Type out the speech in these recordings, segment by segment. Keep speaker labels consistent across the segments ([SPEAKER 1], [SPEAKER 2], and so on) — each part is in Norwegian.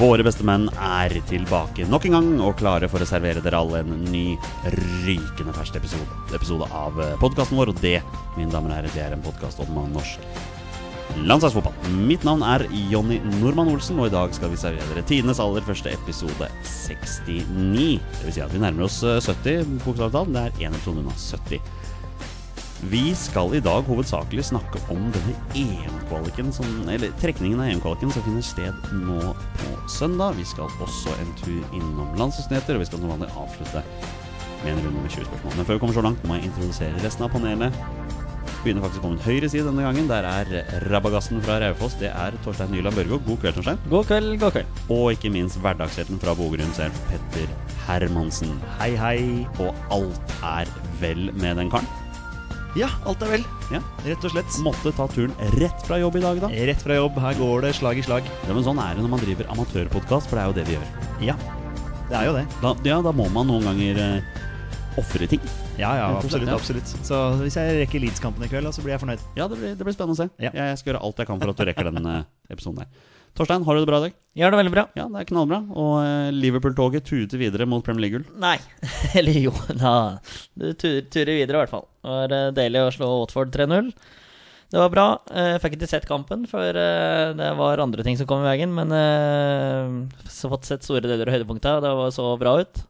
[SPEAKER 1] Våre beste menn er tilbake nok en gang og klare for å servere dere alle en ny rykende fersk episode, episode av podkasten vår. Og det, mine damer og herrer, det er en podkast om norsk landslagsfotball. Mitt navn er Jonny Normann Olsen, og i dag skal vi servere dere tidenes aller første episode 69. Det vil si at vi nærmer oss eh, 70, bokstavelig talt. Det er én episode unna 70. Vi skal i dag hovedsakelig snakke om denne EM-kvaliken, som- eller trekningen av EM-kvaliken som finner sted nå på søndag. Vi skal også en tur innom landslagsnyheter, og vi skal som vanlig avslutte med en runde med 20 spørsmål. Men før vi kommer så langt, må jeg introdusere resten av panelet. Begynner faktisk på min høyre side denne gangen. Der er Rabagassen fra Raufoss. Det er Torstein Nyland Børgo. God kveld, Torstein.
[SPEAKER 2] God kveld, god kveld.
[SPEAKER 1] Og ikke minst hverdagshelten fra Bogerund selv, Petter Hermansen. Hei, hei. Og alt er vel med den karen.
[SPEAKER 3] Ja, alt er vel.
[SPEAKER 1] Ja.
[SPEAKER 3] Rett og slett.
[SPEAKER 1] Måtte ta turen rett fra jobb i dag, da.
[SPEAKER 3] Rett fra jobb. Her går det slag i slag.
[SPEAKER 1] Ja, men Sånn er det når man driver amatørpodkast, for det er jo det vi gjør.
[SPEAKER 3] Ja. Det er jo det.
[SPEAKER 1] Da, ja, da må man noen ganger eh, ofre ting.
[SPEAKER 3] Ja, ja,
[SPEAKER 1] Rett og slett,
[SPEAKER 3] absolutt.
[SPEAKER 1] ja.
[SPEAKER 3] absolutt Så hvis jeg rekker Leeds-kampen i kveld, da, så blir jeg fornøyd.
[SPEAKER 1] Ja, det blir, det blir spennende å se.
[SPEAKER 3] Ja.
[SPEAKER 1] Jeg, jeg skal gjøre alt jeg kan for at du rekker den eh, episoden der. Torstein, har du det bra i dag?
[SPEAKER 2] Gjør det veldig bra.
[SPEAKER 1] Ja, det er knallbra. Og eh, Liverpool-toget tuter videre mot Premier League-gull.
[SPEAKER 2] Nei. Eller jo, da. Du tur- turer videre, i hvert fall. Det var eh, deilig å slå Watford 3-0. Det var bra. Eh, Fikk ikke sett kampen, for eh, det var andre ting som kom i veien. Men eh, så fått sett store deler av høydepunkta, og det var så bra ut.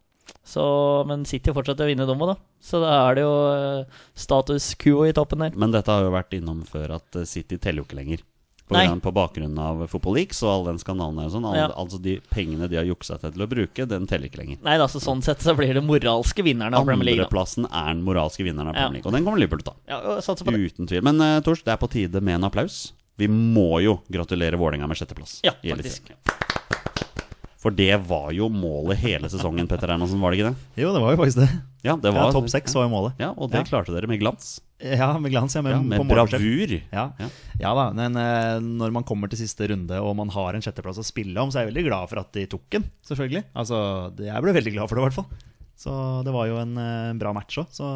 [SPEAKER 2] Så, men City fortsetter å vinne dommen, da. Så da er det jo eh, status quo i toppen der.
[SPEAKER 1] Men dette har jo vært innom før at eh, City teller jo ikke lenger. På,
[SPEAKER 2] Nei.
[SPEAKER 1] grunn- på bakgrunn av Football Leaks og alle den skandalen der og sånn. Al
[SPEAKER 2] Ja.
[SPEAKER 1] Altså de pengene de har juksa seg til å bruke, den teller ikke lenger.
[SPEAKER 2] Nei da, så sånn sett så blir det moralske vinnerne av Premier League. da.
[SPEAKER 1] Andreplassen er den moralske vinneren av
[SPEAKER 2] Ja.
[SPEAKER 1] Premier League, og den kommer Liverpool til å ta.
[SPEAKER 2] Ja, og satser på det.
[SPEAKER 1] Uten tvil. Men uh, Tors, det er på tide med en applaus. Vi må jo gratulere Vålerenga med sjetteplass.
[SPEAKER 2] Ja,
[SPEAKER 1] i
[SPEAKER 2] faktisk.
[SPEAKER 1] Eliteserien. For det var jo målet hele sesongen, Petter Hermansen, var det ikke det?
[SPEAKER 3] Jo, det var jo faktisk det.
[SPEAKER 1] Ja, det
[SPEAKER 3] Ja,
[SPEAKER 1] var
[SPEAKER 3] Topp seks var jo målet.
[SPEAKER 1] Ja, og det klarte dere med glans.
[SPEAKER 3] Ja, med glans, ja. Med,
[SPEAKER 1] Ja, med
[SPEAKER 3] på målforskjell.
[SPEAKER 1] bravur.
[SPEAKER 3] Ja.
[SPEAKER 1] Ja.
[SPEAKER 3] ja da, men eh, når man kommer til siste runde og man har en sjetteplass å spille om, så er jeg veldig glad for at de tok den, selvfølgelig. Altså, det- Jeg ble veldig glad for det, i hvert fall. Så det var jo en eh, bra match òg. Så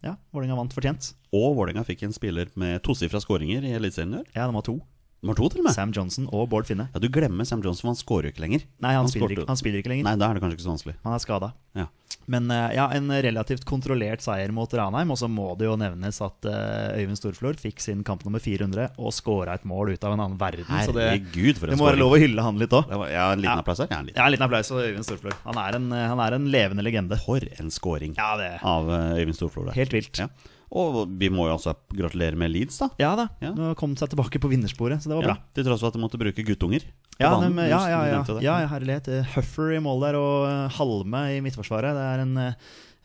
[SPEAKER 3] ja, Vålerenga vant fortjent.
[SPEAKER 1] Og Vålerenga fikk en spiller med tosifra skåringer i Eliteserien i år.
[SPEAKER 3] Ja, de var to.
[SPEAKER 1] Nummer to, til og med.
[SPEAKER 3] Sam Johnson og Bård Finne.
[SPEAKER 1] Ja, Du glemmer Sam Johnson, for han skårer jo ikke lenger.
[SPEAKER 3] Nei, han, spiller,
[SPEAKER 1] skårte jo-
[SPEAKER 3] ikke, han spiller ikke lenger.
[SPEAKER 1] Nei, da er det kanskje ikke så vanskelig.
[SPEAKER 3] Han er skada.
[SPEAKER 1] Ja.
[SPEAKER 3] Men eh, ja, en relativt kontrollert seier mot Ranheim. Og så må det jo nevnes at eh, Øyvind Storflor fikk sin kamp nummer 400 og skåra et mål ut av en annen verden. så det,
[SPEAKER 1] Herregud, for en
[SPEAKER 3] det må være
[SPEAKER 1] skåring.
[SPEAKER 3] lov å hylle han litt òg.
[SPEAKER 1] Det var- Ja, en liten
[SPEAKER 3] Ja.
[SPEAKER 1] applaus her. Ja, en liten.
[SPEAKER 3] Ja, en liten applaus til Øyvind Storflor. Han er en, eh, han er en levende legende.
[SPEAKER 1] For en skåring
[SPEAKER 3] Ja, det
[SPEAKER 1] av eh, Øyvind Storflor der.
[SPEAKER 3] Helt vilt.
[SPEAKER 1] Ja. Og vi må jo altså gratulere med Leeds, da.
[SPEAKER 3] Ja da.
[SPEAKER 1] Ja.
[SPEAKER 3] Nå kom han seg tilbake på vinnersporet, så det var
[SPEAKER 1] Ja,
[SPEAKER 3] bra.
[SPEAKER 1] til tross for at de måtte bruke guttunger. på
[SPEAKER 3] Ja,
[SPEAKER 1] banen.
[SPEAKER 3] dem, ja,
[SPEAKER 1] Du-
[SPEAKER 3] ja,
[SPEAKER 1] du
[SPEAKER 3] ja.
[SPEAKER 1] nevnte det.
[SPEAKER 3] ja, ja herlighet. Eh, Huffer i mål der og eh, Halme i midtforsvaret. Det er en, eh,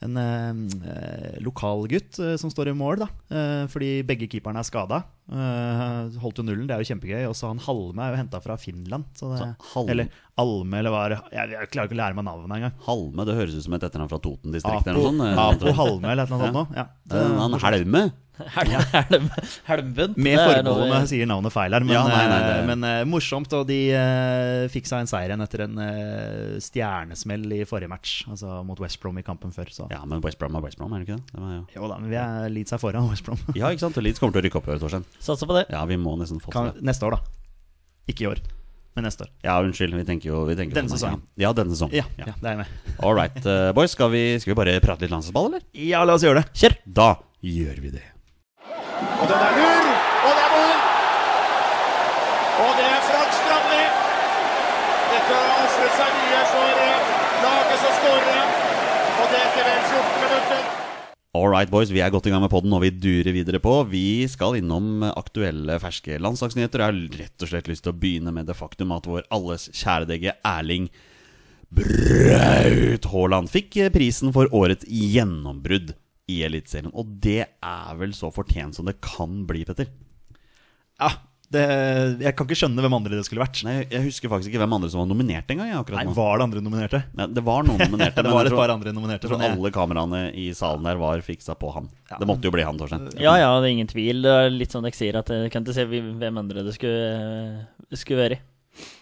[SPEAKER 3] en eh, lokalgutt eh, som står i mål, da. Eh, fordi begge keeperne er skada. Eh, holdt jo nullen, det er jo kjempegøy. Og så han Halme er jo henta fra Finland. Så det,
[SPEAKER 1] Så Halm-
[SPEAKER 3] Eller Alme, eller hva er det? Jeg, jeg klarer ikke å lære meg navnet engang.
[SPEAKER 1] Halme, det høres ut som et etternavn fra Toten-distriktet eller noe
[SPEAKER 3] Apo,
[SPEAKER 1] sånt. eh,
[SPEAKER 3] Apo
[SPEAKER 1] tror jeg. Eh,
[SPEAKER 3] Halme, eller et eller annet sånt noe. Ja.
[SPEAKER 1] Det er en annen Helme.
[SPEAKER 2] Helm, helmbunt.
[SPEAKER 3] Med
[SPEAKER 2] det er
[SPEAKER 3] forbehold
[SPEAKER 2] noe
[SPEAKER 3] om
[SPEAKER 2] vi-
[SPEAKER 3] jeg sier navnet feil her, men,
[SPEAKER 1] Ja, nei, nei, det-
[SPEAKER 3] eh, men eh, morsomt. Og de eh, fikk seg en seier igjen etter en eh, stjernesmell i forrige match, altså mot West Brom i kampen før. Så
[SPEAKER 1] Ja, men West Brom er West Brom, er det ikke det? det var jo.
[SPEAKER 3] jo da, men vi er litt seg foran West Brom.
[SPEAKER 1] Ja, ikke sant? Og Leeds kommer til å rykke opp i år, Torstein.
[SPEAKER 2] Satser på det.
[SPEAKER 1] Ja, vi må nesten få til
[SPEAKER 3] Kan,
[SPEAKER 1] det.
[SPEAKER 3] neste år, da. Ikke i år, men neste år.
[SPEAKER 1] Ja, unnskyld, vi tenker jo vi tenker
[SPEAKER 3] Denne
[SPEAKER 1] på-
[SPEAKER 3] sesongen.
[SPEAKER 1] Ja, denne sesongen.
[SPEAKER 3] Ja, ja. det er jeg med.
[SPEAKER 1] All right, eh, boys. Skal vi, skal vi bare prate litt landslagsball, eller?
[SPEAKER 3] Ja, la oss gjøre det.
[SPEAKER 2] Kjør!
[SPEAKER 1] Da gjør vi det.
[SPEAKER 4] Og den er lur, og det er mål! Og det er Frank Strandli. Dette har ofret seg mye for eh, laget som skårer. Og det etter vel 14 minutter.
[SPEAKER 1] All right, boys. Vi er godt i gang med podden, og vi durer videre på. Vi skal innom aktuelle ferske landslagsnyheter. Jeg har rett og slett lyst til å begynne med det faktum at vår alles kjære DG Erling Braut Haaland fikk eh, prisen for årets gjennombrudd i Eliteserien. Og det er vel så fortjent som det kan bli, Petter.
[SPEAKER 3] Ja, det, jeg kan ikke skjønne hvem andre det skulle vært.
[SPEAKER 1] Nei, Jeg husker faktisk ikke hvem andre som var nominert engang. jeg, akkurat
[SPEAKER 3] Nei,
[SPEAKER 1] nå.
[SPEAKER 3] Var det andre nominerte?
[SPEAKER 1] Nei, det var noen nominerte,
[SPEAKER 3] Det
[SPEAKER 1] men
[SPEAKER 3] var
[SPEAKER 1] jeg
[SPEAKER 3] et
[SPEAKER 1] tror,
[SPEAKER 3] par andre nominerte.
[SPEAKER 1] jeg tror
[SPEAKER 3] men jeg-
[SPEAKER 1] alle kameraene i salen der var fiksa på han.
[SPEAKER 3] Ja.
[SPEAKER 1] Det måtte jo bli han, Torstein.
[SPEAKER 2] Ja, ja, det er ingen tvil. Det er litt sånn jeg sier at jeg kan ikke se hvem andre det skulle, skulle være i.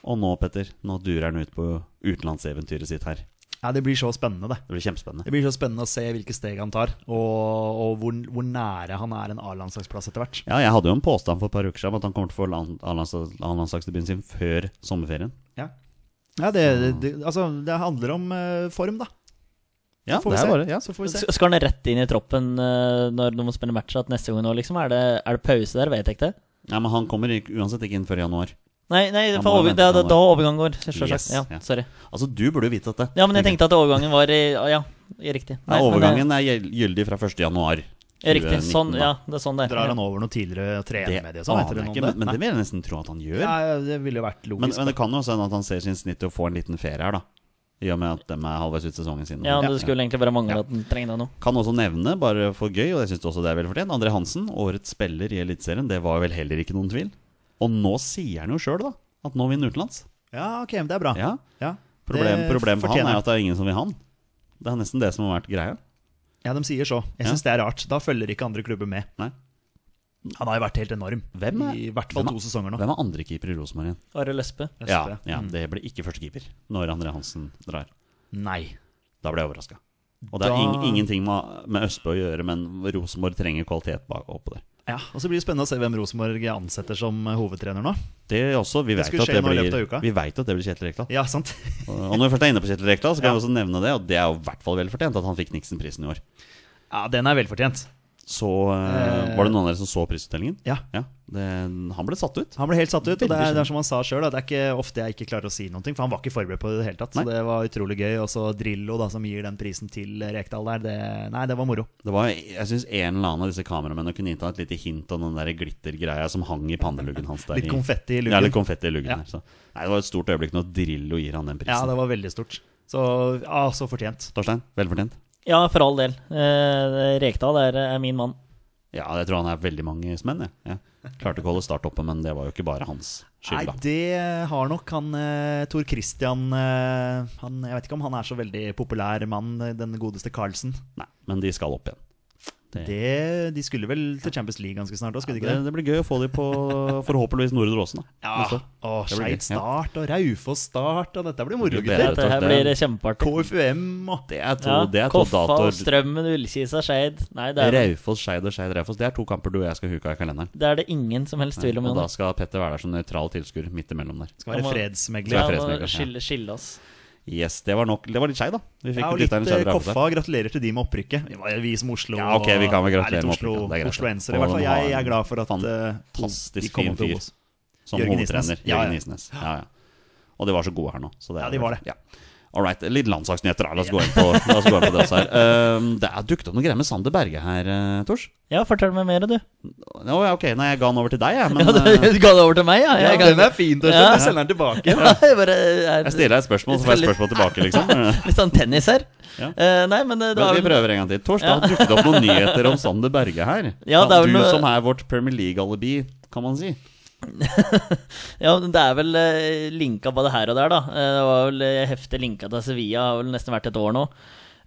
[SPEAKER 1] Og nå, Petter, nå durer han ut på utenlandseventyret sitt her.
[SPEAKER 3] Ja, det blir så spennende, det.
[SPEAKER 1] Det blir kjempespennende.
[SPEAKER 3] Det blir så spennende å se hvilke steg han tar, og, og hvor, hvor nære han er en A-landslagsplass etter hvert.
[SPEAKER 1] Ja, jeg hadde jo en påstand for et par uker siden om at han kommer til å få land- A-landslags- A-landslagsdebuten sin før sommerferien.
[SPEAKER 3] Ja. Ja, det, det, altså, det handler om eh, form, da.
[SPEAKER 1] Ja,
[SPEAKER 3] Får vi
[SPEAKER 1] det er
[SPEAKER 3] se.
[SPEAKER 1] bare ja.
[SPEAKER 3] Så får vi se.
[SPEAKER 2] S- Skal han rett inn i troppen eh, når de må spille match at neste gang nå, liksom? Er det, er det pause der? Vet jeg ikke.
[SPEAKER 1] ja, Men han kommer ikke- uansett ikke inn før januar.
[SPEAKER 2] Nei, nei
[SPEAKER 1] Han
[SPEAKER 2] for
[SPEAKER 1] må
[SPEAKER 2] over,
[SPEAKER 1] vente
[SPEAKER 2] det, er
[SPEAKER 1] til
[SPEAKER 2] da-
[SPEAKER 1] han
[SPEAKER 2] da overgang går. Selvsagt.
[SPEAKER 1] Yes,
[SPEAKER 2] ja,
[SPEAKER 1] ja.
[SPEAKER 2] sorry.
[SPEAKER 1] Altså, du burde jo vite dette.
[SPEAKER 2] Ja, men jeg tenkte at overgangen var i Ja, i riktig.
[SPEAKER 1] Nei,
[SPEAKER 2] men det-
[SPEAKER 1] overgangen er gjel- gyldig fra 1. januar.
[SPEAKER 2] ja, Riktig. Sånn,
[SPEAKER 1] 2019, da.
[SPEAKER 2] ja, det er sånn det er.
[SPEAKER 3] Drar han over noe tidligere
[SPEAKER 1] Det
[SPEAKER 3] trenermedie og sånn?
[SPEAKER 1] aner
[SPEAKER 3] heter det
[SPEAKER 1] jeg
[SPEAKER 3] noe
[SPEAKER 1] ikke,
[SPEAKER 3] om
[SPEAKER 1] men, men
[SPEAKER 3] Nei.
[SPEAKER 1] det vil jeg nesten tro at han gjør.
[SPEAKER 3] ja, det ville jo vært
[SPEAKER 1] men,
[SPEAKER 3] logisk.
[SPEAKER 1] men det kan jo også hende at han ser sin snitt i å få en liten ferie her, da. I og med at de er halvveis ut sesongen sin.
[SPEAKER 2] Ja, det skulle egentlig bare mangle
[SPEAKER 3] Ja.
[SPEAKER 2] at den trengte noe.
[SPEAKER 1] Kan også nevne, bare for gøy, og jeg syns også det er vel fortjent, André Hansen, årets spiller i Eliteserien. Det var vel heller ikke noen tvil. Og nå sier han jo sjøl, da, at nå vinner utenlands.
[SPEAKER 3] ja, ok, men det er bra.
[SPEAKER 1] Ja,
[SPEAKER 3] Ja.
[SPEAKER 1] Problem,
[SPEAKER 3] Det
[SPEAKER 1] problemet med han
[SPEAKER 3] fortjener
[SPEAKER 1] er at det er ingen som vil han. Det er nesten det som har vært greia.
[SPEAKER 3] Ja, de sier så. Jeg syns det er rart. Da følger ikke andre klubber med.
[SPEAKER 1] Nei.
[SPEAKER 3] Han har jo vært helt enorm.
[SPEAKER 1] Hvem er-
[SPEAKER 3] I hvert fall
[SPEAKER 1] hvem er-
[SPEAKER 3] to sesonger nå.
[SPEAKER 1] Hvem er andre keeper i Rosenborg igjen?
[SPEAKER 2] Are Lespe.
[SPEAKER 3] Jeg
[SPEAKER 1] Ja,
[SPEAKER 3] synes det. Mm.
[SPEAKER 1] ja, det blir ikke første keeper når André Hansen drar.
[SPEAKER 3] Nei.
[SPEAKER 1] Da ble jeg overraska. Og det har
[SPEAKER 3] Da-
[SPEAKER 1] ing- ingenting med, med Østbø å gjøre, men Rosenborg trenger kvalitet bak oppå der.
[SPEAKER 3] Ja, og Så blir det spennende å se hvem Rosenborg ansetter som eh, hovedtrener nå.
[SPEAKER 1] Det er også, vi
[SPEAKER 3] Det
[SPEAKER 1] vet
[SPEAKER 3] skulle
[SPEAKER 1] at, det
[SPEAKER 3] skje nå i løpet av
[SPEAKER 1] blir-
[SPEAKER 3] uka.
[SPEAKER 1] vi vet at det blir Kjetil Rekdal.
[SPEAKER 3] Ja, sant?
[SPEAKER 1] Og og når vi først er inne på Kjetil Rekdal, så kan
[SPEAKER 3] Ja.
[SPEAKER 1] jeg også nevne det. Og det er jo i hvert fall vel fortjent at han fikk Nixon-prisen i år.
[SPEAKER 3] Ja, Den er velfortjent.
[SPEAKER 1] Så eh,
[SPEAKER 3] Eh.
[SPEAKER 1] var det noen av dere som så prisutdelingen?
[SPEAKER 3] Ja.
[SPEAKER 1] Ja, det, han ble satt ut.
[SPEAKER 3] Han ble helt satt ut, og det
[SPEAKER 1] Veldig
[SPEAKER 3] er, det er som han sa sjøl, det er ikke ofte jeg ikke klarer å si noe, for han var ikke forberedt på det i det hele tatt. Så
[SPEAKER 1] Nei.
[SPEAKER 3] det var utrolig gøy. Og så Drillo, da, som gir den prisen til Rekdal der, det, nei, det var moro.
[SPEAKER 1] Det var, Jeg syns en eller annen av disse kameramennene kunne innta et lite hint om den der glittergreia som hang i panneluggen hans. Der
[SPEAKER 3] Litt konfetti
[SPEAKER 1] Ja,
[SPEAKER 3] i luggen.
[SPEAKER 1] litt konfetti i luggen
[SPEAKER 3] Ja.
[SPEAKER 1] her, så. Nei, Det var et stort øyeblikk når Drillo gir han den prisen.
[SPEAKER 3] Ja, det var veldig stort. Så ja, så fortjent.
[SPEAKER 1] Torstein, velfortjent?
[SPEAKER 2] Ja, for all del. Eh, Rekdal er, er min mann.
[SPEAKER 1] Ja, jeg tror han er veldig manges menn. Jeg. jeg klarte ikke å holde start oppe, men det var jo ikke bare hans
[SPEAKER 3] Nei,
[SPEAKER 1] skyld, da.
[SPEAKER 3] det har nok han eh, Tor Christian eh, han, Jeg vet ikke om han er så veldig populær mann, eh, den godeste Carlsen.
[SPEAKER 1] Nei, men de skal opp igjen. Det-
[SPEAKER 3] Det, de skulle vel til Champions League ganske snart òg, skulle de
[SPEAKER 1] Det,
[SPEAKER 3] ikke det?
[SPEAKER 1] det blir gøy å få de på forhåpentligvis Nordre Åsen. da, neste
[SPEAKER 3] Ja.
[SPEAKER 1] år.
[SPEAKER 3] Og
[SPEAKER 1] Det blir gøy,
[SPEAKER 3] Skeid start, og Raufoss start, og dette blir
[SPEAKER 1] Det
[SPEAKER 3] moro,
[SPEAKER 1] blir bedre.
[SPEAKER 3] gutter.
[SPEAKER 2] Dette her
[SPEAKER 1] takk,
[SPEAKER 2] blir
[SPEAKER 1] det
[SPEAKER 2] kjempeartig.
[SPEAKER 3] KFUM og
[SPEAKER 1] Det er to,
[SPEAKER 2] Ja,
[SPEAKER 1] det er to
[SPEAKER 2] Koffa,
[SPEAKER 1] datoer.
[SPEAKER 2] Strømmen, Ullkisa, Skeid. Nei, det er,
[SPEAKER 1] Raufoss, Skeid og Skeid Raufoss. Det er to kamper du og jeg skal huke av i kalenderen.
[SPEAKER 2] det er det ingen som helst tvil om.
[SPEAKER 1] Og da
[SPEAKER 2] Jonas.
[SPEAKER 1] skal Petter være der som nøytral tilskuer midt imellom der.
[SPEAKER 3] skal
[SPEAKER 2] Ja,
[SPEAKER 3] være
[SPEAKER 2] man-
[SPEAKER 1] det
[SPEAKER 3] fredsmegler.
[SPEAKER 1] er
[SPEAKER 2] Ja,
[SPEAKER 1] fredsmegler,
[SPEAKER 2] nå
[SPEAKER 1] ja.
[SPEAKER 2] skille, skille oss.
[SPEAKER 1] Yes, det var nok. Det var litt Skeid, da. Vi fikk
[SPEAKER 3] Ja, og
[SPEAKER 1] litt
[SPEAKER 3] litt
[SPEAKER 1] av en
[SPEAKER 3] eh,
[SPEAKER 1] Skeid Raufoss der.
[SPEAKER 3] Koffa. Gratulerer til de med opprykket. Vi var- Vi som Oslo
[SPEAKER 1] Ja, ok, vi kan vel
[SPEAKER 3] er
[SPEAKER 1] gratulere
[SPEAKER 3] litt
[SPEAKER 1] med
[SPEAKER 3] Oslo-
[SPEAKER 1] opprykket, det er greit.
[SPEAKER 3] Oslo-ensere. I
[SPEAKER 1] Og
[SPEAKER 3] hvert fall
[SPEAKER 1] de har
[SPEAKER 3] jeg, jeg er
[SPEAKER 1] en
[SPEAKER 3] glad for at eh, de
[SPEAKER 1] Fantastisk
[SPEAKER 3] kommer
[SPEAKER 1] fin
[SPEAKER 3] til å
[SPEAKER 1] fyr.
[SPEAKER 3] gå oss.
[SPEAKER 1] Som
[SPEAKER 3] Jørgen
[SPEAKER 1] hovedtrener.
[SPEAKER 3] Isnes. Ja,
[SPEAKER 1] Jørgen
[SPEAKER 3] ja.
[SPEAKER 1] Isnes. Ja, ja. Og de var så gode her nå. Så det er
[SPEAKER 3] Ja, de var det.
[SPEAKER 1] Ja. All right, Litt landslagsnyheter, da. La oss gå inn på, la oss gå inn på det også her. Ehm, det er dukket opp noe greier med Sander Berge her, eh, Tors.
[SPEAKER 2] Ja, fortell meg mer, du.
[SPEAKER 1] Å, ja, ok, nei, jeg ga den over til deg, jeg. Men
[SPEAKER 2] Ja, du,
[SPEAKER 1] eh,
[SPEAKER 2] du ga det over til meg, ja?
[SPEAKER 3] Ja,
[SPEAKER 2] Jeg, kan-
[SPEAKER 3] den er fin, Torstein.
[SPEAKER 2] Ja.
[SPEAKER 3] Jeg sender den tilbake.
[SPEAKER 2] jeg bare, er,
[SPEAKER 1] jeg stiller deg et spørsmål, så får jeg et spørsmål tilbake, liksom.
[SPEAKER 2] Litt sånn tennis her.
[SPEAKER 1] Ja.
[SPEAKER 2] Eh, nei, men eh, det
[SPEAKER 1] Men
[SPEAKER 2] var
[SPEAKER 1] vi
[SPEAKER 2] vel
[SPEAKER 1] prøver en gang til. Tors, det har dukket opp noen nyheter om Sander Berge her.
[SPEAKER 2] Ja, det er vel
[SPEAKER 1] du
[SPEAKER 2] noe-
[SPEAKER 1] som er vårt Premier League-alibi, kan man si.
[SPEAKER 2] Ja, men det er vel eh, linka både her og der, da. Eh, Det var vel eh, heftig linka til Sevilla, har vel nesten vært et år nå.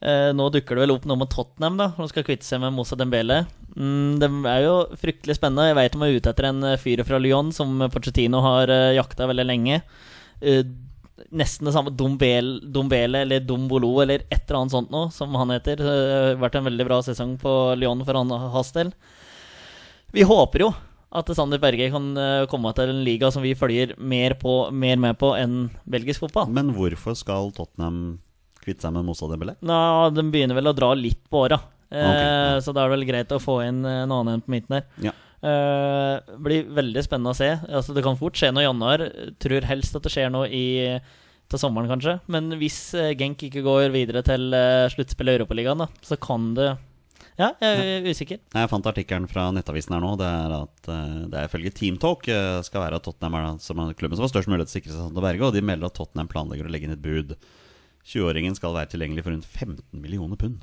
[SPEAKER 2] Eh, Nå dukker det vel opp noe med Tottenham, da. De skal kvitte seg med Moussa Dembele. Mm, det er jo fryktelig spennende. Jeg veit de er ute etter en eh, fyr fra Lyon som Pochettino har eh, jakta veldig lenge. Eh, Nesten det samme Dombele, Dombele eller Dombolo eller et eller annet sånt noe, som han heter. Det har vært en veldig bra sesong på Lyon for han hans del. Vi håper jo at Sander Berge kan eh, komme til en liga som vi følger mer, på, mer med på enn belgisk fotball.
[SPEAKER 1] Men hvorfor skal Tottenham kvitte seg med Moussa Dembélé?
[SPEAKER 2] Nå, de begynner vel å dra litt på åra, eh,
[SPEAKER 1] Ok, ja.
[SPEAKER 2] så da er det vel greit å få inn eh, en annen enn på midten her.
[SPEAKER 1] Ja.
[SPEAKER 2] Eh, blir veldig spennende å se. Altså, det kan fort skje noe i januar. Tror helst at det skjer noe i, til sommeren, kanskje. Men hvis eh, Genk ikke går videre til eh, sluttspill i Europaligaen, da, så kan det Ja, jeg er usikker.
[SPEAKER 1] Nei, Jeg fant artikkelen fra nettavisen her nå. Det er at eh, det er ifølge Teamtalk eh, skal være at Tottenham er da- som er klubben som har størst mulighet til å sikre seg Sander Berge, og de melder at Tottenham planlegger å legge inn et bud. 20-åringen skal være tilgjengelig for rundt 15 millioner pund.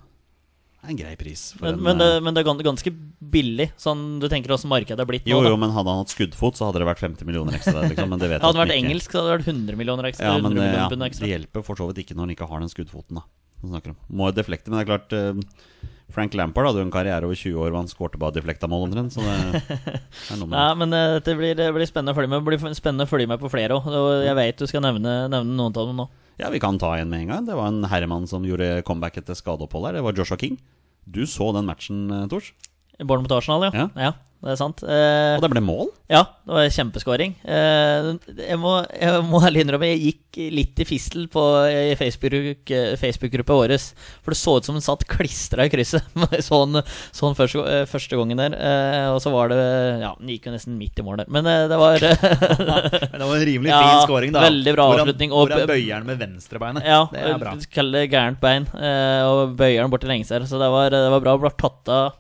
[SPEAKER 1] Det er en grei pris. For
[SPEAKER 2] Men,
[SPEAKER 1] en,
[SPEAKER 2] men,
[SPEAKER 1] eh,
[SPEAKER 2] det, men det er gan- ganske billig, sånn du tenker åssen markedet er blitt
[SPEAKER 1] jo,
[SPEAKER 2] nå.
[SPEAKER 1] jo,
[SPEAKER 2] Da.
[SPEAKER 1] men hadde han hatt skuddfot, så hadde det vært 50 millioner ekstra. der, Liksom, men det vet
[SPEAKER 2] Hadde det
[SPEAKER 1] han
[SPEAKER 2] vært
[SPEAKER 1] ikke.
[SPEAKER 2] engelsk, så hadde det vært 100 millioner ekstra.
[SPEAKER 1] Ja, men
[SPEAKER 2] 100
[SPEAKER 1] eh,
[SPEAKER 2] millioner
[SPEAKER 1] ja,
[SPEAKER 2] pund
[SPEAKER 1] det
[SPEAKER 2] ekstra.
[SPEAKER 1] hjelper for så vidt ikke når han ikke har den skuddfoten, da. som vi snakker om. Må jo deflekte, men det er klart eh, Frank Lampard hadde jo en karriere over 20 år hvor han skårte bare deflekta mål omtrent, så det, det er noe med
[SPEAKER 2] Nei, men eh, det blir, det blir spennende å følge med. Det blir spennende å følge med på flere òg.
[SPEAKER 1] Mm.
[SPEAKER 2] Jeg vet du skal nevne, nevne noen av dem nå.
[SPEAKER 1] Ja, vi kan ta en med en gang. Det var en herremann som gjorde comeback etter skadeopphold her. Det var Joshua King. Du så den matchen, eh, Tors.
[SPEAKER 2] Born mot Arsenal, ja.
[SPEAKER 1] Ja.
[SPEAKER 2] ja. det er sant. Eh,
[SPEAKER 1] Og det ble mål.
[SPEAKER 2] ja, det var kjempeskåring. Eh, jeg, må, jeg må ærlig innrømme, jeg gikk litt i fistel på, i Facebook- eh, Facebook-gruppa vår. For det så ut som den satt klistra i krysset. sånn sånn første, eh, første gangen der. Eh, og så var det Ja, den gikk jo nesten midt i mål der. Men eh, det var
[SPEAKER 3] Men det var en rimelig
[SPEAKER 2] Ja,
[SPEAKER 3] fin scoring, da.
[SPEAKER 2] veldig bra
[SPEAKER 3] Hvor han-
[SPEAKER 2] avslutning, og-
[SPEAKER 3] Hvor han bøyer den med venstrebeinet.
[SPEAKER 2] Ja,
[SPEAKER 3] det er bra.
[SPEAKER 2] kall det gærent bein. eh, og bøyer den bort til lengst her. Så det var, det var bra. Ble tatt av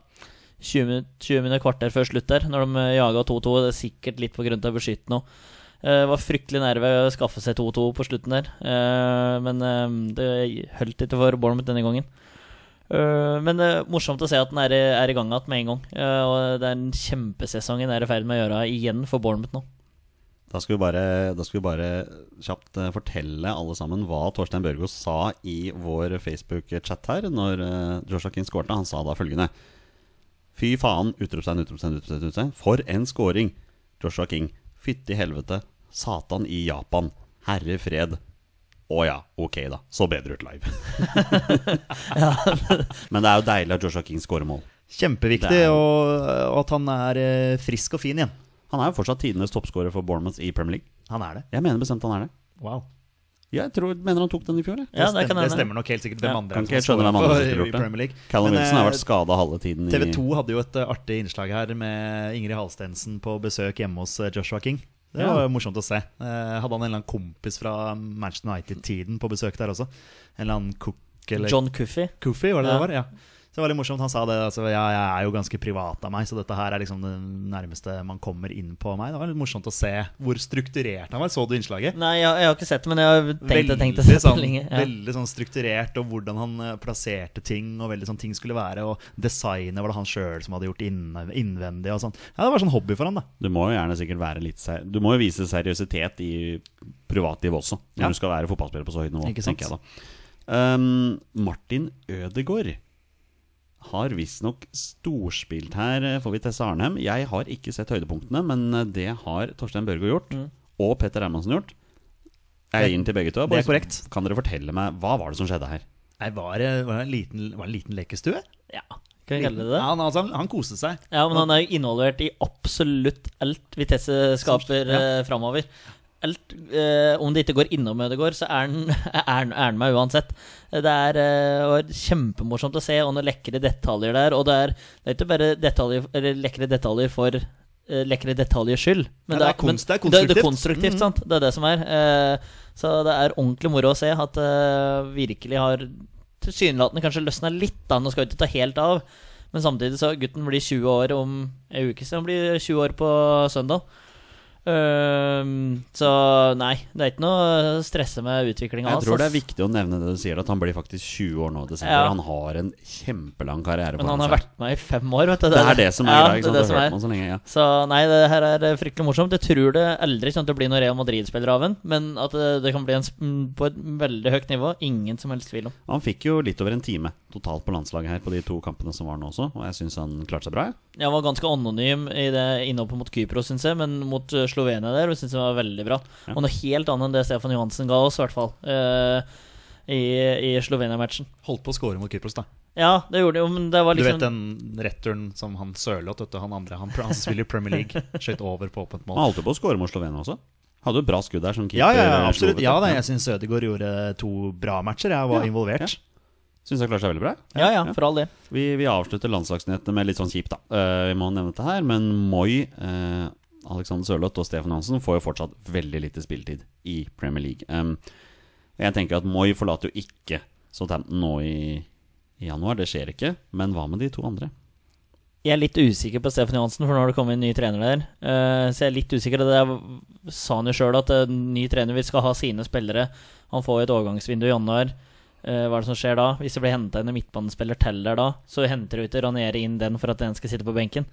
[SPEAKER 2] 20 minutter, 20 minutter kvarter før slutt der, når de eh, jaga 2-2. Det er sikkert litt på grunn av å beskytte nå. Eh, var fryktelig nær ved å skaffe seg 2-2 på slutten der. Eh, men eh, det holdt ikke for Bournemouth denne gangen. Eh, men det er morsomt å se at den er, i- er i gang igjen med en gang. Eh, og det er en kjempesesong den er i ferd med å gjøre igjen for Bournemouth nå.
[SPEAKER 1] Da skal, vi bare, da skal vi bare kjapt eh, fortelle alle sammen hva Torstein Børgo sa i vår Facebook-chat her når eh, Joshua King skårte. Han sa da følgende Fy faen, utropstegn, utropstegn, utropstegn, utropstegn. For en scoring! Joshua King. Fytti helvete. Satan i Japan. Herre fred. Å ja, ok da. Så bedre ut live. Men det er jo deilig at Joshua King scorer mål.
[SPEAKER 3] Kjempeviktig,
[SPEAKER 1] Det er-
[SPEAKER 3] og, og at han er eh, frisk og fin igjen.
[SPEAKER 1] Han er jo fortsatt tidenes toppskårer for Bournemouth i Premier League.
[SPEAKER 3] Han er det.
[SPEAKER 1] Jeg mener bestemt han er det.
[SPEAKER 3] Wow.
[SPEAKER 1] Jeg tror, mener han tok den i fjor, jeg.
[SPEAKER 2] Ja,
[SPEAKER 3] det, stemmer,
[SPEAKER 2] det kan
[SPEAKER 3] det
[SPEAKER 2] hende.
[SPEAKER 3] stemmer nok helt sikkert. Hvem
[SPEAKER 2] Ja.
[SPEAKER 3] andre
[SPEAKER 1] Kan
[SPEAKER 3] er
[SPEAKER 1] ikke
[SPEAKER 3] det
[SPEAKER 1] helt
[SPEAKER 3] som
[SPEAKER 1] skjønne hvem
[SPEAKER 3] scorer
[SPEAKER 1] andre
[SPEAKER 3] for-
[SPEAKER 1] skulle gjort
[SPEAKER 3] i Premier
[SPEAKER 1] det.
[SPEAKER 3] League?
[SPEAKER 1] Callum
[SPEAKER 3] Men,
[SPEAKER 1] Wilson har
[SPEAKER 3] eh,
[SPEAKER 1] vært skada halve tiden i
[SPEAKER 3] TV 2 hadde jo et eh, artig innslag her med Ingrid Halstensen på besøk hjemme hos eh, Joshua King. Det
[SPEAKER 1] Ja.
[SPEAKER 3] var jo morsomt å se. Eh, Hadde han en eller annen kompis fra Manchester United-tiden på besøk der også? En eller annen cook eller
[SPEAKER 2] John Cuffey.
[SPEAKER 3] Kofi, var det
[SPEAKER 2] Ja.
[SPEAKER 3] det var? Ja. Så det var litt morsomt. Han sa det. Altså, ja, jeg er jo ganske privat av meg, så dette her er liksom det nærmeste man kommer inn på meg. Det var litt morsomt å se hvor strukturert han var. Så du innslaget?
[SPEAKER 2] Nei, jeg, jeg har ikke sett det, men jeg har tenkt det. Tenkt det
[SPEAKER 3] veldig,
[SPEAKER 2] sett det
[SPEAKER 3] sånn,
[SPEAKER 2] lenge. Ja.
[SPEAKER 3] veldig sånn strukturert, og hvordan han eh, plasserte ting, og veldig sånn ting skulle være, og designet var det han sjøl som hadde gjort inne- innvendig og sånn. Ja, det var sånn hobby for han, da.
[SPEAKER 1] Du må jo gjerne sikkert være litt ser Du må jo vise seriøsitet i privatlivet også, når
[SPEAKER 3] Ja.
[SPEAKER 1] du skal være fotballspiller på så høyt nivå,
[SPEAKER 3] Ikke sant?
[SPEAKER 1] tenker jeg da. Um, Martin Ødegaard har visstnok storspilt her, eh, får vi Tesse Arnhem. Jeg har ikke sett høydepunktene, men eh, det har Torstein Børgo gjort, og Petter Hermansen gjort. Jeg gir den til begge to.
[SPEAKER 3] Mm. Det er
[SPEAKER 1] Bare-
[SPEAKER 3] korrekt.
[SPEAKER 1] Kan dere fortelle meg hva var det som skjedde her?
[SPEAKER 3] Nei, var det, var det en liten, var det en liten lekestue?
[SPEAKER 2] Ja, kan vi kalle
[SPEAKER 3] Ja,
[SPEAKER 2] det det?
[SPEAKER 3] han, altså, han, han koste seg.
[SPEAKER 2] Ja, men han er jo involvert i absolutt alt Vitesse skaper ja. framover. Alt, eh, om det ikke går innom Ødegaard, så er han- er han er han med uansett. Det er eh, var kjempemorsomt å se, og noen lekre detaljer der. Og det er, det er ikke bare detaljer, eller lekre detaljer for eh, lekre detaljers skyld.
[SPEAKER 3] Ja, det er
[SPEAKER 2] men
[SPEAKER 3] kunst- det er
[SPEAKER 2] Det,
[SPEAKER 3] konstruktivt.
[SPEAKER 2] er
[SPEAKER 3] Mm.
[SPEAKER 2] konstruktivt, sant? Det er det som er. Eh, Så det er ordentlig moro å se at det virkelig har tilsynelatende kanskje løsna litt. da, Nå skal vi ikke ta helt av, men samtidig så gutten blir 20 år om en uke siden. Han blir 20 år på søndag. Eh, så nei, det er ikke noe å stresse med utviklinga
[SPEAKER 1] Jeg tror det er viktig å nevne det du sier, at han blir faktisk 20 år nå i desember.
[SPEAKER 2] Ja.
[SPEAKER 1] Han har en kjempelang karriere.
[SPEAKER 2] Men
[SPEAKER 1] foran
[SPEAKER 2] han har
[SPEAKER 1] seg.
[SPEAKER 2] vært med i fem år, vet du.
[SPEAKER 1] Det er det som er
[SPEAKER 2] ja,
[SPEAKER 1] greia. ikke sant?
[SPEAKER 2] det
[SPEAKER 1] Det
[SPEAKER 2] som
[SPEAKER 1] har
[SPEAKER 2] er.
[SPEAKER 1] hørt man sånn. så lenge, ja.
[SPEAKER 2] Så nei, det her er fryktelig morsomt. Jeg tror det aldri kommer til å bli noen Real Madrid-spiller av en, men at eh, det, det kan bli en sp- på et veldig høyt nivå, ingen som helst tvil om.
[SPEAKER 1] Han fikk jo litt over en time totalt på landslaget her på de to kampene som var nå også, og jeg syns han klarte seg bra. jeg.
[SPEAKER 2] Jeg var ganske anonym i det innhoppet mot Kypros, syns jeg, men mot eh, Slovenia der syns jeg det var veldig bra.
[SPEAKER 1] Ja.
[SPEAKER 2] Og noe helt annet enn det Stefan Johansen ga oss, i hvert fall, eh, i, i Slovenia-matchen.
[SPEAKER 3] Holdt på å score mot Kypros, da.
[SPEAKER 2] Ja, det gjorde det jo, men det var
[SPEAKER 3] Du
[SPEAKER 2] liksom
[SPEAKER 3] vet den returen som han Sørloth, vet du, han andre han, han som spiller i Premier League, skjøt over på åpent
[SPEAKER 1] Han
[SPEAKER 3] mål.
[SPEAKER 1] holdt jo på å skåre mot Slovenia også. Hadde jo et bra skudd der som keeper.
[SPEAKER 3] Ja, ja, ja,
[SPEAKER 1] eh, slo
[SPEAKER 3] absolutt.
[SPEAKER 1] over
[SPEAKER 3] Ja
[SPEAKER 1] toppen.
[SPEAKER 3] da, jeg syns Ødegaard gjorde to bra matcher. Jeg var
[SPEAKER 1] Ja,
[SPEAKER 3] involvert.
[SPEAKER 1] Syns han klarte seg veldig bra. jeg.
[SPEAKER 2] Ja, ja, for all del.
[SPEAKER 1] Vi, vi avslutter landslagsnyhetene med litt sånn kjipt, da. Eh, vi må nevne dette her, men Moi, eh, Alexander Sørloth og Stefan Hansen får jo fortsatt veldig lite spilletid i Premier League. Em, jeg tenker at Moi forlater jo ikke Southampton nå i, i januar, det skjer ikke. Men hva med de to andre?
[SPEAKER 2] Jeg er litt usikker på Stefan Johansen, for nå har det kommet en ny trener der. Eh, så jeg er litt usikker. og Det er- sa han jo sjøl, at eh, ny trener vil skal ha sine spillere. Han får jo et overgangsvindu i januar. Eh, hva er det som skjer da? Hvis det blir henta inn en midtbanespiller til der da, så henter du ikke Ranieri inn den for at den skal sitte på benken.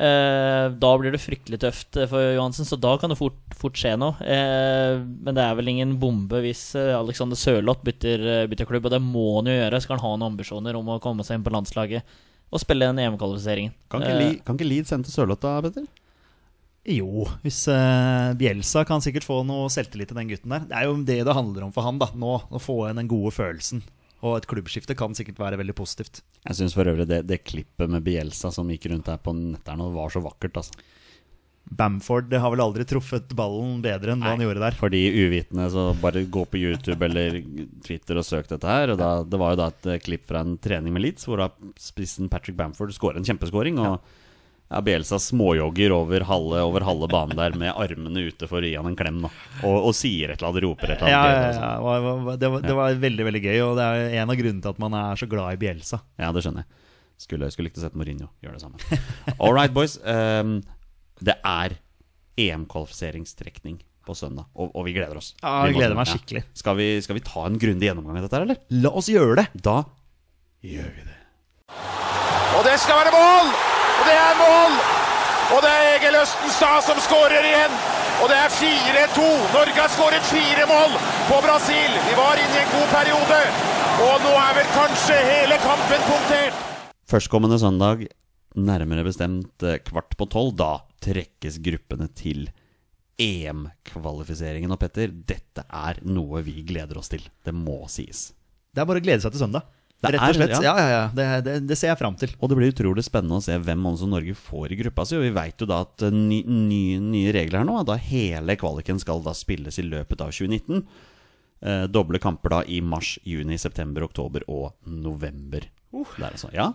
[SPEAKER 2] Eh, da blir det fryktelig tøft eh, for Johansen, så da kan det fort, fort skje noe. Eh, men det er vel ingen bombe hvis eh, Alexander Sørloth bytter, eh, bytter klubb, og det må han jo gjøre. Skal han ha noen ambisjoner om å komme seg inn på landslaget og spille den EM-kvalifiseringen.
[SPEAKER 1] Kan ikke,
[SPEAKER 2] Eh,
[SPEAKER 1] Li- kan ikke Leed sende til Sørloth da, Petter?
[SPEAKER 3] Jo, hvis eh, Bjelsa kan sikkert få noe selvtillit til den gutten der. Det er jo det det handler om for han, da, nå. Å få igjen den gode følelsen. Og et klubbskifte kan sikkert være veldig positivt.
[SPEAKER 1] Jeg syns for øvrig det, det klippet med Bielsa som gikk rundt her på netterne, var så vakkert, altså.
[SPEAKER 3] Bamford har vel aldri truffet ballen bedre enn hva han gjorde der.
[SPEAKER 1] For de uvitende, så bare gå på YouTube eller Twitter og søk dette her. Og da, det var jo da et eh, klipp fra en trening med Leeds, hvor da spissen Patrick Bamford skårer en kjempeskåring. Og ja, Bielsa småjogger over halve, over halve banen der med armene ute for å gi han en klem. Da. Og, og sier et eller annet, roper et eller
[SPEAKER 3] Ja,
[SPEAKER 1] annet.
[SPEAKER 3] ja, ja. Det var- var- Det, var, det var veldig veldig gøy, og det er en av grunnene til at man er så glad i Bielsa.
[SPEAKER 1] Ja, det skjønner jeg. Skulle, skulle likt å sett Mourinho gjøre det samme. All right, boys. Ehm, det er EM-kvalifiseringstrekning på søndag, og, og vi gleder oss.
[SPEAKER 3] Ja, jeg
[SPEAKER 1] Vi må-
[SPEAKER 3] gleder meg skikkelig.
[SPEAKER 1] Skal, vi, skal vi ta en grundig gjennomgang av dette, her, eller?
[SPEAKER 3] La oss gjøre det!
[SPEAKER 1] Da gjør vi det.
[SPEAKER 4] Og det skal være mål! Og det er mål! Og det er Egil Østenstad som skårer igjen. Og det er 4-2. Norge har skåret fire mål på Brasil. Vi var inne i en god periode. Og nå er vel kanskje hele kampen punktert.
[SPEAKER 1] Førstkommende søndag, nærmere bestemt eh, kvart på tolv, da trekkes gruppene til EM-kvalifiseringen. Og Petter, dette er noe vi gleder oss til. Det må sies.
[SPEAKER 3] Det er bare å glede seg til søndag.
[SPEAKER 1] Det
[SPEAKER 3] Rett og
[SPEAKER 1] er-
[SPEAKER 3] slett.
[SPEAKER 1] ja.
[SPEAKER 3] Ja, ja, ja. Det, det, det ser jeg fram til.
[SPEAKER 1] Og det blir utrolig spennende å se hvem også Norge får i gruppa si. Og vi veit jo da at eh, ny, nye, nye regler her nå, da hele kvaliken skal da spilles i løpet av 2019. Eh, doble kamper da i mars, juni, september, oktober og november.
[SPEAKER 3] Uh.
[SPEAKER 1] Det er altså, ja.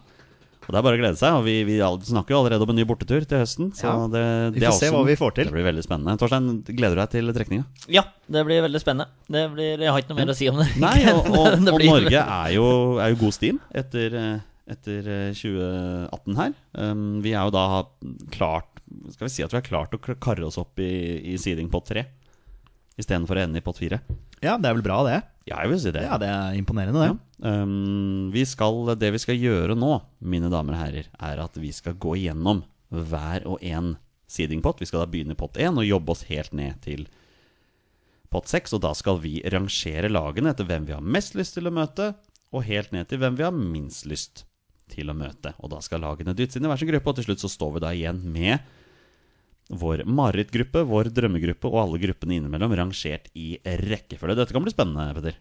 [SPEAKER 1] Og det er bare å glede seg. Og vi, vi all- snakker jo allerede om en ny bortetur til høsten. Så
[SPEAKER 3] Ja.
[SPEAKER 1] det,
[SPEAKER 3] Vi
[SPEAKER 1] det er
[SPEAKER 3] får se
[SPEAKER 1] også-
[SPEAKER 3] hva vi får til.
[SPEAKER 1] Det blir veldig spennende. Torstein, gleder du deg til trekninga?
[SPEAKER 2] Ja, det blir veldig spennende. Det blir, jeg har ikke noe mer å si om det.
[SPEAKER 1] Nei, og, og,
[SPEAKER 2] Det
[SPEAKER 1] og
[SPEAKER 2] blir-
[SPEAKER 1] Norge er jo, er jo god stim etter, eh, etter eh, 2018 her. Um, vi er jo da klart Skal vi si at vi har klart å k- karre oss opp i, i seeding pott tre istedenfor å ende i pott fire?
[SPEAKER 3] Ja, det er vel bra, det.
[SPEAKER 1] Ja, jeg vil si det.
[SPEAKER 3] Ja, det er imponerende, det.
[SPEAKER 1] Ja. Um, vi skal, det vi skal gjøre nå, mine damer og herrer, er at vi skal gå igjennom hver og en seedingpott. Vi skal da begynne i pott 1 og jobbe oss helt ned til pott 6. Og da skal vi rangere lagene etter hvem vi har mest lyst til å møte, og helt ned til hvem vi har minst lyst til å møte. Og da skal lagene dyttes inn i hver sin gruppe, og til slutt så står vi da igjen med vår marerittgruppe, vår drømmegruppe og alle gruppene innimellom rangert i rekkefølge. Dette kan bli spennende, Petter.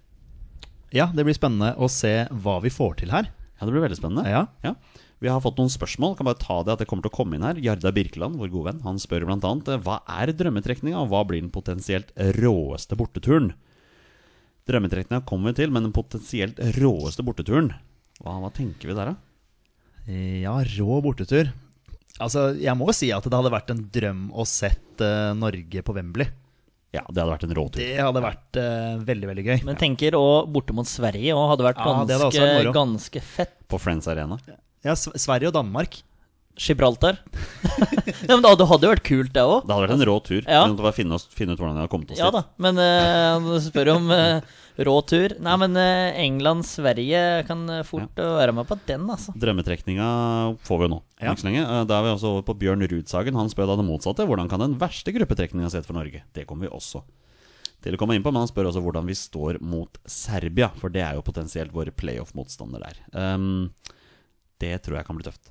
[SPEAKER 3] Ja, det blir spennende å se hva vi får til her.
[SPEAKER 1] Ja, det blir veldig spennende.
[SPEAKER 3] Ja.
[SPEAKER 1] Vi har fått noen spørsmål. Kan bare ta det at det kommer til å komme inn her. Jarda Birkeland, vår gode venn, han spør blant annet eh, hva er drømmetrekninga, og hva blir den potensielt råeste borteturen? Drømmetrekninga kommer vi til, men den potensielt råeste borteturen, hva, hva tenker vi der, da?
[SPEAKER 3] Eh, Ja, rå bortetur. Altså, jeg må si at det hadde vært en drøm å sett eh, Norge på Wembley.
[SPEAKER 1] Ja, det hadde vært en råtur.
[SPEAKER 3] Det hadde vært eh, veldig, veldig gøy.
[SPEAKER 2] Men tenker òg borte mot Sverige òg hadde vært
[SPEAKER 3] Ja, det hadde også
[SPEAKER 2] ganske,
[SPEAKER 3] vært moro.
[SPEAKER 2] ganske fett.
[SPEAKER 1] På Friends Arena.
[SPEAKER 3] Ja, Sv- Sverige og Danmark.
[SPEAKER 2] Gibraltar. ja, men det hadde- det hadde jo vært kult, det òg.
[SPEAKER 1] Det hadde vært en rå tur.
[SPEAKER 2] Ja.
[SPEAKER 1] Vi måtte bare finne, oss, finne ut hvordan vi hadde kommet oss
[SPEAKER 2] Ja
[SPEAKER 1] dit.
[SPEAKER 2] da, men eh, han spør om eh, rå tur. Nei, men eh, England-Sverige kan eh, fort eh, være med på den, altså.
[SPEAKER 1] Drømmetrekninga får vi jo nå.
[SPEAKER 3] Ja.
[SPEAKER 1] Ikke så lenge. Eh, Da er vi også over på Bjørn Rudsagen. Han spør da det motsatte. Hvordan kan den verste gruppetrekninga se ut for Norge? Det kommer vi også til å komme inn på. Men han spør også hvordan vi står mot Serbia, for det er jo potensielt vår playoff-motstander der. Ehm, det tror jeg kan bli tøft.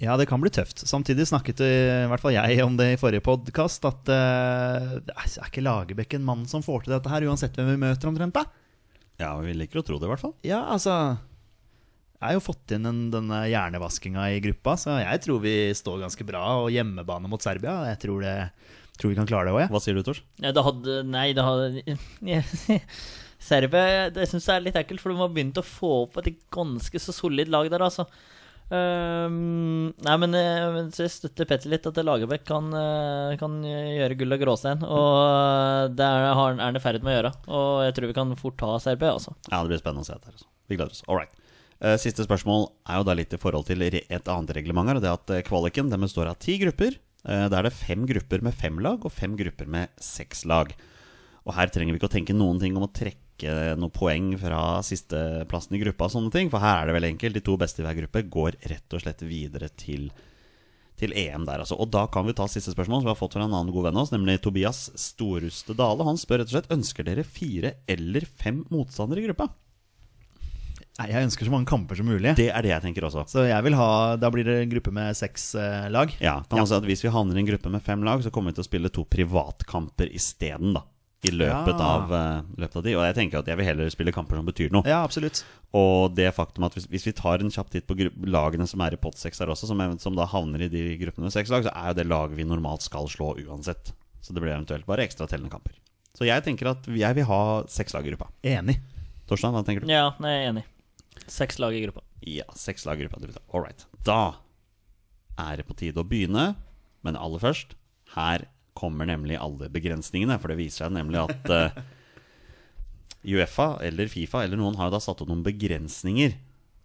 [SPEAKER 3] Ja, det kan bli tøft. Samtidig snakket eh, i hvert fall jeg om det i forrige podkast, at eh, er ikke Lagerbäck en mann som får til dette her, uansett hvem vi møter, omtrent? da?
[SPEAKER 1] Ja, vi liker å tro det, i hvert fall.
[SPEAKER 3] Ja, altså Jeg har jo fått inn en, denne hjernevaskinga i gruppa, så jeg tror vi står ganske bra. Og hjemmebane mot Serbia, jeg tror, det, tror vi kan klare det òg, jeg.
[SPEAKER 1] Hva sier du, Tors?
[SPEAKER 2] Ja, det hadde Nei, det hadde Serbia det syns jeg er litt ekkelt, for de har begynt å få opp et ganske så solid lag der, altså. Ehm, nei, men eh, men så jeg støtter Petter litt, at Lagerbäck kan, eh, kan gjøre gull og gråstein. Og eh, det er, har han- er han i ferd med å gjøre. Og jeg tror vi kan fort ta Serbia, altså.
[SPEAKER 1] Ja, det blir spennende å se dette. her, altså. Vi gleder oss. All right. Eh, Siste spørsmål er jo da litt i forhold til re- et annet reglement her. og Det er at eh, kvaliken den består av ti grupper. Eh, Da er det fem grupper med fem lag og fem grupper med seks lag. Og her trenger vi ikke å tenke noen ting om å trekke noen poeng fra sisteplassen i gruppa og sånne ting, for her er det veldig enkelt. De to beste i hver gruppe går rett og slett videre til til EM der, altså. Og da kan vi ta siste spørsmål, som vi har fått fra en annen god venn av oss, nemlig Tobias Storuste Dale. Han spør rett og slett ønsker dere fire eller fem motstandere i gruppa.
[SPEAKER 3] Nei, Jeg ønsker så mange kamper som mulig.
[SPEAKER 1] Det er det jeg tenker også.
[SPEAKER 3] Så jeg vil ha Da blir det en gruppe med seks eh, lag.
[SPEAKER 1] Ja, kan man si at Hvis vi havner i en gruppe med fem lag, så kommer vi til å spille to privatkamper isteden. da. i løpet,
[SPEAKER 3] Ja.
[SPEAKER 1] av, eh, løpet av de. Og jeg tenker at jeg vil heller spille kamper som betyr noe.
[SPEAKER 3] Ja, absolutt.
[SPEAKER 1] Og det faktum at hvis, hvis vi tar en kjapp titt på gru- lagene som er i pott seks her også, som, er- som da havner i de gruppene med seks lag, så er jo det laget vi normalt skal slå uansett. Så det blir eventuelt bare ekstra tellende kamper. Så jeg tenker at jeg vil ha seks lag i gruppa.
[SPEAKER 3] Enig.
[SPEAKER 1] Torstein, hva tenker du?
[SPEAKER 2] Ja, nei, jeg er enig. Seks lag i gruppa.
[SPEAKER 1] Ja, seks lag i gruppa. All right. Da er det på tide å begynne, men aller først Her kommer nemlig alle begrensningene, for det viser seg nemlig at eh, Uefa eller Fifa eller noen har da satt opp noen begrensninger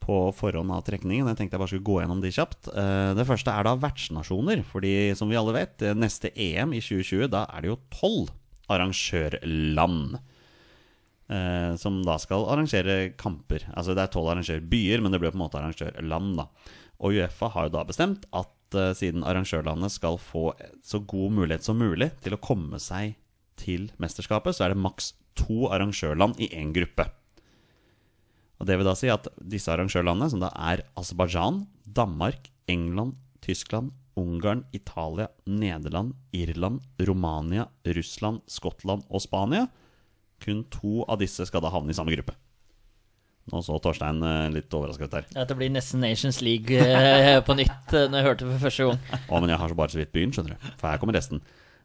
[SPEAKER 1] på forhånd av trekningen. Jeg tenkte jeg bare skulle gå gjennom de kjapt. Eh, Det første er da vertsnasjoner. fordi som vi alle vet, eh, neste EM i 2020, da er det jo tolv arrangørland eh, som da skal arrangere kamper. Altså Det er tolv arrangørbyer, men det ble på en måte arrangørland. da Og Uefa har jo da bestemt at eh, siden arrangørlandet skal få så god mulighet som mulig til å komme seg til mesterskapet, så er det maks to arrangørland i én gruppe. Og Det vil da si at disse arrangørlandene, som da er Aserbajdsjan, Danmark, England, Tyskland, Ungarn, Italia, Nederland, Irland, Romania, Russland, Skottland og Spania, kun to av disse skal da havne i samme gruppe. Nå så Torstein eh, litt overrasket ut der.
[SPEAKER 2] At det blir nesten Nations League eh, på nytt, eh, når jeg hørte det for første gang.
[SPEAKER 1] Å, men jeg har så bare så vidt begynt, skjønner du. For her kommer resten.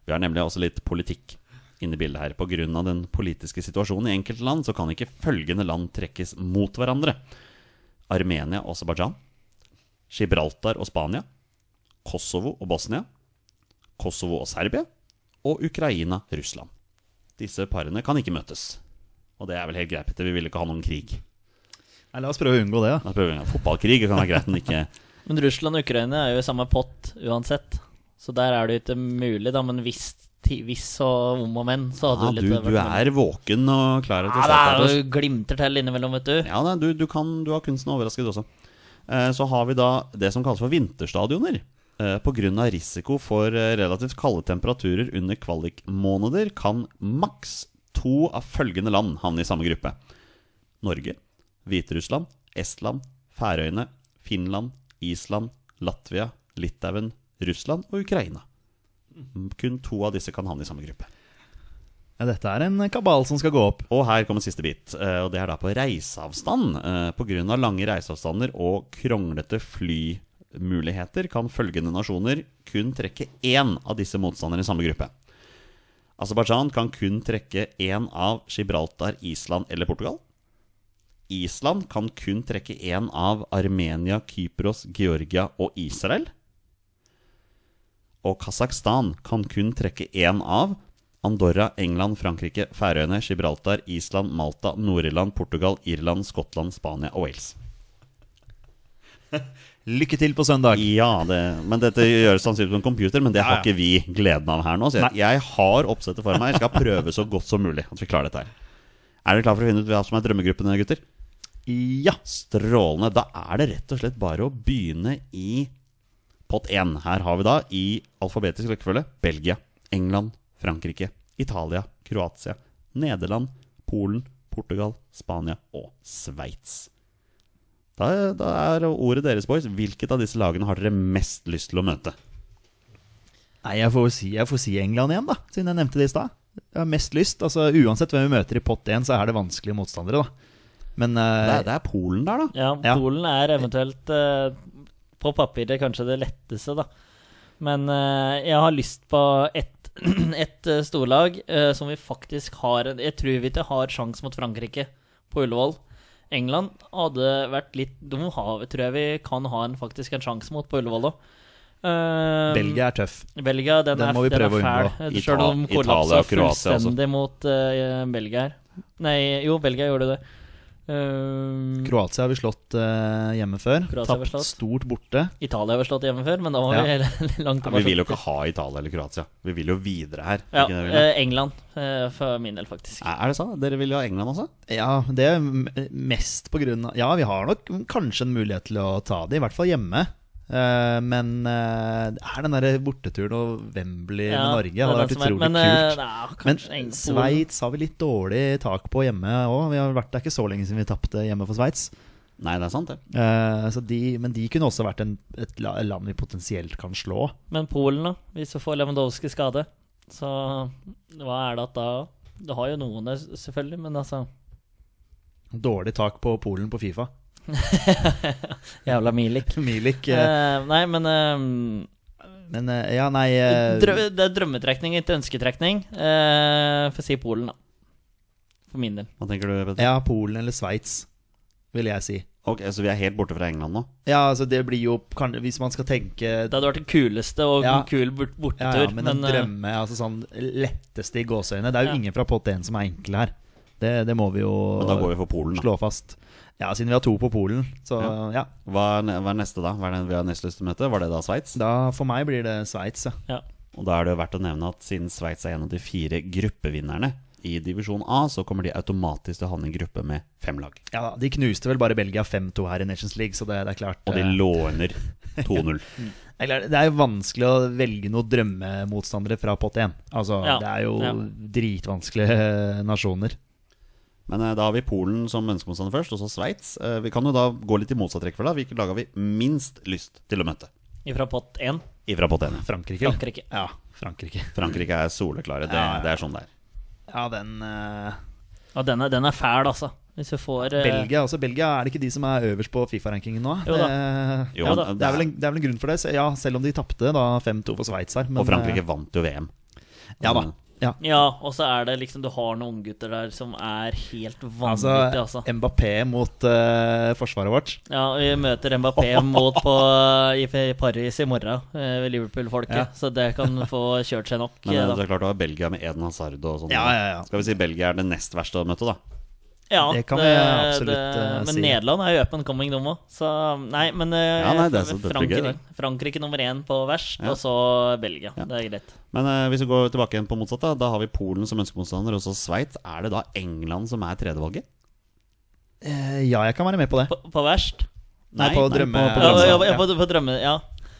[SPEAKER 1] Vi har nemlig også litt politikk inne i bildet her. På grunn av den politiske situasjonen i enkelte land, så kan ikke følgende land trekkes mot hverandre. Armenia og Aserbajdsjan. Gibraltar og Spania. Kosovo og Bosnia. Kosovo og Serbia. Og Ukraina, Russland. Disse parene kan ikke møtes. Og det er vel helt greit, Petter. Vi vil ikke ha noen krig.
[SPEAKER 3] Nei, la oss prøve å unngå det, da.
[SPEAKER 1] Da prøver vi en gang fotballkrig. Det kan være greit, men ikke
[SPEAKER 2] Men Russland og Ukraina er jo i samme pott uansett. Så der er det jo ikke mulig, da. Men hvis, ti- hvis og om og men, så
[SPEAKER 1] ja,
[SPEAKER 2] hadde
[SPEAKER 1] du,
[SPEAKER 2] det litt
[SPEAKER 1] du er altså. våken og klar til å
[SPEAKER 2] Ja, det
[SPEAKER 1] starte. her,
[SPEAKER 2] er
[SPEAKER 1] Torstein.
[SPEAKER 2] jo glimter til innimellom, vet du.
[SPEAKER 1] Ja, nei, du, du, kan, du har kunsten overrasket også. Eh, Så har vi da det som kalles for vinterstadioner. eh, Pga. risiko for eh, relativt kalde temperaturer under kvalikmåneder kan maks to av følgende land havne i samme gruppe. Norge, Hviterussland, Estland, Færøyene, Finland, Island, Latvia, Litauen, Russland og Ukraina. Kun to av disse kan havne i samme gruppe.
[SPEAKER 3] Ja, dette er en kabal som skal gå opp.
[SPEAKER 1] Og her kommer siste bit, eh, og det er da på reiseavstand. Eh, På grunn av lange reiseavstander og kronglete flymuligheter kan følgende nasjoner kun trekke én av disse motstanderne i samme gruppe. Aserbajdsjan kan kun trekke én av Gibraltar, Island eller Portugal. Island kan kun trekke én av Armenia, Kypros, Georgia og Israel. Og Kasakhstan kan kun trekke én av Andorra, England, Frankrike, Færøyene, Gibraltar, Island, Malta, Nord-Irland, Portugal, Irland, Skottland, Spania og Wales.
[SPEAKER 3] Lykke til på søndag.
[SPEAKER 1] Ja, det, men Dette gjøres sannsynligvis på en computer, men det har
[SPEAKER 3] Ja, ja.
[SPEAKER 1] ikke vi gleden av her nå. Så jeg, jeg har oppsettet for meg. Jeg skal prøve så godt som mulig at vi klarer dette her. Er dere klare for å finne ut hva som er drømmegruppene, gutter?
[SPEAKER 3] Ja.
[SPEAKER 1] Strålende. Da er det rett og slett bare å begynne i pott 1. Her har vi da i alfabetisk rekkefølge Belgia, England, Frankrike, Italia, Kroatia, Nederland, Polen, Portugal, Spania og Sveits. Da, da er ordet deres, boys. Hvilket av disse lagene har dere mest lyst til å møte?
[SPEAKER 3] Nei, jeg får, si, jeg får si England igjen, da, siden jeg nevnte det i stad. Jeg har mest lyst. altså Uansett hvem vi møter i pott 1, så er det vanskelige motstandere, da. Men
[SPEAKER 1] Det
[SPEAKER 3] eh,
[SPEAKER 1] er, det er Polen der, da.
[SPEAKER 2] Ja,
[SPEAKER 3] Ja.
[SPEAKER 2] Polen er eventuelt eh, på papiret kanskje det letteste, da. Men eh, jeg har lyst på ett et storlag eh, som vi faktisk har en- Jeg tror vi ikke har sjans mot Frankrike på Ullevål. England hadde vært litt De har, tror jeg vi kan ha en, faktisk en sjanse mot på Ullevål òg.
[SPEAKER 3] Belgia er tøff.
[SPEAKER 2] Belgia, den,
[SPEAKER 3] Den
[SPEAKER 2] er,
[SPEAKER 3] må vi
[SPEAKER 2] den er
[SPEAKER 3] prøve å
[SPEAKER 2] fæl.
[SPEAKER 3] unngå.
[SPEAKER 1] Ita-
[SPEAKER 2] Sjøl om
[SPEAKER 1] Italia
[SPEAKER 2] de kollapsa
[SPEAKER 1] og Kroatia også.
[SPEAKER 3] altså.
[SPEAKER 2] fullstendig mot eh, Belgia her. Nei, jo, Belgia gjorde det. Eh,
[SPEAKER 3] Kroatia har vi slått eh, hjemme før.
[SPEAKER 2] Kroatia har vi
[SPEAKER 3] Tapt
[SPEAKER 2] slått.
[SPEAKER 3] stort borte.
[SPEAKER 2] Italia har vi slått hjemme før, men da var
[SPEAKER 3] Ja.
[SPEAKER 2] vi langt
[SPEAKER 1] Ja,
[SPEAKER 2] tilbake.
[SPEAKER 1] vi vil jo ikke ha Italia eller Kroatia. Vi vil jo videre her.
[SPEAKER 2] Ja,
[SPEAKER 1] Ikke det vi vil?
[SPEAKER 2] eh, England, eh, for min del, faktisk.
[SPEAKER 1] Er er det sant? Dere vil jo ha England, altså?
[SPEAKER 3] Ja, det er m- mest på grunn av Ja, vi har nok kanskje en mulighet til å ta det, i hvert fall hjemme. Eh, men eh, det er den der borteturen og Wembley
[SPEAKER 2] Ja,
[SPEAKER 3] med Norge
[SPEAKER 2] det er
[SPEAKER 3] hadde vært
[SPEAKER 2] den som er-
[SPEAKER 3] utrolig
[SPEAKER 2] men, eh,
[SPEAKER 3] kult.
[SPEAKER 2] Nei,
[SPEAKER 3] Men
[SPEAKER 2] kanskje Eng- Polen.
[SPEAKER 3] Sveits har vi litt dårlig tak på hjemme òg. Det er ikke så lenge siden vi tapte hjemme for Sveits.
[SPEAKER 1] Nei, det er sant, det.
[SPEAKER 3] Eh, så de, men de kunne også vært en, et la- land vi potensielt kan slå.
[SPEAKER 2] Men Polen, da? Hvis vi får Lewandowski skade, så hva er det at da? Du har jo noen der, s- selvfølgelig, men altså
[SPEAKER 3] Dårlig tak på Polen på Fifa.
[SPEAKER 2] Jævla Milik.
[SPEAKER 3] Milik eh,
[SPEAKER 2] Eh, nei, men eh,
[SPEAKER 3] Men eh, ja, nei eh,
[SPEAKER 2] drø Det er drømmetrekning etter ønsketrekning. Eh, for å si Polen, da. For min del.
[SPEAKER 1] Hva tenker du, Petter?
[SPEAKER 3] Ja, Polen eller Sveits, vil jeg si.
[SPEAKER 1] Ok, Så vi er helt borte fra England nå?
[SPEAKER 3] Ja, altså det blir jo kan, Hvis man skal tenke
[SPEAKER 2] Det hadde vært det kuleste og
[SPEAKER 3] Ja.
[SPEAKER 2] en kul bort
[SPEAKER 3] ja,
[SPEAKER 2] bortetur.
[SPEAKER 3] ja, men en
[SPEAKER 2] eh,
[SPEAKER 3] drømme, altså sånn letteste i gåseøyne Det er jo
[SPEAKER 2] Ja.
[SPEAKER 3] ingen fra pott 1 som er enkle her. Det, det må vi jo
[SPEAKER 1] Men da går vi for Polen. Da.
[SPEAKER 3] slå fast. Ja, siden vi har to på Polen, så
[SPEAKER 1] Ja.
[SPEAKER 3] ja.
[SPEAKER 1] Hva er, ne- hva er neste, da? Hva er det vi har nest lyst til å møte? Var det da Sveits?
[SPEAKER 3] Da for meg blir det Sveits, ja.
[SPEAKER 2] ja.
[SPEAKER 1] Og da er det jo verdt å nevne at siden Sveits er en av de fire gruppevinnerne i divisjon A, så kommer de automatisk til å havne i en gruppe med fem lag.
[SPEAKER 3] ja. da, De knuste vel bare Belgia 5-2 her i Nations League, så det, det er klart
[SPEAKER 1] Og de
[SPEAKER 3] eh,
[SPEAKER 1] låner 2-0.
[SPEAKER 3] det er klart, Det er jo vanskelig å velge noen drømmemotstandere fra pott 1. Altså,
[SPEAKER 2] Ja.
[SPEAKER 3] det er jo
[SPEAKER 2] Ja.
[SPEAKER 3] dritvanskelige eh, nasjoner.
[SPEAKER 1] Men eh, da har vi Polen som ønskemotstander først, og så Sveits. Eh, Vi kan jo da gå litt i motsatt rekkefølge. da. Hvilke lag har vi minst lyst til å møte?
[SPEAKER 2] Ifra pott 1.
[SPEAKER 1] Ifra Potene.
[SPEAKER 3] Frankrike. eller?
[SPEAKER 2] Frankrike.
[SPEAKER 3] Ja, Frankrike.
[SPEAKER 1] Frankrike er soleklare. Det, er- det er sånn det er.
[SPEAKER 3] Ja, den eh,
[SPEAKER 2] Og den er, den er fæl, altså. Hvis vi får eh,
[SPEAKER 3] Belgia, altså Belgia, er det ikke de som er øverst på Fifa-rankingen nå?
[SPEAKER 2] Jo da.
[SPEAKER 3] Eh,
[SPEAKER 1] Jo,
[SPEAKER 2] Ja da,
[SPEAKER 1] men
[SPEAKER 3] det, er vel en, det er vel en grunn for det, så- ja, selv om de tapte da 5-2 for Sveits her. men,
[SPEAKER 1] Og Frankrike vant jo VM.
[SPEAKER 3] eh, Ja da. Ja.
[SPEAKER 2] Ja, og så er det liksom Du har noen unggutter der som er helt vanvittige, altså.
[SPEAKER 3] Altså, Mbappé mot eh, forsvaret vårt.
[SPEAKER 2] Ja, og vi møter Mbappé mot på, eh, i i Paris i morgen eh, ved Liverpool-folket,
[SPEAKER 3] Ja.
[SPEAKER 2] så det kan få kjørt seg nok.
[SPEAKER 1] Men
[SPEAKER 2] eh,
[SPEAKER 1] eh,
[SPEAKER 2] da.
[SPEAKER 1] det er klart du har Belgia med Eden Hazard og sånn.
[SPEAKER 3] Ja, ja, ja.
[SPEAKER 1] Skal vi si Belgia er det nest verste å møte, da?
[SPEAKER 2] Ja,
[SPEAKER 3] det kan vi absolutt, eh,
[SPEAKER 2] Men
[SPEAKER 3] si.
[SPEAKER 2] Nederland er jo up and coming, de òg. Så nei, men eh,
[SPEAKER 1] Ja, nei, det er så- det blir gøy,
[SPEAKER 2] Frankrike,
[SPEAKER 1] det.
[SPEAKER 2] Frankrike nummer én på verst, og så Belgia. Det er greit.
[SPEAKER 1] Men eh, hvis vi går tilbake igjen på motsatt, da, da har vi Polen som ønskemotstander, og så Sveits. Er det da England som er tredjevalget?
[SPEAKER 3] Eh, ja, jeg kan være med på det.
[SPEAKER 2] På, på verst?
[SPEAKER 3] Nei, på drømme-
[SPEAKER 1] på,
[SPEAKER 2] Ja,
[SPEAKER 1] på drømme.
[SPEAKER 2] ja, ja, på, på drømme, ja.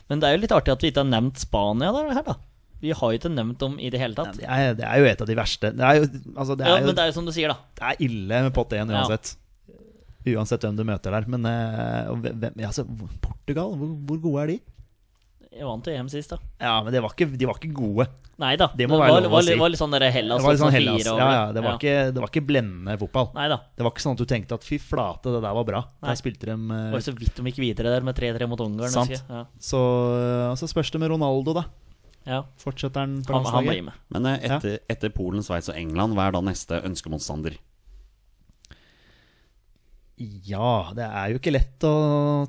[SPEAKER 2] Men det er jo litt artig at vi ikke har nevnt Spania der, her, da. Vi har jo ikke nevnt dem i det hele
[SPEAKER 3] Ja,
[SPEAKER 2] tatt.
[SPEAKER 3] Det er, det er jo et av de verste. Det er jo, altså, det
[SPEAKER 2] Ja,
[SPEAKER 3] er jo,
[SPEAKER 2] men det er jo som du sier, da.
[SPEAKER 3] det er ille med pott 1
[SPEAKER 2] Ja.
[SPEAKER 3] uansett. Uansett hvem du møter der. Men eh, og hvem, ja, altså, Portugal, hvor, hvor gode er de?
[SPEAKER 2] Jeg vant jo EM sist, da.
[SPEAKER 3] Ja, men de var ikke, de var ikke gode.
[SPEAKER 2] Nei da.
[SPEAKER 3] Det må være
[SPEAKER 2] var,
[SPEAKER 3] lov å
[SPEAKER 2] var,
[SPEAKER 3] si.
[SPEAKER 2] var litt sånn der Hellas
[SPEAKER 3] det var litt sånn
[SPEAKER 2] 2004
[SPEAKER 3] Hellas.
[SPEAKER 2] over
[SPEAKER 3] Ja, ja, det, var Ikke, det var ikke blendende fotball.
[SPEAKER 2] Nei da.
[SPEAKER 3] Det var ikke sånn at du tenkte at fy flate, det der var bra.
[SPEAKER 2] Nei.
[SPEAKER 3] Der spilte de
[SPEAKER 2] Det var
[SPEAKER 3] eh,
[SPEAKER 2] jo så vidt de gikk videre der med 3-3 mot Ungarn.
[SPEAKER 3] Sant.
[SPEAKER 2] husker jeg. Ja.
[SPEAKER 3] Så eh, så spørs det med Ronaldo, da.
[SPEAKER 2] Ja.
[SPEAKER 3] Fortsetter han på
[SPEAKER 2] Han, han blir
[SPEAKER 3] landslaget?
[SPEAKER 2] med.
[SPEAKER 1] Men eh, etter, etter Polen, Sveits og England, hva er da neste ønskemotstander?
[SPEAKER 3] Ja, det er jo ikke lett å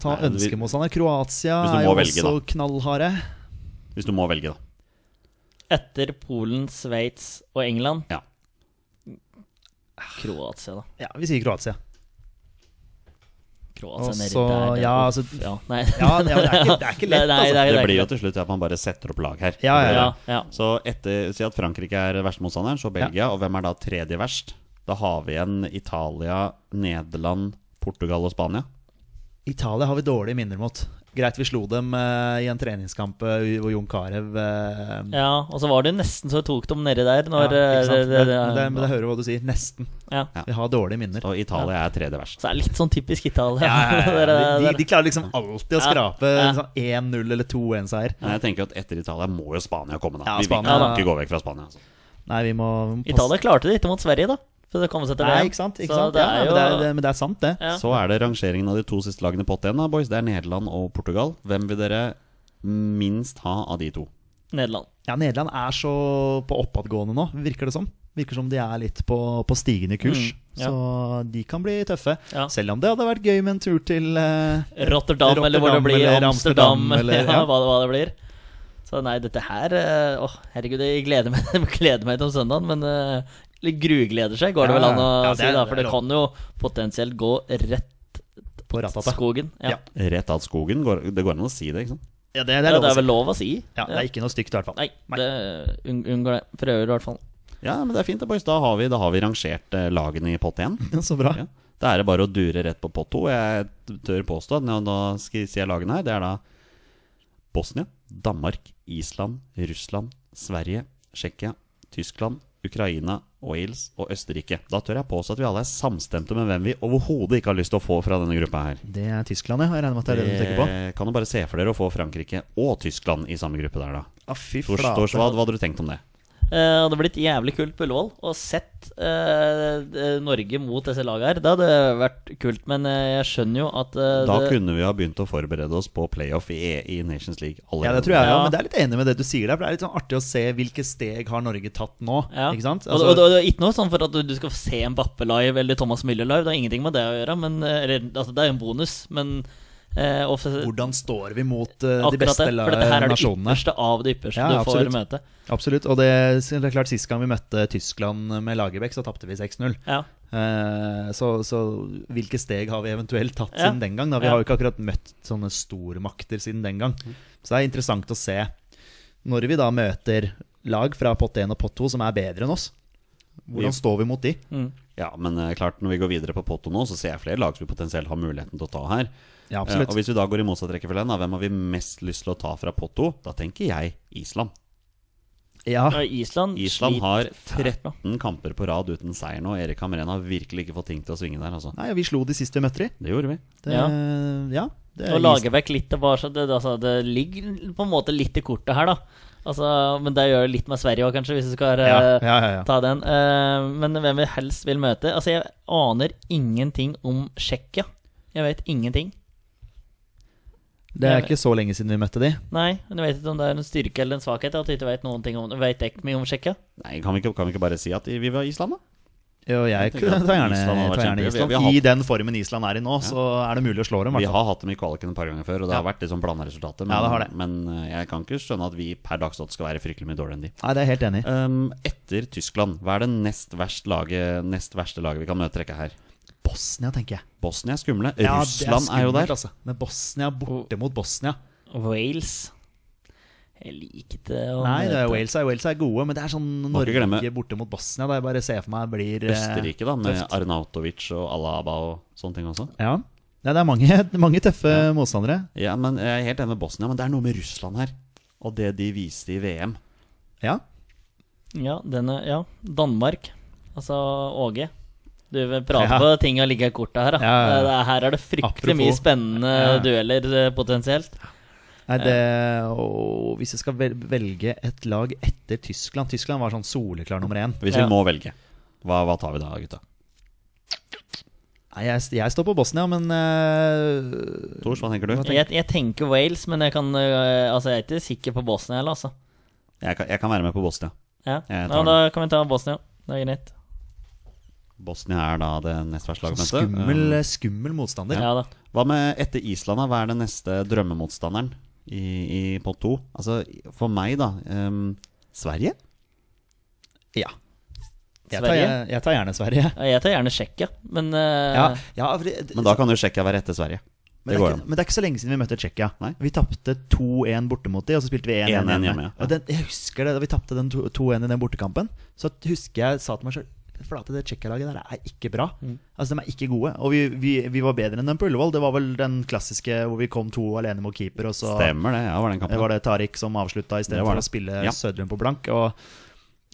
[SPEAKER 3] ta
[SPEAKER 1] Nei, vi-
[SPEAKER 3] ønskemotstander. Kroatia
[SPEAKER 1] Hvis du
[SPEAKER 3] er
[SPEAKER 1] må
[SPEAKER 3] jo
[SPEAKER 1] velge,
[SPEAKER 3] også knallharde.
[SPEAKER 1] Hvis du må velge, da.
[SPEAKER 2] Etter Polen, Sveits og England
[SPEAKER 1] Ja.
[SPEAKER 2] Kroatia, da.
[SPEAKER 3] Ja, vi sier Kroatia.
[SPEAKER 2] Kroatia
[SPEAKER 3] Og
[SPEAKER 2] nedi
[SPEAKER 3] så-
[SPEAKER 2] der, der.
[SPEAKER 3] ja,
[SPEAKER 2] Uff,
[SPEAKER 3] altså-
[SPEAKER 2] ja, nei.
[SPEAKER 3] Ja, det, det, er ikke, det er ikke lett,
[SPEAKER 2] Nei, nei,
[SPEAKER 3] altså.
[SPEAKER 2] det, er,
[SPEAKER 1] Det
[SPEAKER 2] det
[SPEAKER 1] blir jo
[SPEAKER 2] er ikke
[SPEAKER 1] til slutt at man bare setter opp lag her.
[SPEAKER 3] Ja,
[SPEAKER 1] Det
[SPEAKER 2] lett.
[SPEAKER 1] blir
[SPEAKER 2] ja,
[SPEAKER 1] det.
[SPEAKER 2] ja.
[SPEAKER 1] Så etter, si at Frankrike er vertsmotstanderen, så Belgia. Og hvem er da tredje verst? Da har vi igjen Italia, Nederland, Portugal og Spania.
[SPEAKER 3] Italia har vi dårlige minner mot. Greit, vi slo dem eh, i en treningskamp eh, hvor Jon Carew eh,
[SPEAKER 2] ja, og så var det jo nesten så det tok dem nedi der
[SPEAKER 3] ja,
[SPEAKER 2] når
[SPEAKER 3] ikke
[SPEAKER 2] eh,
[SPEAKER 3] sant?
[SPEAKER 2] det- det-
[SPEAKER 3] Men, det, men jeg hører hva du sier. Nesten.
[SPEAKER 2] ja.
[SPEAKER 1] Ja.
[SPEAKER 3] Vi har dårlige minner.
[SPEAKER 1] Og Italia er tredje verst.
[SPEAKER 2] Så det er litt sånn typisk Italia.
[SPEAKER 3] Ja, ja, ja,
[SPEAKER 2] Dere-
[SPEAKER 3] ja. De,
[SPEAKER 2] dere-
[SPEAKER 3] de, de klarer liksom alltid å
[SPEAKER 2] Ja,
[SPEAKER 3] skrape
[SPEAKER 2] ja.
[SPEAKER 3] sånn 1-0 eller 2-1-seier.
[SPEAKER 1] Men jeg tenker at etter Italia må jo Spania komme, da.
[SPEAKER 3] Ja,
[SPEAKER 1] Vi-
[SPEAKER 3] Spania-
[SPEAKER 1] Vi kan ikke gå vekk fra Spania. Altså.
[SPEAKER 3] Nei, vi må vi må passe-
[SPEAKER 2] Italia klarte det ikke mot Sverige, da. For det kom seg til
[SPEAKER 3] Nei,
[SPEAKER 2] VM.
[SPEAKER 3] ikke sant? Ikke
[SPEAKER 2] Så
[SPEAKER 3] sant?
[SPEAKER 2] det
[SPEAKER 3] Ja,
[SPEAKER 2] er jo
[SPEAKER 3] men, det er, det, men det er sant, det.
[SPEAKER 2] Ja.
[SPEAKER 1] Så er det rangeringen av de to siste lagene i pott 1, da, boys. Det er Nederland og Portugal. Hvem vil dere minst ha av de to?
[SPEAKER 2] Nederland.
[SPEAKER 3] Ja, Nederland er så på oppadgående nå, virker det som. Virker som de er litt på, på stigende kurs.
[SPEAKER 2] Mm, ja.
[SPEAKER 3] Så de kan bli tøffe.
[SPEAKER 2] Ja.
[SPEAKER 3] Selv om det hadde vært gøy med en tur til eh,
[SPEAKER 2] Rotterdam, eller hvor det
[SPEAKER 3] Rotterdam,
[SPEAKER 2] blir.
[SPEAKER 3] eller
[SPEAKER 2] Amsterdam,
[SPEAKER 3] Amsterdam, eller-
[SPEAKER 2] ja,
[SPEAKER 3] ja.
[SPEAKER 2] hva, hva det blir. Så nei, dette her eh, Åh, herregud, jeg gleder meg, jeg gleder meg til om søndagen, men eh, litt grugleder seg, går
[SPEAKER 3] Ja,
[SPEAKER 2] det vel an å
[SPEAKER 3] ja, det
[SPEAKER 2] si,
[SPEAKER 3] er-
[SPEAKER 2] da. For
[SPEAKER 3] det er
[SPEAKER 2] det kan jo potensielt gå rett
[SPEAKER 3] På Ratata.
[SPEAKER 2] skogen. Ja.
[SPEAKER 3] Ja.
[SPEAKER 1] Rett av skogen? Går, det går an å si det, ikke sant?
[SPEAKER 3] Ja, det, det er
[SPEAKER 2] Ja,
[SPEAKER 3] lov å
[SPEAKER 2] det er
[SPEAKER 3] si.
[SPEAKER 2] vel lov å si?
[SPEAKER 3] Ja, det er ikke noe stygt, i hvert fall.
[SPEAKER 2] Nei, det unn- unngår det. Prøver i hvert fall.
[SPEAKER 1] Ja, men det er fint, det, boys. Da har vi, da har vi rangert eh, lagene i pott 1.
[SPEAKER 3] Så bra.
[SPEAKER 1] Ja. Da er det bare å dure rett på pott 2. Jeg tør påstå at nå- nå skal jeg si lagene her. Det er da Bosnia, Danmark, Island, Russland, Sverige, Tsjekkia, Tyskland, Ukraina, Wales og Østerrike. Da tør jeg påstå at vi alle er samstemte med hvem vi overhodet ikke har lyst til å få fra denne gruppa her.
[SPEAKER 3] Det er Tyskland, ja. Jeg regner med at det er det du tenker på.
[SPEAKER 1] Eh, Kan du bare se for dere å få Frankrike og Tyskland i samme gruppe der, da?
[SPEAKER 3] Ja, Ah, fy
[SPEAKER 1] Tors- Torsvad, hva hadde du tenkt om det?
[SPEAKER 2] Eh, hadde blitt jævlig kult på Ullevål og sett eh, d- Norge mot disse lagene her. Det hadde vært kult, men eh, jeg skjønner jo at eh,
[SPEAKER 1] Da
[SPEAKER 2] det,
[SPEAKER 1] kunne vi ha begynt å forberede oss på playoff i, E- i Nations League
[SPEAKER 3] Ja,
[SPEAKER 1] allerede.
[SPEAKER 3] det tror jeg, ja.
[SPEAKER 2] Ja.
[SPEAKER 3] men det er litt enig med det du sier der. For det er litt sånn artig å se hvilke steg har Norge tatt nå.
[SPEAKER 2] ja.
[SPEAKER 3] Ikke sant?
[SPEAKER 2] Og-
[SPEAKER 3] Altså-
[SPEAKER 2] og, og, det er ikke noe sånn for at du, du skal få se Mbappe live eller Thomas Müller live. Det har ingenting med det å gjøre. Men, eh, eller, altså, det er jo en bonus, men eh, ofte,
[SPEAKER 3] Hvordan står vi mot eh, de
[SPEAKER 2] akkurat
[SPEAKER 3] beste
[SPEAKER 2] det. For dette her
[SPEAKER 3] la-
[SPEAKER 2] er det
[SPEAKER 3] nasjonene?
[SPEAKER 2] ypperste av det ypperste
[SPEAKER 3] Ja,
[SPEAKER 2] du
[SPEAKER 3] absolutt.
[SPEAKER 2] får møte.
[SPEAKER 3] Absolutt. Og det, det er klart, Sist gang vi møtte Tyskland med Lagerbäck, så tapte vi 6-0.
[SPEAKER 2] Ja.
[SPEAKER 3] Eh, så, så hvilke steg har vi eventuelt tatt
[SPEAKER 2] Ja.
[SPEAKER 3] siden den gang? Da? Vi
[SPEAKER 2] Ja. Mm.
[SPEAKER 3] har jo ikke akkurat møtt sånne stormakter siden den gang. Så det er interessant å se når vi da møter lag fra pott 1 og pott 2 som er bedre enn oss. Hvordan står vi mot de?
[SPEAKER 1] Ja, men eh, klart når vi går videre på Potto nå, så ser jeg flere lag som vi potensielt har muligheten til å ta her.
[SPEAKER 3] Ja,
[SPEAKER 1] Eh, og
[SPEAKER 3] absolutt.
[SPEAKER 1] hvis vi da går i motsatt rekkefølge, da, hvem har vi mest lyst til å ta fra Potto? Da tenker jeg Island.
[SPEAKER 3] Ja,
[SPEAKER 2] Og Island,
[SPEAKER 1] Island
[SPEAKER 2] sliter
[SPEAKER 1] har
[SPEAKER 2] fælt nå.
[SPEAKER 1] 13 kamper på rad uten seier nå. Erik Hamren har virkelig ikke fått ting til å svinge der, altså.
[SPEAKER 3] Nei, Vi slo de sist vi møtte de.
[SPEAKER 1] Det gjorde vi.
[SPEAKER 3] Det, ja.
[SPEAKER 2] Ja.
[SPEAKER 3] det
[SPEAKER 2] Å
[SPEAKER 3] er
[SPEAKER 2] lage vekk litt det, var så det, det- altså, det ligger på en måte litt i kortet her, da. Altså, men det gjør jo litt med Sverige òg, kanskje, hvis du skal eh,
[SPEAKER 3] Ja, ja, ja, ja.
[SPEAKER 2] ta den. Eh, men hvem vi helst vil møte Altså, jeg aner ingenting om Tsjekkia. Jeg vet ingenting.
[SPEAKER 3] Det er ikke så lenge siden vi møtte de.
[SPEAKER 2] Nei, men jeg vet ikke om det er en styrke eller en svakhet at du ikke vet noen ting om Vet jeg ikke mye om Tsjekkia.
[SPEAKER 1] Nei, kan vi, ikke, kan vi ikke bare si at vi var Island, da?
[SPEAKER 3] Jo, jeg
[SPEAKER 1] tenker at
[SPEAKER 3] tar gjerne
[SPEAKER 1] Island har vært
[SPEAKER 3] tar gjerne
[SPEAKER 1] kjempe- vi-
[SPEAKER 3] Island.
[SPEAKER 1] vi har hatt-
[SPEAKER 3] I den formen Island er i nå, så er det mulig å slå dem.
[SPEAKER 1] Vi
[SPEAKER 3] hvertfall.
[SPEAKER 1] har hatt dem i kvaliken et par ganger før, og det har vært litt sånn blanda resultater. Men,
[SPEAKER 3] Ja, det har det.
[SPEAKER 1] men eh, jeg kan ikke skjønne at vi per dags dato skal være fryktelig mye dårligere enn de.
[SPEAKER 3] Nei, det er jeg helt enig i.
[SPEAKER 1] Ehm, etter Tyskland, hva er det nest, verst laget, nest verste laget vi kan møte trekke her?
[SPEAKER 3] Bosnia, tenker jeg.
[SPEAKER 1] Bosnia er skumle.
[SPEAKER 3] Ja, det
[SPEAKER 1] Russland er, jo
[SPEAKER 3] skummelt,
[SPEAKER 1] der.
[SPEAKER 3] Altså. Men Bosnia, borte mot Bosnia
[SPEAKER 2] Wales. Jeg liker det å
[SPEAKER 3] Nei, det er
[SPEAKER 2] møte-
[SPEAKER 3] Wales er, Wales er gode, men det er sånn
[SPEAKER 1] ikke
[SPEAKER 3] Norge
[SPEAKER 1] glemme-
[SPEAKER 3] borte mot Bosnia. Da jeg bare ser for meg blir eh,
[SPEAKER 1] Østerrike, da, med
[SPEAKER 3] tøft.
[SPEAKER 1] Arnautovic og Alaba og sånne ting også.
[SPEAKER 3] Ja. ja, det er mange, mange tøffe motstandere.
[SPEAKER 1] Ja, men Jeg er helt enig med Bosnia, men det er noe med Russland her. Og det de viste i VM.
[SPEAKER 3] Ja.
[SPEAKER 2] Ja, den er, ja. Danmark. Altså Åge. Du vil prate
[SPEAKER 3] Ja.
[SPEAKER 2] på ting og ligge i kortet her. Da.
[SPEAKER 3] Ja, ja, ja.
[SPEAKER 2] Det er- Her er det fryktelig
[SPEAKER 3] Apropos.
[SPEAKER 2] mye spennende
[SPEAKER 3] Ja.
[SPEAKER 2] dueller eh, potensielt.
[SPEAKER 3] Nei, det, Eh, og hvis vi skal vel- velge et lag etter Tyskland Tyskland var sånn soleklar nummer én.
[SPEAKER 1] Hvis
[SPEAKER 2] Ja.
[SPEAKER 1] vi må velge, hva, hva tar vi da, gutta?
[SPEAKER 3] Nei, jeg, jeg står på Bosnia, men eh,
[SPEAKER 1] Tors, hva tenker du?
[SPEAKER 2] Jeg, jeg tenker Wales, men jeg, kan, eh, altså, jeg er ikke sikker på Bosnia heller, altså.
[SPEAKER 1] Jeg kan, jeg kan være med på Bosnia.
[SPEAKER 2] Ja.
[SPEAKER 1] Jeg
[SPEAKER 2] Ja,
[SPEAKER 1] tar
[SPEAKER 2] da kan vi ta Bosnia. Det er greit.
[SPEAKER 1] Bosnia er da det nest verste laget. vi møter.
[SPEAKER 3] skummel, skummel motstander.
[SPEAKER 2] Ja, da.
[SPEAKER 1] Hva med etter Island, da? Hva er den neste drømmemotstanderen i, i pott 2? Altså, for meg, da ehm, Sverige?
[SPEAKER 3] Ja. Jeg tar,
[SPEAKER 2] Sverige?
[SPEAKER 3] jeg, jeg tar gjerne Sverige.
[SPEAKER 2] Ja, Jeg tar gjerne Tsjekkia, men eh,
[SPEAKER 3] Ja, ja, for det-
[SPEAKER 1] Men da kan jo Tsjekkia være etter Sverige.
[SPEAKER 3] men
[SPEAKER 1] Det
[SPEAKER 3] det er
[SPEAKER 1] går
[SPEAKER 3] ikke,
[SPEAKER 1] an.
[SPEAKER 3] men det er ikke så lenge siden vi møtte Tsjekkia.
[SPEAKER 1] Nei.
[SPEAKER 3] Vi tapte 2-1 borte mot de, og så spilte vi 1-1 hjemme.
[SPEAKER 1] 1-1 hjemme, ja.
[SPEAKER 3] Og den, jeg husker det, Da vi tapte den to- 2-1 i den bortekampen, så husker jeg sa til meg sjøl Flate, det Tsjekkia-laget der er ikke bra.
[SPEAKER 1] Mm.
[SPEAKER 3] Altså, De er ikke gode. Og vi, vi, vi var bedre enn dem på Ullevål. Det var vel den klassiske hvor vi kom to alene mot keeper, og så
[SPEAKER 1] Stemmer det. Ja, var den
[SPEAKER 3] Det
[SPEAKER 1] kampen.
[SPEAKER 3] var det Tariq som avslutta
[SPEAKER 1] Det
[SPEAKER 3] istedenfor
[SPEAKER 1] var
[SPEAKER 3] å
[SPEAKER 1] det.
[SPEAKER 3] spille
[SPEAKER 1] Ja.
[SPEAKER 3] Sødrum på blank. Og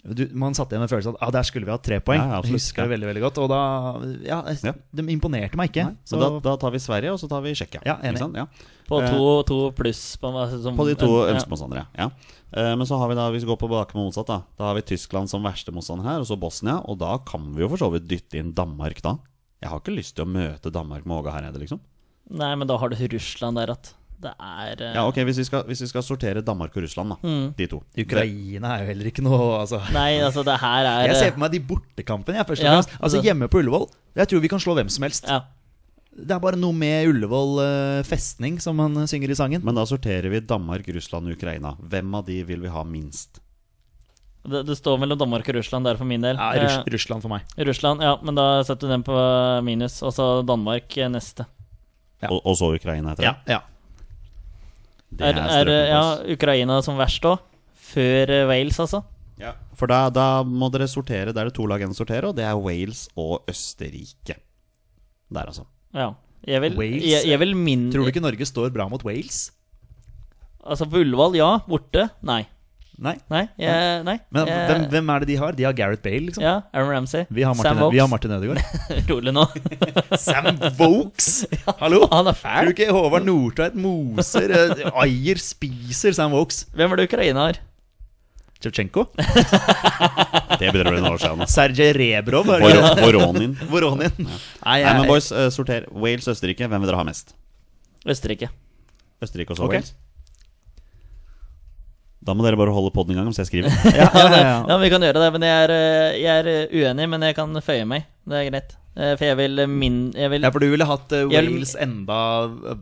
[SPEAKER 3] du, man satt igjen med følelsen at ah, der skulle vi hatt tre poeng.
[SPEAKER 1] Ja, ja, absolutt.
[SPEAKER 3] jeg husker det veldig veldig godt. Og da Ja, jeg,
[SPEAKER 1] Ja.
[SPEAKER 3] de imponerte meg ikke.
[SPEAKER 1] Nei,
[SPEAKER 3] så
[SPEAKER 1] men da, da tar vi Sverige, og så tar vi Tsjekkia.
[SPEAKER 3] Ja, enig.
[SPEAKER 1] Ikke sant? Ja.
[SPEAKER 2] på
[SPEAKER 1] Eh,
[SPEAKER 2] to, to pluss på, altså, som-
[SPEAKER 1] På de to
[SPEAKER 2] ja.
[SPEAKER 1] ønskemotstandere. Ja. Eh, Men så har vi da, hvis vi går på bak med motsatt, da Da har vi Tyskland som verste motstander her, og så Bosnia. Og da kan vi jo for så vidt dytte inn Danmark, da. Jeg har ikke lyst til å møte Danmark med Åge Hareide, liksom.
[SPEAKER 2] Nei, men da har du Russland der at det er eh,
[SPEAKER 1] Ja, ok, hvis vi, skal, hvis vi skal sortere Danmark og Russland, da. De to.
[SPEAKER 3] Ukraina er jo heller ikke noe altså.
[SPEAKER 2] Nei, altså, det her er
[SPEAKER 3] Jeg ser
[SPEAKER 2] eh,
[SPEAKER 3] for meg de bortekampene. Jeg, først og
[SPEAKER 2] Ja,
[SPEAKER 3] fremst. altså
[SPEAKER 2] det-
[SPEAKER 3] Hjemme på Ullevål. Jeg tror vi kan slå hvem som helst.
[SPEAKER 2] eh, ja.
[SPEAKER 3] Det er bare noe med Ullevål eh, festning, som han eh, synger i sangen.
[SPEAKER 1] Men da sorterer vi Danmark, Russland og Ukraina. Hvem av de vil vi ha minst?
[SPEAKER 2] Det, det står mellom Danmark og Russland der for min del.
[SPEAKER 3] Ja, Russ, Russland for meg.
[SPEAKER 2] Eh, Russland, ja, men da setter du den på minus. Og så Danmark eh, neste.
[SPEAKER 3] Ja.
[SPEAKER 1] Og, og så Ukraina etter
[SPEAKER 3] Ja, ja.
[SPEAKER 1] det?
[SPEAKER 2] Er, er
[SPEAKER 1] strømmen
[SPEAKER 2] ja,
[SPEAKER 1] vår.
[SPEAKER 2] Ukraina som verst òg? Før eh, Wales, altså?
[SPEAKER 1] Ja, For da, da må dere sortere. Da er det to lag igjen å sortere, og det er Wales og Østerrike. Der, altså.
[SPEAKER 2] Ja. Jeg vil,
[SPEAKER 3] Wales,
[SPEAKER 2] jeg, jeg vil min...
[SPEAKER 3] Tror du ikke Norge står bra mot Wales?
[SPEAKER 2] Altså på Ullevål, ja. Borte? Nei.
[SPEAKER 3] Nei.
[SPEAKER 2] Nei. Jeg, nei.
[SPEAKER 3] Men
[SPEAKER 2] jeg,
[SPEAKER 3] hvem, hvem er det de har? De har Gareth Bale, liksom.
[SPEAKER 2] Eh, Ja, Aaron Ramsey.
[SPEAKER 3] Vi har
[SPEAKER 2] Sam
[SPEAKER 3] Martin,
[SPEAKER 2] Vokes.
[SPEAKER 3] vi har Martin Ødegaard.
[SPEAKER 2] Rolig nå.
[SPEAKER 3] Sam Vokes! Hallo?
[SPEAKER 2] Han
[SPEAKER 3] Tror
[SPEAKER 2] er
[SPEAKER 3] du
[SPEAKER 2] fæl.
[SPEAKER 3] ikke Håvard Nordtveit moser, eh, Ayer spiser Sam Vokes?
[SPEAKER 2] Hvem er det Ukraina har?
[SPEAKER 3] Sjevtsjenko.
[SPEAKER 1] Det begynner å bli noen år siden. ass.
[SPEAKER 3] Sergej Rebrov. er det ikke
[SPEAKER 1] Voro- Voronin.
[SPEAKER 3] det? Voronin. Nei,
[SPEAKER 1] Nei,
[SPEAKER 3] jeg-
[SPEAKER 1] men boys, eh, sorter. Wales-Østerrike, hvem vil dere ha mest?
[SPEAKER 2] Østerrike.
[SPEAKER 1] Østerrike og så
[SPEAKER 3] Ok.
[SPEAKER 1] Wales? Da må dere bare holde podden i gang mens jeg skriver.
[SPEAKER 3] ja, ja, ja, ja.
[SPEAKER 2] Ja, vi kan gjøre det, men jeg er, eh, jeg er eh, uenig, men jeg kan føye meg. Det er greit. Eh, For jeg vil eh, min... Jeg vil
[SPEAKER 3] Ja, for du ville hatt eh,
[SPEAKER 2] Jeg vil-
[SPEAKER 3] Wales enda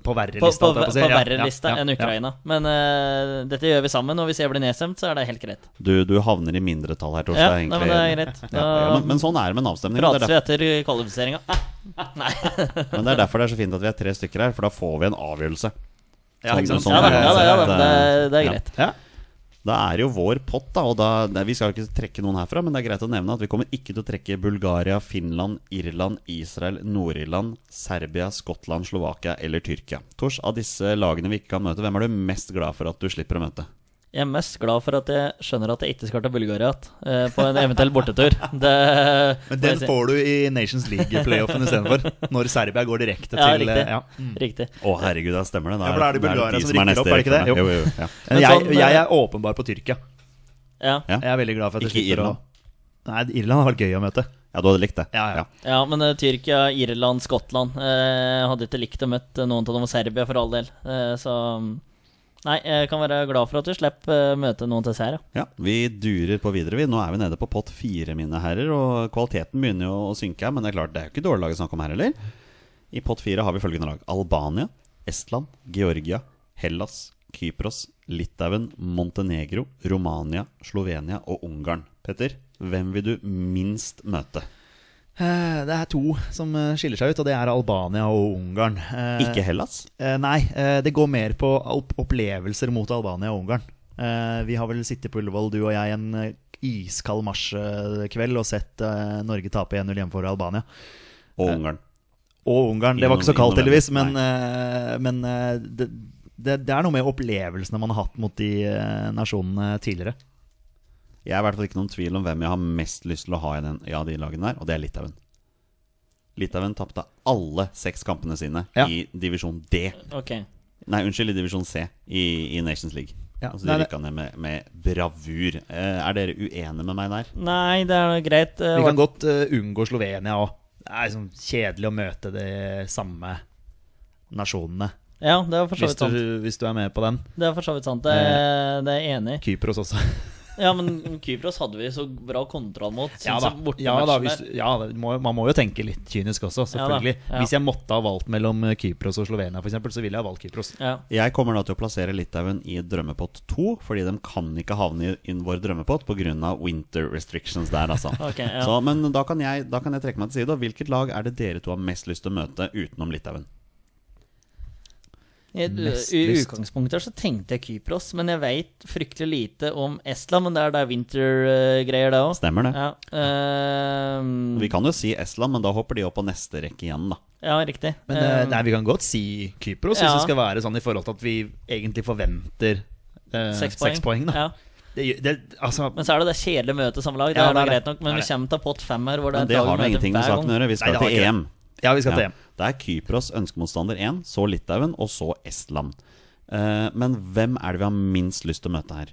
[SPEAKER 3] på verre
[SPEAKER 2] på,
[SPEAKER 3] lista?
[SPEAKER 2] på,
[SPEAKER 3] holdt jeg
[SPEAKER 2] på
[SPEAKER 3] å si. Ja,
[SPEAKER 2] verre
[SPEAKER 3] ja,
[SPEAKER 2] lista
[SPEAKER 3] ja,
[SPEAKER 2] enn
[SPEAKER 3] ja.
[SPEAKER 2] Ukraina. Men eh, dette gjør vi sammen, og hvis jeg blir nedstemt, så er det helt greit.
[SPEAKER 1] Du, du havner i mindretall her, Torstein.
[SPEAKER 2] Ja, nei,
[SPEAKER 1] egentlig.
[SPEAKER 2] men det er greit.
[SPEAKER 1] Ja, ja, men, men sånn er det med en avstemning. og Det
[SPEAKER 2] Prates
[SPEAKER 1] er
[SPEAKER 2] vi
[SPEAKER 1] derfor,
[SPEAKER 2] etter kvalifiseringa? Nei.
[SPEAKER 1] men det er derfor det er så fint at vi er tre stykker her, for da får vi en avgjørelse.
[SPEAKER 3] Ja, ikke sant?
[SPEAKER 1] Sånn-
[SPEAKER 2] Ja da,
[SPEAKER 1] er det
[SPEAKER 2] ja, da, ja, da.
[SPEAKER 1] uansett,
[SPEAKER 2] Det, er- det er
[SPEAKER 1] ja.
[SPEAKER 2] greit.
[SPEAKER 3] Ja.
[SPEAKER 1] Da er det jo vår pott, da. Og da nei, vi skal jo ikke trekke noen herfra, men det er greit å nevne at vi kommer ikke til å trekke Bulgaria, Finland, Irland, Israel, Nord-Irland, Serbia, Skottland, Slovakia eller Tyrkia. Tors, av disse lagene vi ikke kan møte, hvem er du mest glad for at du slipper å møte?
[SPEAKER 2] Jeg er mest glad for at jeg skjønner at jeg ikke skal til Bulgaria igjen eh, på en eventuell bortetur. Det,
[SPEAKER 3] Men
[SPEAKER 2] må jeg
[SPEAKER 3] den
[SPEAKER 2] si.
[SPEAKER 3] får du i Nations League-playoffen istedenfor. Når Serbia går direkte
[SPEAKER 2] Ja,
[SPEAKER 3] til
[SPEAKER 2] riktig.
[SPEAKER 3] eh, ja.
[SPEAKER 2] Riktig.
[SPEAKER 1] Å herregud, da stemmer det. Da
[SPEAKER 3] Ja, for da er det Bulgaria
[SPEAKER 1] de er
[SPEAKER 3] som rykker
[SPEAKER 1] neste
[SPEAKER 3] opp, er det ikke
[SPEAKER 1] i
[SPEAKER 3] det?
[SPEAKER 1] rekken, da. Jo, jo, ja.
[SPEAKER 3] Men
[SPEAKER 2] Men
[SPEAKER 3] jeg,
[SPEAKER 2] sånn, eh,
[SPEAKER 3] jeg er åpenbar på Tyrkia.
[SPEAKER 2] Ja.
[SPEAKER 1] Ja.
[SPEAKER 3] Jeg er veldig glad for at jeg
[SPEAKER 1] Ikke
[SPEAKER 3] slipper
[SPEAKER 1] Irland.
[SPEAKER 3] å Nei, Irland har vært gøy å møte.
[SPEAKER 1] ja, du hadde likt det.
[SPEAKER 3] Ja, ja.
[SPEAKER 2] ja, men eh, Tyrkia, Irland, Skottland eh, Jeg hadde ikke likt å møte noen av dem og Serbia, for all del. Eh, så mm, Nei, jeg kan være glad for at du slipper eh, møte noen til Serbia.
[SPEAKER 1] Ja, Vi durer på videre. vi. Nå er vi nede på pott fire, mine herrer. Og kvaliteten begynner jo å synke her, men det er klart, det er jo ikke dårlig lag å snakke om her heller. I pott fire har vi følgende lag. Albania, Estland, Georgia, Hellas, Kypros, Litauen, Montenegro, Romania, Slovenia og Ungarn. Petter, hvem vil du minst møte?
[SPEAKER 3] Eh, Det er to som eh, skiller seg ut, og det er Albania og Ungarn. Eh,
[SPEAKER 1] Ikke Hellas?
[SPEAKER 3] Eh, nei, eh, det går mer på opp opplevelser mot Albania og Ungarn. Eh, vi har vel sittet på Ullevål, du og jeg, en eh, iskald marskveld og sett eh, Norge tape 1-0 hjemme for Albania. eh.
[SPEAKER 1] Og Ungarn.
[SPEAKER 3] Og Ungarn. Det var ikke
[SPEAKER 1] I
[SPEAKER 3] så kaldt,
[SPEAKER 1] november.
[SPEAKER 3] heldigvis, men, eh, men eh, det, det, det er noe med opplevelsene man har hatt mot de eh, nasjonene tidligere.
[SPEAKER 1] Jeg er i hvert fall ikke noen tvil om hvem jeg har mest lyst til å ha i den, ja, de lagene der, og det er Litauen. Litauen tapte alle seks kampene sine
[SPEAKER 3] Ja.
[SPEAKER 1] i divisjon D.
[SPEAKER 2] Ok.
[SPEAKER 1] Nei, unnskyld, i divisjon C i, i Nations League.
[SPEAKER 3] Ja,
[SPEAKER 1] altså,
[SPEAKER 3] nei,
[SPEAKER 1] de
[SPEAKER 3] det-
[SPEAKER 1] rykka ned med, med bravur. Eh, er dere uenige med meg der?
[SPEAKER 2] Nei, det er greit. eh,
[SPEAKER 3] Vi kan godt eh, unngå Slovenia òg. Det er liksom kjedelig å møte de samme nasjonene,
[SPEAKER 2] Ja, det er for så
[SPEAKER 3] hvis
[SPEAKER 2] vidt
[SPEAKER 3] du,
[SPEAKER 2] sant.
[SPEAKER 3] hvis du er med på den.
[SPEAKER 2] Det er for så vidt sant. Det, er- det er jeg enig i.
[SPEAKER 3] Kypros også.
[SPEAKER 2] Ja, men Kypros hadde vi så bra kontroll mot. synes
[SPEAKER 3] Ja da,
[SPEAKER 2] jeg, borte
[SPEAKER 3] ja, da
[SPEAKER 2] matchen
[SPEAKER 3] hvis,
[SPEAKER 2] der.
[SPEAKER 3] ja da, må, man må jo tenke litt kynisk også,
[SPEAKER 2] Ja da,
[SPEAKER 3] selvfølgelig.
[SPEAKER 2] ja.
[SPEAKER 3] Hvis jeg måtte ha valgt mellom eh, Kypros og Slovenia, f.eks., så ville jeg ha valgt Kypros.
[SPEAKER 2] ja.
[SPEAKER 1] Jeg kommer da til å plassere Litauen i drømmepott to, fordi de kan ikke havne i, i vår drømmepott pga. winter restrictions der, altså.
[SPEAKER 2] Ok, ja.
[SPEAKER 1] Så, men da kan, jeg, da kan jeg trekke meg til side. Og hvilket lag er det dere to har mest lyst til å møte utenom Litauen?
[SPEAKER 2] I,
[SPEAKER 3] Mest
[SPEAKER 2] I
[SPEAKER 3] lyst.
[SPEAKER 2] utgangspunktet så tenkte jeg Kypros, men jeg veit fryktelig lite om Estland. Men det er der vinter-greier, det òg.
[SPEAKER 1] Stemmer det?
[SPEAKER 2] Ja, ehm,
[SPEAKER 1] Vi kan jo si Estland, men da hopper de opp på neste rekke igjen, da.
[SPEAKER 2] ja, riktig.
[SPEAKER 3] Men eh,
[SPEAKER 2] Ehm,
[SPEAKER 3] nei, vi kan godt si Kypros,
[SPEAKER 2] Ja.
[SPEAKER 3] hvis det skal være sånn i forhold til at vi egentlig forventer eh, seks poeng. da.
[SPEAKER 2] Ehm, Ja.
[SPEAKER 3] Det, det, altså,
[SPEAKER 2] Men så er det det kjedelige møtet samme lag. Det
[SPEAKER 3] Ja,
[SPEAKER 2] er da
[SPEAKER 3] det er det.
[SPEAKER 2] greit nok,
[SPEAKER 3] Det
[SPEAKER 2] men
[SPEAKER 3] er
[SPEAKER 2] vi
[SPEAKER 3] det.
[SPEAKER 2] kommer til pott fem her. Hvor det
[SPEAKER 1] Men
[SPEAKER 2] er
[SPEAKER 1] det
[SPEAKER 2] et lag
[SPEAKER 1] har da
[SPEAKER 2] vi møter
[SPEAKER 1] ingenting med
[SPEAKER 2] hver
[SPEAKER 1] saken å
[SPEAKER 2] gang.
[SPEAKER 1] gjøre. Vi
[SPEAKER 3] Nei,
[SPEAKER 1] skal
[SPEAKER 3] det har
[SPEAKER 1] til
[SPEAKER 3] ikke
[SPEAKER 1] EM.
[SPEAKER 3] ja, vi skal til
[SPEAKER 1] Ja.
[SPEAKER 3] EM.
[SPEAKER 1] Det er Kypros ønskemotstander 1, så Litauen, og så Estland. Eh, men hvem er det vi har minst lyst til å møte her?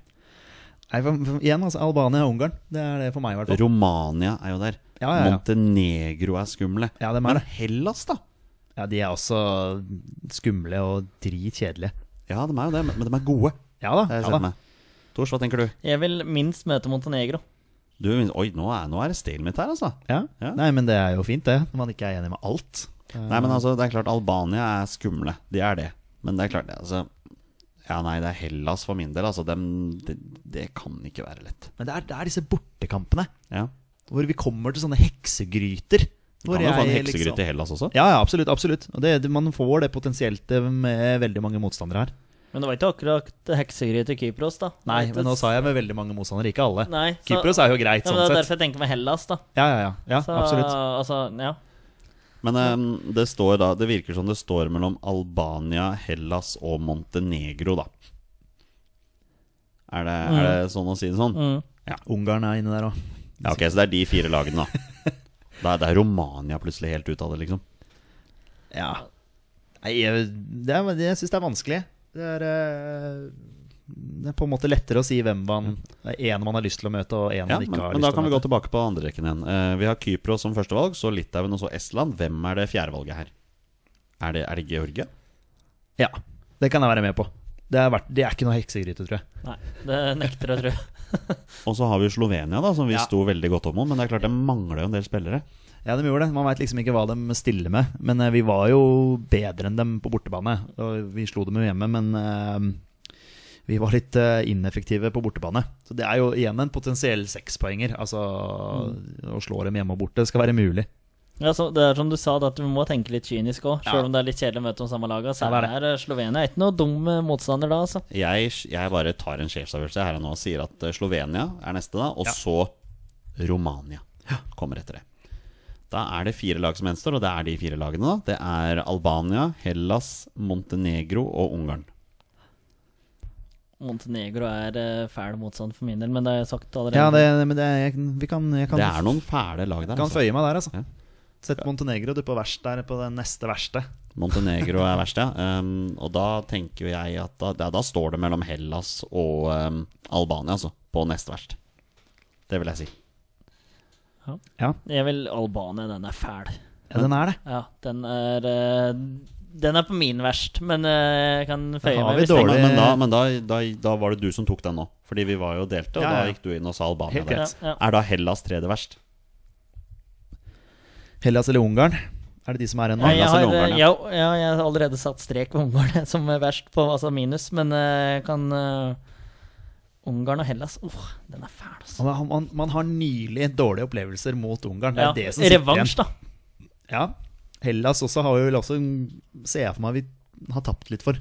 [SPEAKER 3] Nei, for- for- Igjen, altså. Albania og Ungarn. Det er det for meg, i hvert fall.
[SPEAKER 1] Romania er jo der.
[SPEAKER 3] Ja, ja, ja.
[SPEAKER 1] Montenegro er skumle.
[SPEAKER 3] Ja, dem er
[SPEAKER 1] men
[SPEAKER 3] det.
[SPEAKER 1] Hellas, da?
[SPEAKER 3] Ja, de er også skumle og dritkjedelige.
[SPEAKER 1] Ja, de er jo det, men men de er gode.
[SPEAKER 3] Ja da.
[SPEAKER 1] Det har jeg
[SPEAKER 3] Ja,
[SPEAKER 1] sett
[SPEAKER 3] da.
[SPEAKER 1] meg. Tors, hva tenker du?
[SPEAKER 2] Jeg vil minst møte Montenegro.
[SPEAKER 1] du oi, nå er, nå er det stilen mitt her, altså.
[SPEAKER 3] Ja.
[SPEAKER 1] Ja.
[SPEAKER 3] Nei, men det er jo fint, det. Når man ikke er enig med alt. Eh,
[SPEAKER 1] Nei, men altså, det er klart Albania er skumle. De er det. Men det er klart, altså Ja, nei, det er Hellas for min del. Altså, dem, det, det kan ikke være lett.
[SPEAKER 3] Men det er, det er disse bortekampene.
[SPEAKER 1] Ja.
[SPEAKER 3] Hvor vi kommer til sånne heksegryter.
[SPEAKER 1] Kan jo få en heksegryte
[SPEAKER 2] liksom?
[SPEAKER 3] liksom?
[SPEAKER 1] i Hellas også.
[SPEAKER 3] Ja, ja, absolutt. absolutt. Og det, det- man får det potensielt eh, med veldig mange motstandere her.
[SPEAKER 2] Men det var ikke akkurat heksegryte Kypros, da.
[SPEAKER 3] Nei, men nå sa jeg med veldig mange motstandere, ikke alle.
[SPEAKER 2] Nei, så-
[SPEAKER 3] Kypros er jo greit,
[SPEAKER 2] ja,
[SPEAKER 3] sånn
[SPEAKER 2] men Det er
[SPEAKER 3] sett.
[SPEAKER 2] derfor jeg tenker med Hellas, da.
[SPEAKER 3] Ja, ja, ja. ja
[SPEAKER 2] Så,
[SPEAKER 3] absolutt.
[SPEAKER 2] Altså, ja.
[SPEAKER 1] Men ehm, det står da Det virker som det står mellom Albania, Hellas og Montenegro, da. Er det, er det sånn å si det sånn?
[SPEAKER 2] Mm.
[SPEAKER 3] Ungarn er inne der òg.
[SPEAKER 1] Ja, ok, Så det er de fire lagene, da. Da er, det er Romania plutselig helt ut av det, liksom.
[SPEAKER 3] Ja. Nei, jeg, det er, jeg syns det er vanskelig. Det er eh, det er på en måte lettere å si hvem man
[SPEAKER 2] Mm.
[SPEAKER 3] Det er én man har lyst til å møte, og én
[SPEAKER 1] Ja,
[SPEAKER 3] man
[SPEAKER 1] men,
[SPEAKER 3] ikke har
[SPEAKER 1] men
[SPEAKER 3] lyst
[SPEAKER 1] da
[SPEAKER 3] til
[SPEAKER 1] kan vi
[SPEAKER 3] å
[SPEAKER 1] gå
[SPEAKER 3] møte.
[SPEAKER 1] tilbake på andrerekken igjen. Eh, vi har Kypros som førstevalg, så Litauen og så Estland. Hvem er det fjerdevalget her? Er det, er det Georgia?
[SPEAKER 3] Ja, det kan jeg være med på. Det er, verdt, det er ikke noe heksegryte, tror jeg.
[SPEAKER 2] Nei, det nekter jeg å tro.
[SPEAKER 1] Og så har vi Slovenia, da, som vi
[SPEAKER 3] Ja.
[SPEAKER 1] sto veldig godt opp mot. Men det er klart det mangler jo en del spillere.
[SPEAKER 3] Ja, de gjorde det. Man veit liksom ikke hva de stiller med. Men eh, vi var jo bedre enn dem på bortebane. Og vi slo dem jo hjemme, men eh, vi var litt eh, ineffektive på bortebane. Så det er jo igjen en potensiell sekspoenger. Altså å slå dem hjemme og borte skal være mulig.
[SPEAKER 2] Ja, så det er som du sa, da, at vi må tenke litt kynisk òg, sjøl
[SPEAKER 3] Ja.
[SPEAKER 2] om det er litt kjedelig å møte de samme laga. Så
[SPEAKER 3] Ja, det er
[SPEAKER 2] er det Slovenia er ikke noe dum eh, motstander da, altså.
[SPEAKER 1] Jeg, jeg bare tar en sjefsavgjørelse her og nå og sier at eh, Slovenia er neste, da. Og
[SPEAKER 3] Ja.
[SPEAKER 1] så Romania kommer etter det. Da er det fire lag som gjenstår, og det er de fire lagene. da Det er Albania, Hellas, Montenegro og Ungarn.
[SPEAKER 2] Montenegro er eh, fæl motstand for min del, men det har jeg sagt allerede.
[SPEAKER 3] Ja, det, men det, jeg, vi kan, jeg kan
[SPEAKER 1] Det er noen fæle lag der.
[SPEAKER 3] Kan
[SPEAKER 1] Altså.
[SPEAKER 3] føye meg der, altså.
[SPEAKER 1] Ja.
[SPEAKER 3] Sett Montenegro du på verst der på det neste verste.
[SPEAKER 1] Montenegro er verst, ja. Um, og da tenker jo jeg at da, da, da står det mellom Hellas og um, Albania, altså. På nest verst. Det vil jeg si.
[SPEAKER 3] Ja,
[SPEAKER 2] Jeg vil Albania, den er fæl.
[SPEAKER 3] den er det.
[SPEAKER 2] Ja, den er eh, Den er på min verst, men eh, jeg kan føye
[SPEAKER 3] har
[SPEAKER 2] meg.
[SPEAKER 3] vi
[SPEAKER 2] hvis det-
[SPEAKER 1] Men,
[SPEAKER 3] dårlig-
[SPEAKER 1] men, da, men da, da, da var det du som tok den nå. Fordi vi var jo delte, og
[SPEAKER 3] Ja, ja.
[SPEAKER 1] da gikk du inn og sa Albania.
[SPEAKER 3] Helt
[SPEAKER 1] der.
[SPEAKER 2] greit. Ja, ja.
[SPEAKER 1] Er da Hellas tredje verst?
[SPEAKER 3] Hellas eller Ungarn? Er det de som er igjen nå?
[SPEAKER 2] Nei, jeg
[SPEAKER 1] Hellas
[SPEAKER 2] har,
[SPEAKER 1] eller Ungarn,
[SPEAKER 2] eh, ja, ja, jeg har allerede satt strek på Ungarn som er verst, på, altså minus, men eh, jeg kan eh, Ungarn og Hellas, åh, den er fæl, altså.
[SPEAKER 3] Man, man, man har nylig dårlige opplevelser mot Ungarn. Det er
[SPEAKER 2] Ja,
[SPEAKER 3] det som sitter
[SPEAKER 2] revansj, da.
[SPEAKER 3] igjen. Ja. Hellas også har jo vel også Ser jeg for meg vi har tapt litt for.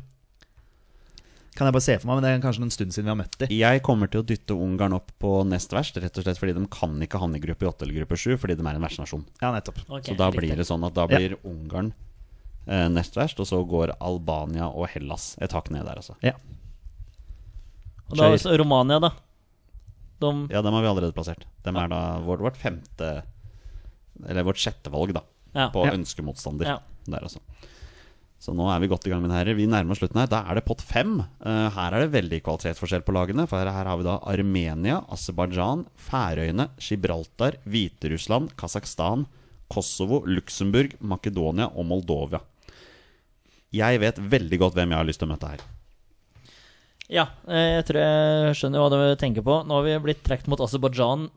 [SPEAKER 3] Kan jeg bare se for meg, men det er kanskje en stund siden vi har møtt dem.
[SPEAKER 1] Jeg kommer til å dytte Ungarn opp på nest verst, rett og slett fordi de kan ikke havne i gruppe 8 eller gruppe 7, fordi de er en vertsnasjon.
[SPEAKER 3] Ja, nettopp.
[SPEAKER 2] Ok,
[SPEAKER 1] Så da
[SPEAKER 2] riktig.
[SPEAKER 1] blir det sånn at da blir Ungarn eh, nest verst, og så går Albania og Hellas et hakk ned der, altså.
[SPEAKER 3] Ja.
[SPEAKER 2] Og da har vi
[SPEAKER 3] Skøyer.
[SPEAKER 2] så Romania, da. De,
[SPEAKER 1] Ja, dem har vi allerede plassert. Dem er da vårt, vårt femte Eller vårt sjette valg, da.
[SPEAKER 2] ja.
[SPEAKER 1] På
[SPEAKER 3] Ja.
[SPEAKER 1] ønskemotstander.
[SPEAKER 2] Ja.
[SPEAKER 1] Der, altså. Så nå er vi godt i gang, mine herrer. Vi nærmer oss slutten her. Da er det pott fem. Eh, her er det veldig kvalitetsforskjell på lagene. For her, her har vi da Armenia, Aserbajdsjan, Færøyene, Gibraltar, Hviterussland, Kasakhstan, Kosovo, Luxembourg, Makedonia og Moldovia. Jeg vet veldig godt hvem jeg har lyst til å møte her.
[SPEAKER 2] ja, eh, jeg tror jeg skjønner hva du tenker på. Nå har vi blitt trukket mot Aserbajdsjan,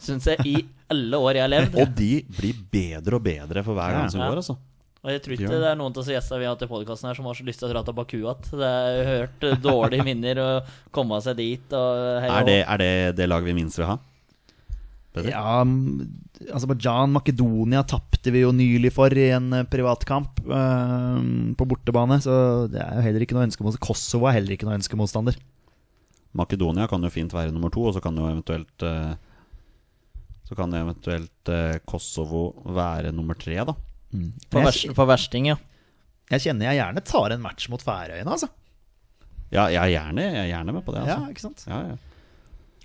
[SPEAKER 2] syns jeg, i alle år jeg har levd.
[SPEAKER 1] Og de blir bedre og bedre for hver gang som
[SPEAKER 2] Ja.
[SPEAKER 1] går, altså.
[SPEAKER 2] Og jeg tror ikke det er noen av oss gjester vi har hatt i podkasten her som har så lyst til å dra til Baku igjen. Det er hørt eh, dårlige minner å komme seg dit og hei
[SPEAKER 1] Er
[SPEAKER 2] og
[SPEAKER 1] det, er det det laget vi minst vil ha? Petter?
[SPEAKER 3] Ja, mm, m, Aserbajdsjan, Makedonia tapte vi jo nylig for i en eh, privatkamp eh, på bortebane. Så det er jo heller ikke noe ønskemotstander. Kosovo er heller ikke noe ønskemotstander.
[SPEAKER 1] Makedonia kan jo fint være nummer to, og så kan jo eventuelt eh, Så kan jo eventuelt eh, Kosovo være nummer tre, da.
[SPEAKER 2] på,
[SPEAKER 3] Men
[SPEAKER 2] vers,
[SPEAKER 3] jeg,
[SPEAKER 2] på versting, ja.
[SPEAKER 3] jeg kjenner jeg gjerne tar en match mot Færøyene, altså.
[SPEAKER 1] Ja, jeg er gjerne, jeg er gjerne med på det,
[SPEAKER 3] Ja,
[SPEAKER 1] altså.
[SPEAKER 3] ikke sant?
[SPEAKER 1] Ja, ja.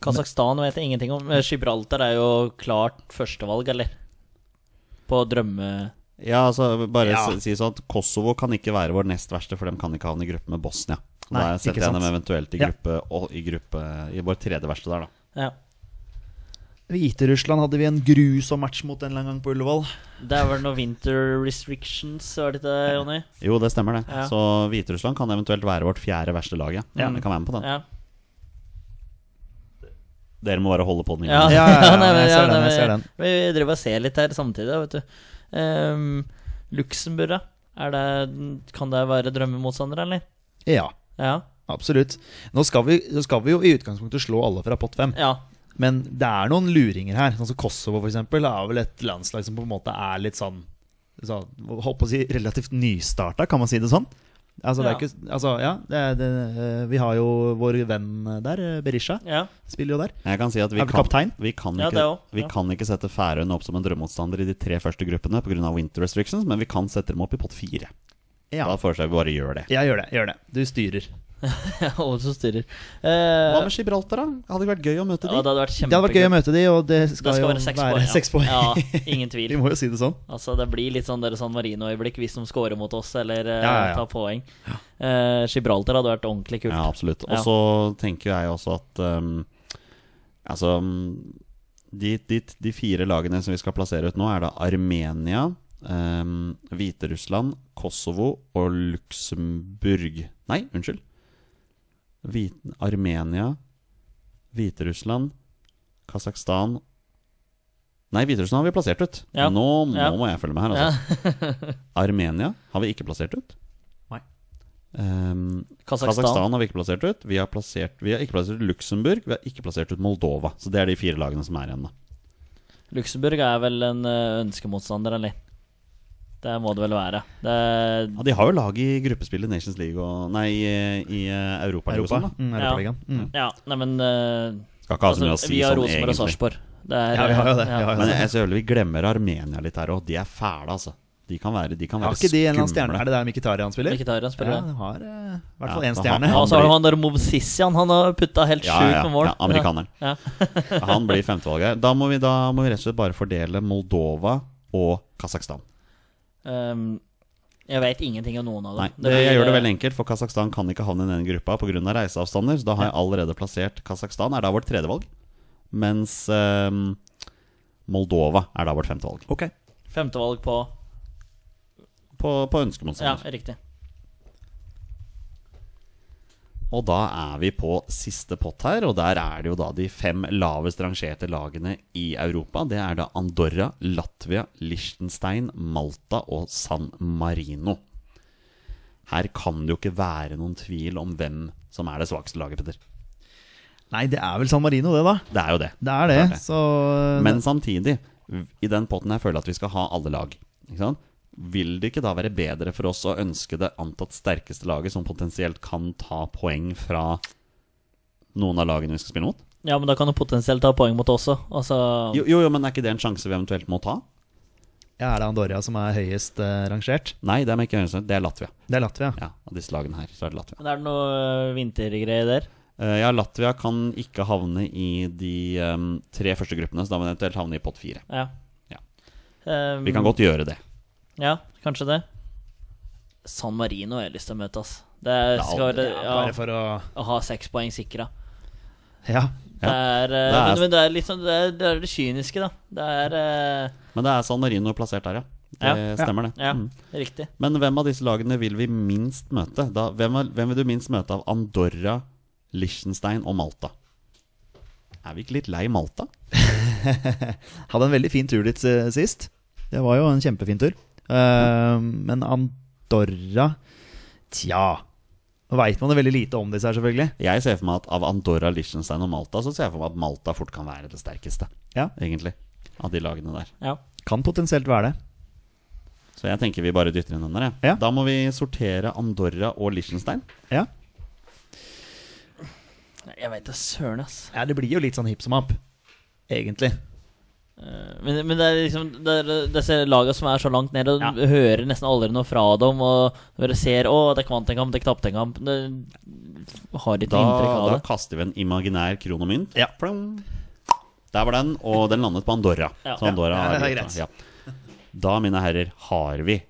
[SPEAKER 2] Kasakhstan vet jeg ingenting om. Eh, Gibraltar er jo klart førstevalg, eller? På drømme...
[SPEAKER 1] ja altså bare
[SPEAKER 3] Ja.
[SPEAKER 1] s- si sånn at Kosovo kan ikke være vår nest verste, for de kan ikke havne i gruppe med Bosnia. Og
[SPEAKER 3] Nei,
[SPEAKER 1] da setter
[SPEAKER 3] ikke
[SPEAKER 1] jeg
[SPEAKER 3] sant.
[SPEAKER 1] dem eventuelt i
[SPEAKER 3] Ja.
[SPEAKER 1] gruppe, og i gruppe I vår tredje verste der, da.
[SPEAKER 2] Ja.
[SPEAKER 3] Hviterussland hadde vi en grusom match mot en eller annen gang på Ullevål.
[SPEAKER 2] Det er vel noe winter restrictions, var det ikke det, Jonny?
[SPEAKER 1] Jo, det stemmer, det.
[SPEAKER 2] Ja.
[SPEAKER 1] Så Hviterussland kan eventuelt være vårt fjerde verste lag, ja.
[SPEAKER 3] Ja.
[SPEAKER 1] Vi kan være med på den.
[SPEAKER 2] Ja.
[SPEAKER 1] Dere må bare holde på den. i
[SPEAKER 2] Ja,
[SPEAKER 1] gang.
[SPEAKER 3] ja, ja,
[SPEAKER 2] nei, men-
[SPEAKER 3] jeg
[SPEAKER 2] ja,
[SPEAKER 3] ser den,
[SPEAKER 2] nei,
[SPEAKER 3] jeg ser
[SPEAKER 2] men-
[SPEAKER 3] den.
[SPEAKER 2] Vi driver og ser litt her samtidig, vet du. Um, Luxembourg, da? Er det, kan det være drømmemotstander, eller?
[SPEAKER 3] Ja,
[SPEAKER 2] Ja.
[SPEAKER 3] absolutt. Nå skal, vi, nå skal vi jo i utgangspunktet slå alle fra pott fem,
[SPEAKER 2] ja.
[SPEAKER 3] men det er noen luringer her. Sånn som Kosovo, for eksempel, er vel et landslag som på en måte er litt sånn så, Holdt på å si relativt nystarta, kan man si det sånn? Altså, det er
[SPEAKER 2] Ja.
[SPEAKER 3] ikke, altså ja, det er, det, eh, vi har jo vår venn der, eh, Berisha,
[SPEAKER 2] ja.
[SPEAKER 3] spiller jo der.
[SPEAKER 1] Jeg kan si at vi
[SPEAKER 3] Er du
[SPEAKER 1] kan,
[SPEAKER 3] kaptein?
[SPEAKER 1] Vi kan,
[SPEAKER 2] Ja,
[SPEAKER 1] ikke,
[SPEAKER 2] det også,
[SPEAKER 1] vi
[SPEAKER 2] ja.
[SPEAKER 1] kan ikke sette Færøyene opp som en drømmeotstander i de tre første gruppene pga. winter restrictions, men vi kan sette dem opp i pott fire.
[SPEAKER 3] Ja.
[SPEAKER 1] Da foreslår jeg vi bare gjør det.
[SPEAKER 3] Jeg gjør det. gjør det Du styrer.
[SPEAKER 2] Alle som styrer.
[SPEAKER 1] Hva
[SPEAKER 2] Eh,
[SPEAKER 1] med Gibraltar, da? Hadde det vært gøy å møte
[SPEAKER 2] ja,
[SPEAKER 1] de?
[SPEAKER 2] det hadde vært
[SPEAKER 3] Det hadde vært gøy å møte de, og det skal,
[SPEAKER 2] Det skal
[SPEAKER 3] jo
[SPEAKER 2] være seks
[SPEAKER 3] være
[SPEAKER 2] poeng.
[SPEAKER 3] seks poeng.
[SPEAKER 2] Ja. ja, ingen tvil.
[SPEAKER 3] Vi må jo si det sånn.
[SPEAKER 2] Altså, det blir litt sånn dere San Marino-øyeblikk hvis de scorer mot oss eller
[SPEAKER 3] Ja,
[SPEAKER 2] eh,
[SPEAKER 3] ja, ja.
[SPEAKER 2] tar poeng. Eh, Gibraltar hadde vært ordentlig kult.
[SPEAKER 1] Ja, absolutt. Og
[SPEAKER 2] Ja.
[SPEAKER 1] så tenker jeg også at um, Altså um, de, de, de fire lagene som vi skal plassere ut nå, er da Armenia, um, Hviterussland, Kosovo og Luxembourg. Nei, unnskyld. Hvit, Armenia, Hviterussland, Kasakhstan Nei, Hviterussland har vi plassert ut.
[SPEAKER 2] Ja.
[SPEAKER 1] Nå, nå
[SPEAKER 2] Ja.
[SPEAKER 1] må jeg følge med her,
[SPEAKER 2] Ja.
[SPEAKER 1] altså. Armenia har vi ikke plassert ut.
[SPEAKER 3] Nei.
[SPEAKER 1] Um,
[SPEAKER 2] Kasakhstan.
[SPEAKER 1] Kasakhstan har vi ikke plassert ut. Vi har, plassert, vi har ikke plassert ut Luxembourg. Vi har ikke plassert ut Moldova. Så det er de fire lagene som er igjen, da.
[SPEAKER 2] Luxembourg er vel en eh, ønskemotstander, eller? Det må det vel være. Det,
[SPEAKER 1] Ja, de har jo lag i gruppespillet Nations League og Nei, i, i Europaligaen og sånn,
[SPEAKER 3] Europa.
[SPEAKER 1] da.
[SPEAKER 3] Mm, Europaligaen. Mm.
[SPEAKER 2] ja, nei, men eh,
[SPEAKER 1] Skal ikke ha så mye å
[SPEAKER 2] altså,
[SPEAKER 1] si
[SPEAKER 2] Vi har
[SPEAKER 1] sånn,
[SPEAKER 2] Rosenborg og
[SPEAKER 1] egentlig.
[SPEAKER 2] Sarpsborg. Det er,
[SPEAKER 3] Ja, vi har jo det.
[SPEAKER 2] ja.
[SPEAKER 3] Vi har jo
[SPEAKER 1] Men
[SPEAKER 3] det.
[SPEAKER 1] jeg selvfølgelig vi glemmer Armenia litt her òg. De er fæle, altså. De kan være, de kan
[SPEAKER 3] Har
[SPEAKER 1] være
[SPEAKER 3] ikke de en eller annen stjerne? Er
[SPEAKER 1] skumle.
[SPEAKER 3] det der Mkhitaryan spiller?
[SPEAKER 2] Mkhitaryan spiller,
[SPEAKER 3] ja,
[SPEAKER 2] ja.
[SPEAKER 3] de har eh, i hvert
[SPEAKER 1] Ja,
[SPEAKER 3] fall én
[SPEAKER 1] han-
[SPEAKER 3] stjerne.
[SPEAKER 2] Ja, og så har du han der Movsissian. Han har putta helt
[SPEAKER 1] Ja,
[SPEAKER 2] sjukt
[SPEAKER 1] ja,
[SPEAKER 2] med mål.
[SPEAKER 1] ja, amerikaneren.
[SPEAKER 2] Ja.
[SPEAKER 1] Han blir femtevalget her. Da må, vi, da må vi rett og slett bare fordele Moldova og Kasakhstan.
[SPEAKER 2] Ehm, jeg veit ingenting om noen av dem.
[SPEAKER 1] Nei, det, jeg
[SPEAKER 2] blir,
[SPEAKER 1] gjør det
[SPEAKER 2] eh,
[SPEAKER 1] veldig enkelt, for Kasakhstan kan ikke havne i den gruppa pga. reiseavstander. Så da har jeg allerede plassert Kasakhstan, er da vårt tredje valg. Mens ehm, Moldova er da vårt femte valg.
[SPEAKER 3] Ok.
[SPEAKER 2] Femtevalg på
[SPEAKER 1] På, på
[SPEAKER 2] Ja,
[SPEAKER 1] ønskemotstander.
[SPEAKER 2] riktig.
[SPEAKER 1] Og da er vi på siste pott her, og der er det jo da de fem lavest rangerte lagene i Europa. Det er da Andorra, Latvia, Liechtenstein, Malta og San Marino. Her kan det jo ikke være noen tvil om hvem som er det svakeste laget, Petter.
[SPEAKER 3] Nei, det er vel San Marino, det, da.
[SPEAKER 1] Det er jo det.
[SPEAKER 3] Det er det.
[SPEAKER 1] Det er det.
[SPEAKER 3] Så
[SPEAKER 1] Men samtidig, i den potten her føler jeg at vi skal ha alle lag. Ikke sant? Vil det ikke da være bedre for oss å ønske det antatt sterkeste laget som potensielt kan ta poeng fra noen av lagene vi skal spille mot?
[SPEAKER 2] Ja, men da kan du potensielt ta poeng mot oss også. Altså,
[SPEAKER 1] Jo, jo, jo, men er ikke det en sjanse vi eventuelt må ta?
[SPEAKER 3] ja, er det Andorra som er høyest eh, rangert?
[SPEAKER 1] Nei, det er meg ikke Høyestemt, det er Latvia.
[SPEAKER 3] Det er Latvia.
[SPEAKER 1] Ja, Av disse lagene her, så er det Latvia.
[SPEAKER 2] men er det noe eh, vintergreier der?
[SPEAKER 1] Eh, ja, Latvia kan ikke havne i de eh, tre første gruppene, så da må vi eventuelt havne i pott fire.
[SPEAKER 2] Ja.
[SPEAKER 1] Ja.
[SPEAKER 2] Ehm,
[SPEAKER 1] Vi kan godt gjøre det.
[SPEAKER 2] Ja, kanskje det. San Marino har jeg lyst til å møte, ass. Det er,
[SPEAKER 1] Ja,
[SPEAKER 2] skal være
[SPEAKER 3] Bare
[SPEAKER 2] ja,
[SPEAKER 3] for å
[SPEAKER 2] å ha seks poeng sikra.
[SPEAKER 3] Ja.
[SPEAKER 2] Det er, eh,
[SPEAKER 1] Det er-
[SPEAKER 2] men, men det er litt sånn Det er det, er det kyniske, da. Det er eh,
[SPEAKER 1] Men det er San Marino plassert der, ja. Det
[SPEAKER 2] Ja.
[SPEAKER 1] stemmer, det.
[SPEAKER 2] Ja,
[SPEAKER 1] Mm.
[SPEAKER 2] riktig.
[SPEAKER 1] Men hvem av disse lagene vil vi minst møte? Da, hvem, er, hvem vil du minst møte av Andorra, Liechtenstein og Malta? Er vi ikke litt lei Malta?
[SPEAKER 3] Hadde en veldig fin tur dit eh, sist. Det var jo en kjempefin tur. Eh, Men Andorra Tja. Nå veit man jo veldig lite om disse her, selvfølgelig.
[SPEAKER 1] Jeg ser for meg at av Andorra, Liechtenstein og Malta, så ser jeg for meg at Malta fort kan være det sterkeste.
[SPEAKER 3] Ja.
[SPEAKER 1] Egentlig. Av de lagene der.
[SPEAKER 2] Ja.
[SPEAKER 3] Kan potensielt være det.
[SPEAKER 1] Så jeg tenker vi bare dytter inn den der, jeg.
[SPEAKER 3] Ja.
[SPEAKER 1] Da må vi sortere Andorra og Liechtenstein.
[SPEAKER 3] Ja.
[SPEAKER 2] Nei, Jeg veit da søren, ass.
[SPEAKER 3] ja, det blir jo litt sånn hipp som happ, egentlig.
[SPEAKER 2] Eh, Men, men det er liksom det er, disse laga som er så langt ned, og
[SPEAKER 3] Ja.
[SPEAKER 2] du hører nesten aldri noe fra dem. Og dere ser 'Å, det vant en kamp, det knapte en kamp'. Det har ikke
[SPEAKER 1] Da,
[SPEAKER 2] noe inntrykk av
[SPEAKER 1] da
[SPEAKER 2] det.
[SPEAKER 1] kaster vi en imaginær kron og mynt.
[SPEAKER 3] Ja.
[SPEAKER 1] Plong. Der var den, og den landet på Andorra.
[SPEAKER 2] Ja.
[SPEAKER 1] Så Andorra
[SPEAKER 3] Ja, det er
[SPEAKER 1] er ute.
[SPEAKER 3] greit.
[SPEAKER 1] Ja. Da, mine herrer, har vi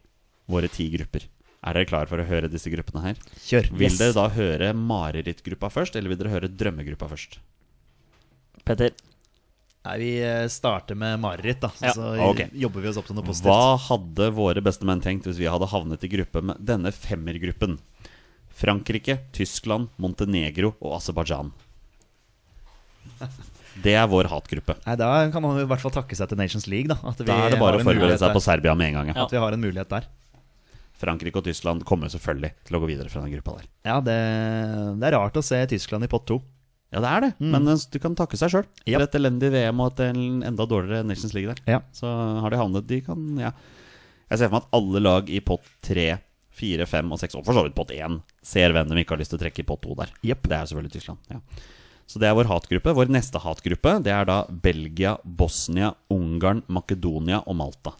[SPEAKER 1] våre ti grupper. Er dere klare for å høre disse gruppene her?
[SPEAKER 3] Kjør.
[SPEAKER 1] Vil dere da høre marerittgruppa først, eller vil dere høre drømmegruppa først?
[SPEAKER 2] Petter,
[SPEAKER 3] Nei, vi eh, starter med mareritt, da. Så,
[SPEAKER 2] Ja.
[SPEAKER 3] så
[SPEAKER 1] Ok.
[SPEAKER 3] jobber vi oss opp til noe positivt.
[SPEAKER 1] Hva hadde våre beste menn tenkt hvis vi hadde havnet i gruppe med denne femmergruppen? Frankrike, Tyskland, Montenegro og Aserbajdsjan. Det er vår hatgruppe.
[SPEAKER 3] Nei, Da kan man jo i hvert fall takke seg til Nations League. Da At vi
[SPEAKER 1] Da er det
[SPEAKER 3] har
[SPEAKER 1] bare å
[SPEAKER 3] en
[SPEAKER 1] forberede
[SPEAKER 3] mulighet
[SPEAKER 1] seg på
[SPEAKER 3] der.
[SPEAKER 1] Serbia med en gang. Ja.
[SPEAKER 3] At vi har en mulighet der.
[SPEAKER 1] Frankrike og Tyskland kommer selvfølgelig til å gå videre fra den gruppa der.
[SPEAKER 3] Ja, det, det er rart å se Tyskland i pott to.
[SPEAKER 1] Ja, det er det, men eh, du kan takke seg sjøl.
[SPEAKER 3] Ja.
[SPEAKER 1] For et elendig VM og et en- enda dårligere Nations League der.
[SPEAKER 3] Ja.
[SPEAKER 1] Så har de havnet De kan, ja. Jeg ser for meg at alle lag i pott tre, fire, fem og seks, og for så vidt pott én, ser hvem de ikke har lyst til å trekke i pott to der.
[SPEAKER 3] Jepp.
[SPEAKER 1] Det er jo selvfølgelig Tyskland. ja så det er vår hatgruppe. Vår neste hatgruppe det er da Belgia, Bosnia, Ungarn, Makedonia og Malta.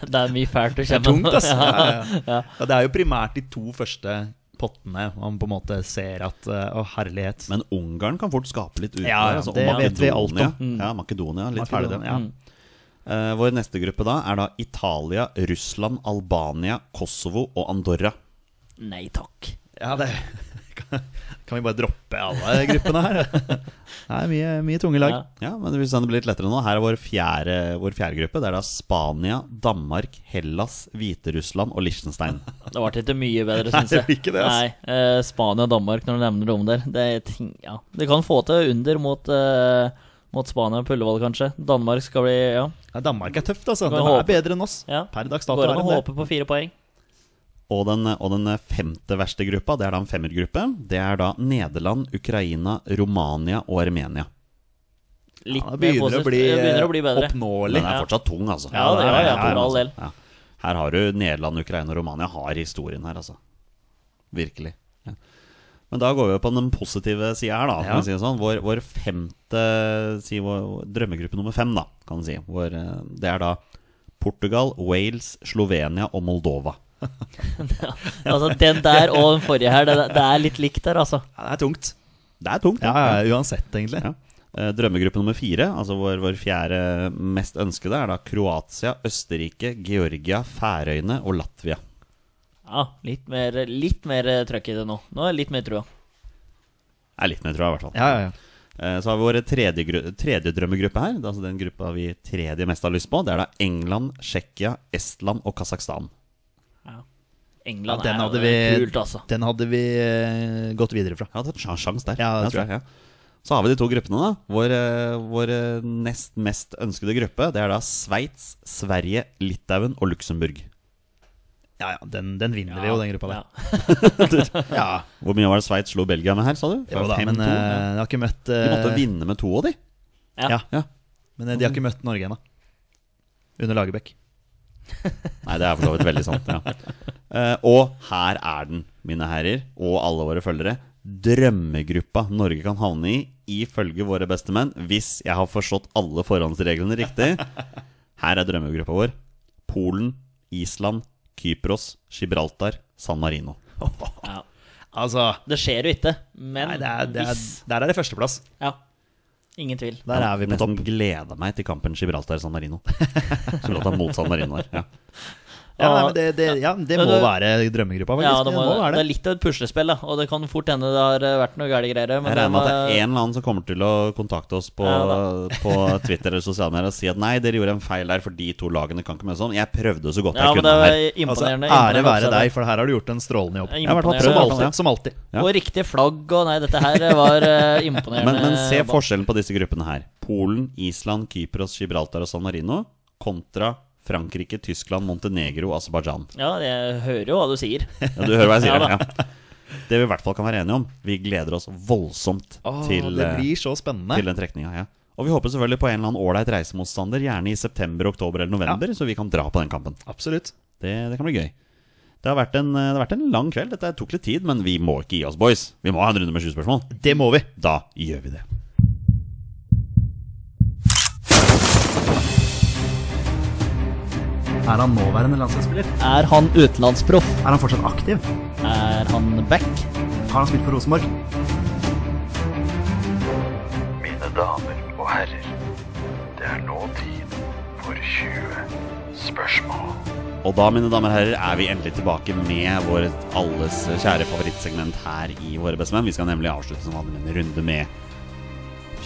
[SPEAKER 2] det er mye fælt å
[SPEAKER 3] Det er
[SPEAKER 2] kjenne.
[SPEAKER 3] tungt, ass.
[SPEAKER 2] Ja.
[SPEAKER 3] Ja, ja, ja. Ja, det er jo primært de to første pottene. Man på en måte ser at eh, Å, herlighet.
[SPEAKER 1] Men Ungarn kan fort skape litt utenfor.
[SPEAKER 3] Ja, ja,
[SPEAKER 1] altså, og
[SPEAKER 3] det vet vi alt om. Mm.
[SPEAKER 1] Makedonia. Ja, Makedonia, litt
[SPEAKER 3] Makedonia,
[SPEAKER 1] ferdig det.
[SPEAKER 3] ja.
[SPEAKER 1] Eh, vår neste gruppe da er da Italia, Russland, Albania, Kosovo og Andorra.
[SPEAKER 2] Nei takk.
[SPEAKER 3] Ja, det kan, kan vi bare droppe alle gruppene her? Det er mye, mye tunge lag.
[SPEAKER 2] Ja.
[SPEAKER 1] Ja, men hvis det blir litt lettere nå Her er vår fjerde, vår fjerde gruppe. Det er da Spania, Danmark, Hellas, Hviterussland og Liechtenstein.
[SPEAKER 2] Det ble ikke mye bedre,
[SPEAKER 3] Nei,
[SPEAKER 2] syns
[SPEAKER 3] det
[SPEAKER 2] jeg.
[SPEAKER 3] blir ikke det, altså.
[SPEAKER 2] Nei, eh, Spania og Danmark, når du nevner det om der det, er ting, ja. det kan få til under mot, eh, mot Spania og Pullevål, kanskje. Danmark skal bli Ja.
[SPEAKER 3] Ja, Danmark er tøft, altså.
[SPEAKER 2] Kan
[SPEAKER 3] De
[SPEAKER 2] håpe.
[SPEAKER 3] er bedre enn oss.
[SPEAKER 2] ja.
[SPEAKER 3] Per dags dato
[SPEAKER 2] Går
[SPEAKER 3] er
[SPEAKER 2] an å
[SPEAKER 3] de det.
[SPEAKER 2] håpe på fire poeng.
[SPEAKER 1] Og den, og den femte verste gruppa, det er da en femmergruppe. Det er da Nederland, Ukraina, Romania og Armenia.
[SPEAKER 2] Litt
[SPEAKER 3] Ja, det
[SPEAKER 2] mer
[SPEAKER 3] begynner å
[SPEAKER 2] positivt.
[SPEAKER 3] bli, eh,
[SPEAKER 2] det begynner å bli bedre.
[SPEAKER 1] Den
[SPEAKER 3] oppnåelig.
[SPEAKER 1] er fortsatt tung, altså.
[SPEAKER 2] Ja, det er det, ja, for all del.
[SPEAKER 1] Ja. Her har du Nederland, Ukraina og Romania har historien her, altså. Virkelig. Ja. Men da går vi på den positive sida her, da. Kan
[SPEAKER 3] Ja.
[SPEAKER 1] vi si det sånn. vår, vår femte si vår, vår drømmegruppe nummer fem, da, kan vi si. Vår, eh, det er da Portugal, Wales, Slovenia og Moldova.
[SPEAKER 2] Altså, den der og den forrige her, det, det er litt likt der, altså.
[SPEAKER 3] Ja, det er tungt.
[SPEAKER 1] Det er tungt.
[SPEAKER 3] Ja,
[SPEAKER 1] da.
[SPEAKER 3] ja, uansett, egentlig.
[SPEAKER 1] Ja. Eh, Drømmegruppe nummer fire, altså vår, vår fjerde mest ønskede, er da Kroatia, Østerrike, Georgia, Færøyene og Latvia.
[SPEAKER 2] Ja, litt mer, litt mer eh, trøkk i det nå. Nå er det litt mer trua.
[SPEAKER 1] Det er litt mer, tror jeg, i hvert fall.
[SPEAKER 3] Ja, ja, ja.
[SPEAKER 1] Eh, Så har vi vår tredje, gru- tredje drømmegruppe her. Det er altså den gruppa vi tredje mest har lyst på. Det er da England, Tsjekkia, Estland og Kasakhstan.
[SPEAKER 3] Ja,
[SPEAKER 2] England
[SPEAKER 3] den
[SPEAKER 2] er
[SPEAKER 3] hadde
[SPEAKER 2] jo
[SPEAKER 3] vi,
[SPEAKER 2] kult, altså.
[SPEAKER 3] den hadde vi eh, gått videre fra.
[SPEAKER 1] Ja, det er en sjan- sjans der.
[SPEAKER 3] Ja, det tror
[SPEAKER 1] jeg. ja. Så har vi de to gruppene, da. Vår, eh, vår eh, nest mest ønskede gruppe det er da Sveits, Sverige, Litauen og Luxembourg.
[SPEAKER 3] Ja, ja, den, den vinner vi jo, den gruppa der.
[SPEAKER 2] Ja.
[SPEAKER 3] Ja,
[SPEAKER 1] Hvor mye var det Sveits slo Belgia med her, sa du?
[SPEAKER 3] jo da, men
[SPEAKER 1] 5-2,
[SPEAKER 3] eh,
[SPEAKER 1] ja.
[SPEAKER 3] de har ikke møtt
[SPEAKER 1] De måtte
[SPEAKER 3] eh,
[SPEAKER 1] vinne med to av de.
[SPEAKER 2] Ja.
[SPEAKER 3] Ja.
[SPEAKER 1] Ja.
[SPEAKER 3] Men eh, de har ikke møtt Norge ennå. Under Lagerbäck.
[SPEAKER 1] Nei, det er for så vidt veldig sant. Ja. Eh, og her er den, mine herrer, og alle våre følgere. Drømmegruppa Norge kan havne i, ifølge våre beste menn, hvis jeg har forstått alle forhåndsreglene riktig. Her er drømmegruppa vår. Polen, Island, Kypros, Gibraltar, San Marino.
[SPEAKER 2] Ja.
[SPEAKER 3] Altså
[SPEAKER 2] Det skjer jo ikke, men
[SPEAKER 3] Nei, det er, det er,
[SPEAKER 2] hvis
[SPEAKER 3] der er det førsteplass.
[SPEAKER 2] Ja. Ingen tvil.
[SPEAKER 3] Der er vi på
[SPEAKER 1] nesten
[SPEAKER 3] topp.
[SPEAKER 1] gleder meg til kampen Gibraltar-San Marino. Gibraltar mot San Marino her. Ja.
[SPEAKER 3] Ja, nei, men det, det, ja, det
[SPEAKER 2] Men
[SPEAKER 3] må
[SPEAKER 2] det-
[SPEAKER 3] være drømmegruppa, faktisk.
[SPEAKER 2] Ja, det, må,
[SPEAKER 3] det må
[SPEAKER 2] det.
[SPEAKER 3] være
[SPEAKER 2] er
[SPEAKER 3] det.
[SPEAKER 2] litt av et puslespill, da. Og det kan fort hende det har eh, vært noe gærne greier. Men
[SPEAKER 1] Jeg
[SPEAKER 2] eh,
[SPEAKER 1] regner med at
[SPEAKER 2] var-
[SPEAKER 1] det er en eller annen som kommer til å kontakte oss på,
[SPEAKER 2] Ja
[SPEAKER 1] på Twitter eller sosiale medier og si at nei, dere gjorde en feil der, for de to lagene kan ikke møtes sånn. Jeg prøvde så godt
[SPEAKER 2] Ja,
[SPEAKER 1] jeg
[SPEAKER 2] men det
[SPEAKER 1] kunne
[SPEAKER 2] er
[SPEAKER 1] her.
[SPEAKER 3] Altså,
[SPEAKER 2] imponerende.
[SPEAKER 3] ære
[SPEAKER 2] imponerende
[SPEAKER 3] være
[SPEAKER 2] oppsett.
[SPEAKER 3] deg, for her har du gjort en strålende jobb.
[SPEAKER 2] Ja,
[SPEAKER 3] Ja, i hvert fall
[SPEAKER 2] imponerende.
[SPEAKER 3] Som
[SPEAKER 1] Ja.
[SPEAKER 3] alltid. Som alltid.
[SPEAKER 1] Ja.
[SPEAKER 2] Og riktig flagg og Nei, dette her var eh, imponerende.
[SPEAKER 1] Men, men se
[SPEAKER 2] ball.
[SPEAKER 1] forskjellen på disse gruppene her. Polen, Island, Kypros, Gibraltar og San Marino kontra Frankrike, Tyskland, Montenegro og Aserbajdsjan.
[SPEAKER 2] Ja, jeg hører jo hva du sier.
[SPEAKER 1] Ja, du hører hva jeg
[SPEAKER 2] Ja
[SPEAKER 1] sier.
[SPEAKER 2] da.
[SPEAKER 1] Ja, Det vi i hvert fall kan være enige om, vi gleder oss voldsomt
[SPEAKER 3] Åh,
[SPEAKER 1] til,
[SPEAKER 3] det
[SPEAKER 1] eh,
[SPEAKER 3] blir så spennende.
[SPEAKER 1] til den trekninga. Ja. Og vi håper selvfølgelig på en eller annen ålreit reisemotstander, gjerne i september, oktober eller november, så vi kan dra på den kampen.
[SPEAKER 3] Absolutt.
[SPEAKER 1] Det, det kan bli gøy. Det har, vært en, det har vært en lang kveld. Dette tok litt tid, men vi må ikke gi oss, boys. Vi må ha en runde med 20 spørsmål.
[SPEAKER 3] Det må vi.
[SPEAKER 1] Da gjør vi det.
[SPEAKER 3] Er han nåværende landslagsspiller?
[SPEAKER 2] Er han utenlandsproff?
[SPEAKER 3] Er han fortsatt aktiv?
[SPEAKER 2] Er han back?
[SPEAKER 3] Har han spilt for Rosenborg?
[SPEAKER 5] Mine damer og herrer, det er nå tid for 20 spørsmål.
[SPEAKER 1] Og da, mine damer og herrer, er vi endelig tilbake med vår alles kjære favorittsegment her i Våre bestemenn. Vi skal nemlig avslutte som vanlig med en runde med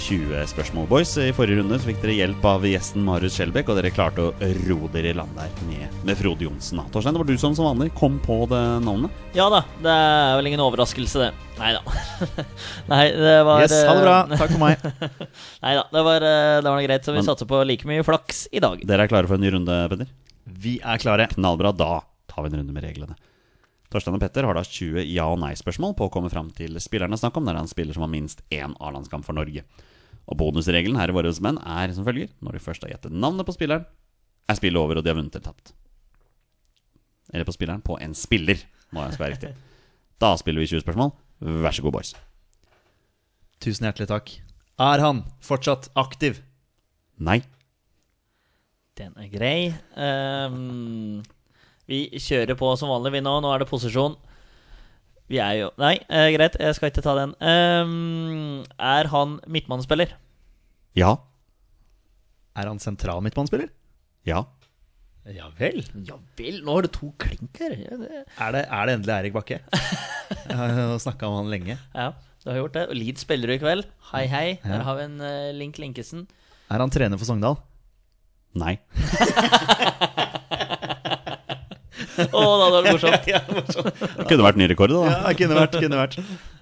[SPEAKER 1] 20 spørsmål, boys. I forrige runde så fikk dere hjelp av gjesten Marius Skjelbæk, og dere klarte å ro dere i land der med, med Frode Johnsen. da. Torstein, det var du som som vanlig kom på det navnet.
[SPEAKER 2] Ja da, det er vel ingen overraskelse, det. Nei da. Nei, det var eh,
[SPEAKER 3] Yes, ha det bra. Takk for meg.
[SPEAKER 2] Nei da, det var, eh, det var noe greit, så vi
[SPEAKER 1] Men-
[SPEAKER 2] satser på like mye flaks i dag.
[SPEAKER 1] Dere er klare for en ny runde, Petter?
[SPEAKER 3] Vi er klare.
[SPEAKER 1] knallbra. Da tar vi en runde med reglene. Torstein og Petter har da 20 ja- og nei-spørsmål på å komme fram til spillerne å snakke om, der han spiller som har minst én A-landskamp for Norge. Og bonusregelen her i Våre menn er som følger når de først har gjettet navnet på spilleren, er spillet over, og de har vunnet eller tapt. Eller på spilleren på en spiller, må jeg skal være riktig. Da spiller vi 20 spørsmål. Vær så god, boys.
[SPEAKER 3] Tusen hjertelig takk. Er han fortsatt aktiv?
[SPEAKER 1] Nei.
[SPEAKER 2] Den er grei. Ehm, vi kjører på som vanlig, vi nå. Nå er det posisjon. Vi er jo Nei, eh, greit, jeg skal ikke ta den. Ehm, er han midtbanespiller?
[SPEAKER 1] Ja.
[SPEAKER 3] Er han sentral midtbanespiller?
[SPEAKER 1] Ja.
[SPEAKER 3] Ja vel.
[SPEAKER 2] Ja vel, nå er det to klink her. Ja, det,
[SPEAKER 3] Er det, er det endelig Erik Bakke? Jeg har snakka om han lenge.
[SPEAKER 2] ja, du har gjort det. Og Leeds spiller i kveld. Hei, hei. Der har vi en eh, Link Linkesen.
[SPEAKER 3] Er han trener for Sogndal?
[SPEAKER 1] Nei.
[SPEAKER 2] Å, da var det morsomt.
[SPEAKER 1] Det kunne vært ny rekord, det, da.
[SPEAKER 3] Ja, kunne vært. kunne vært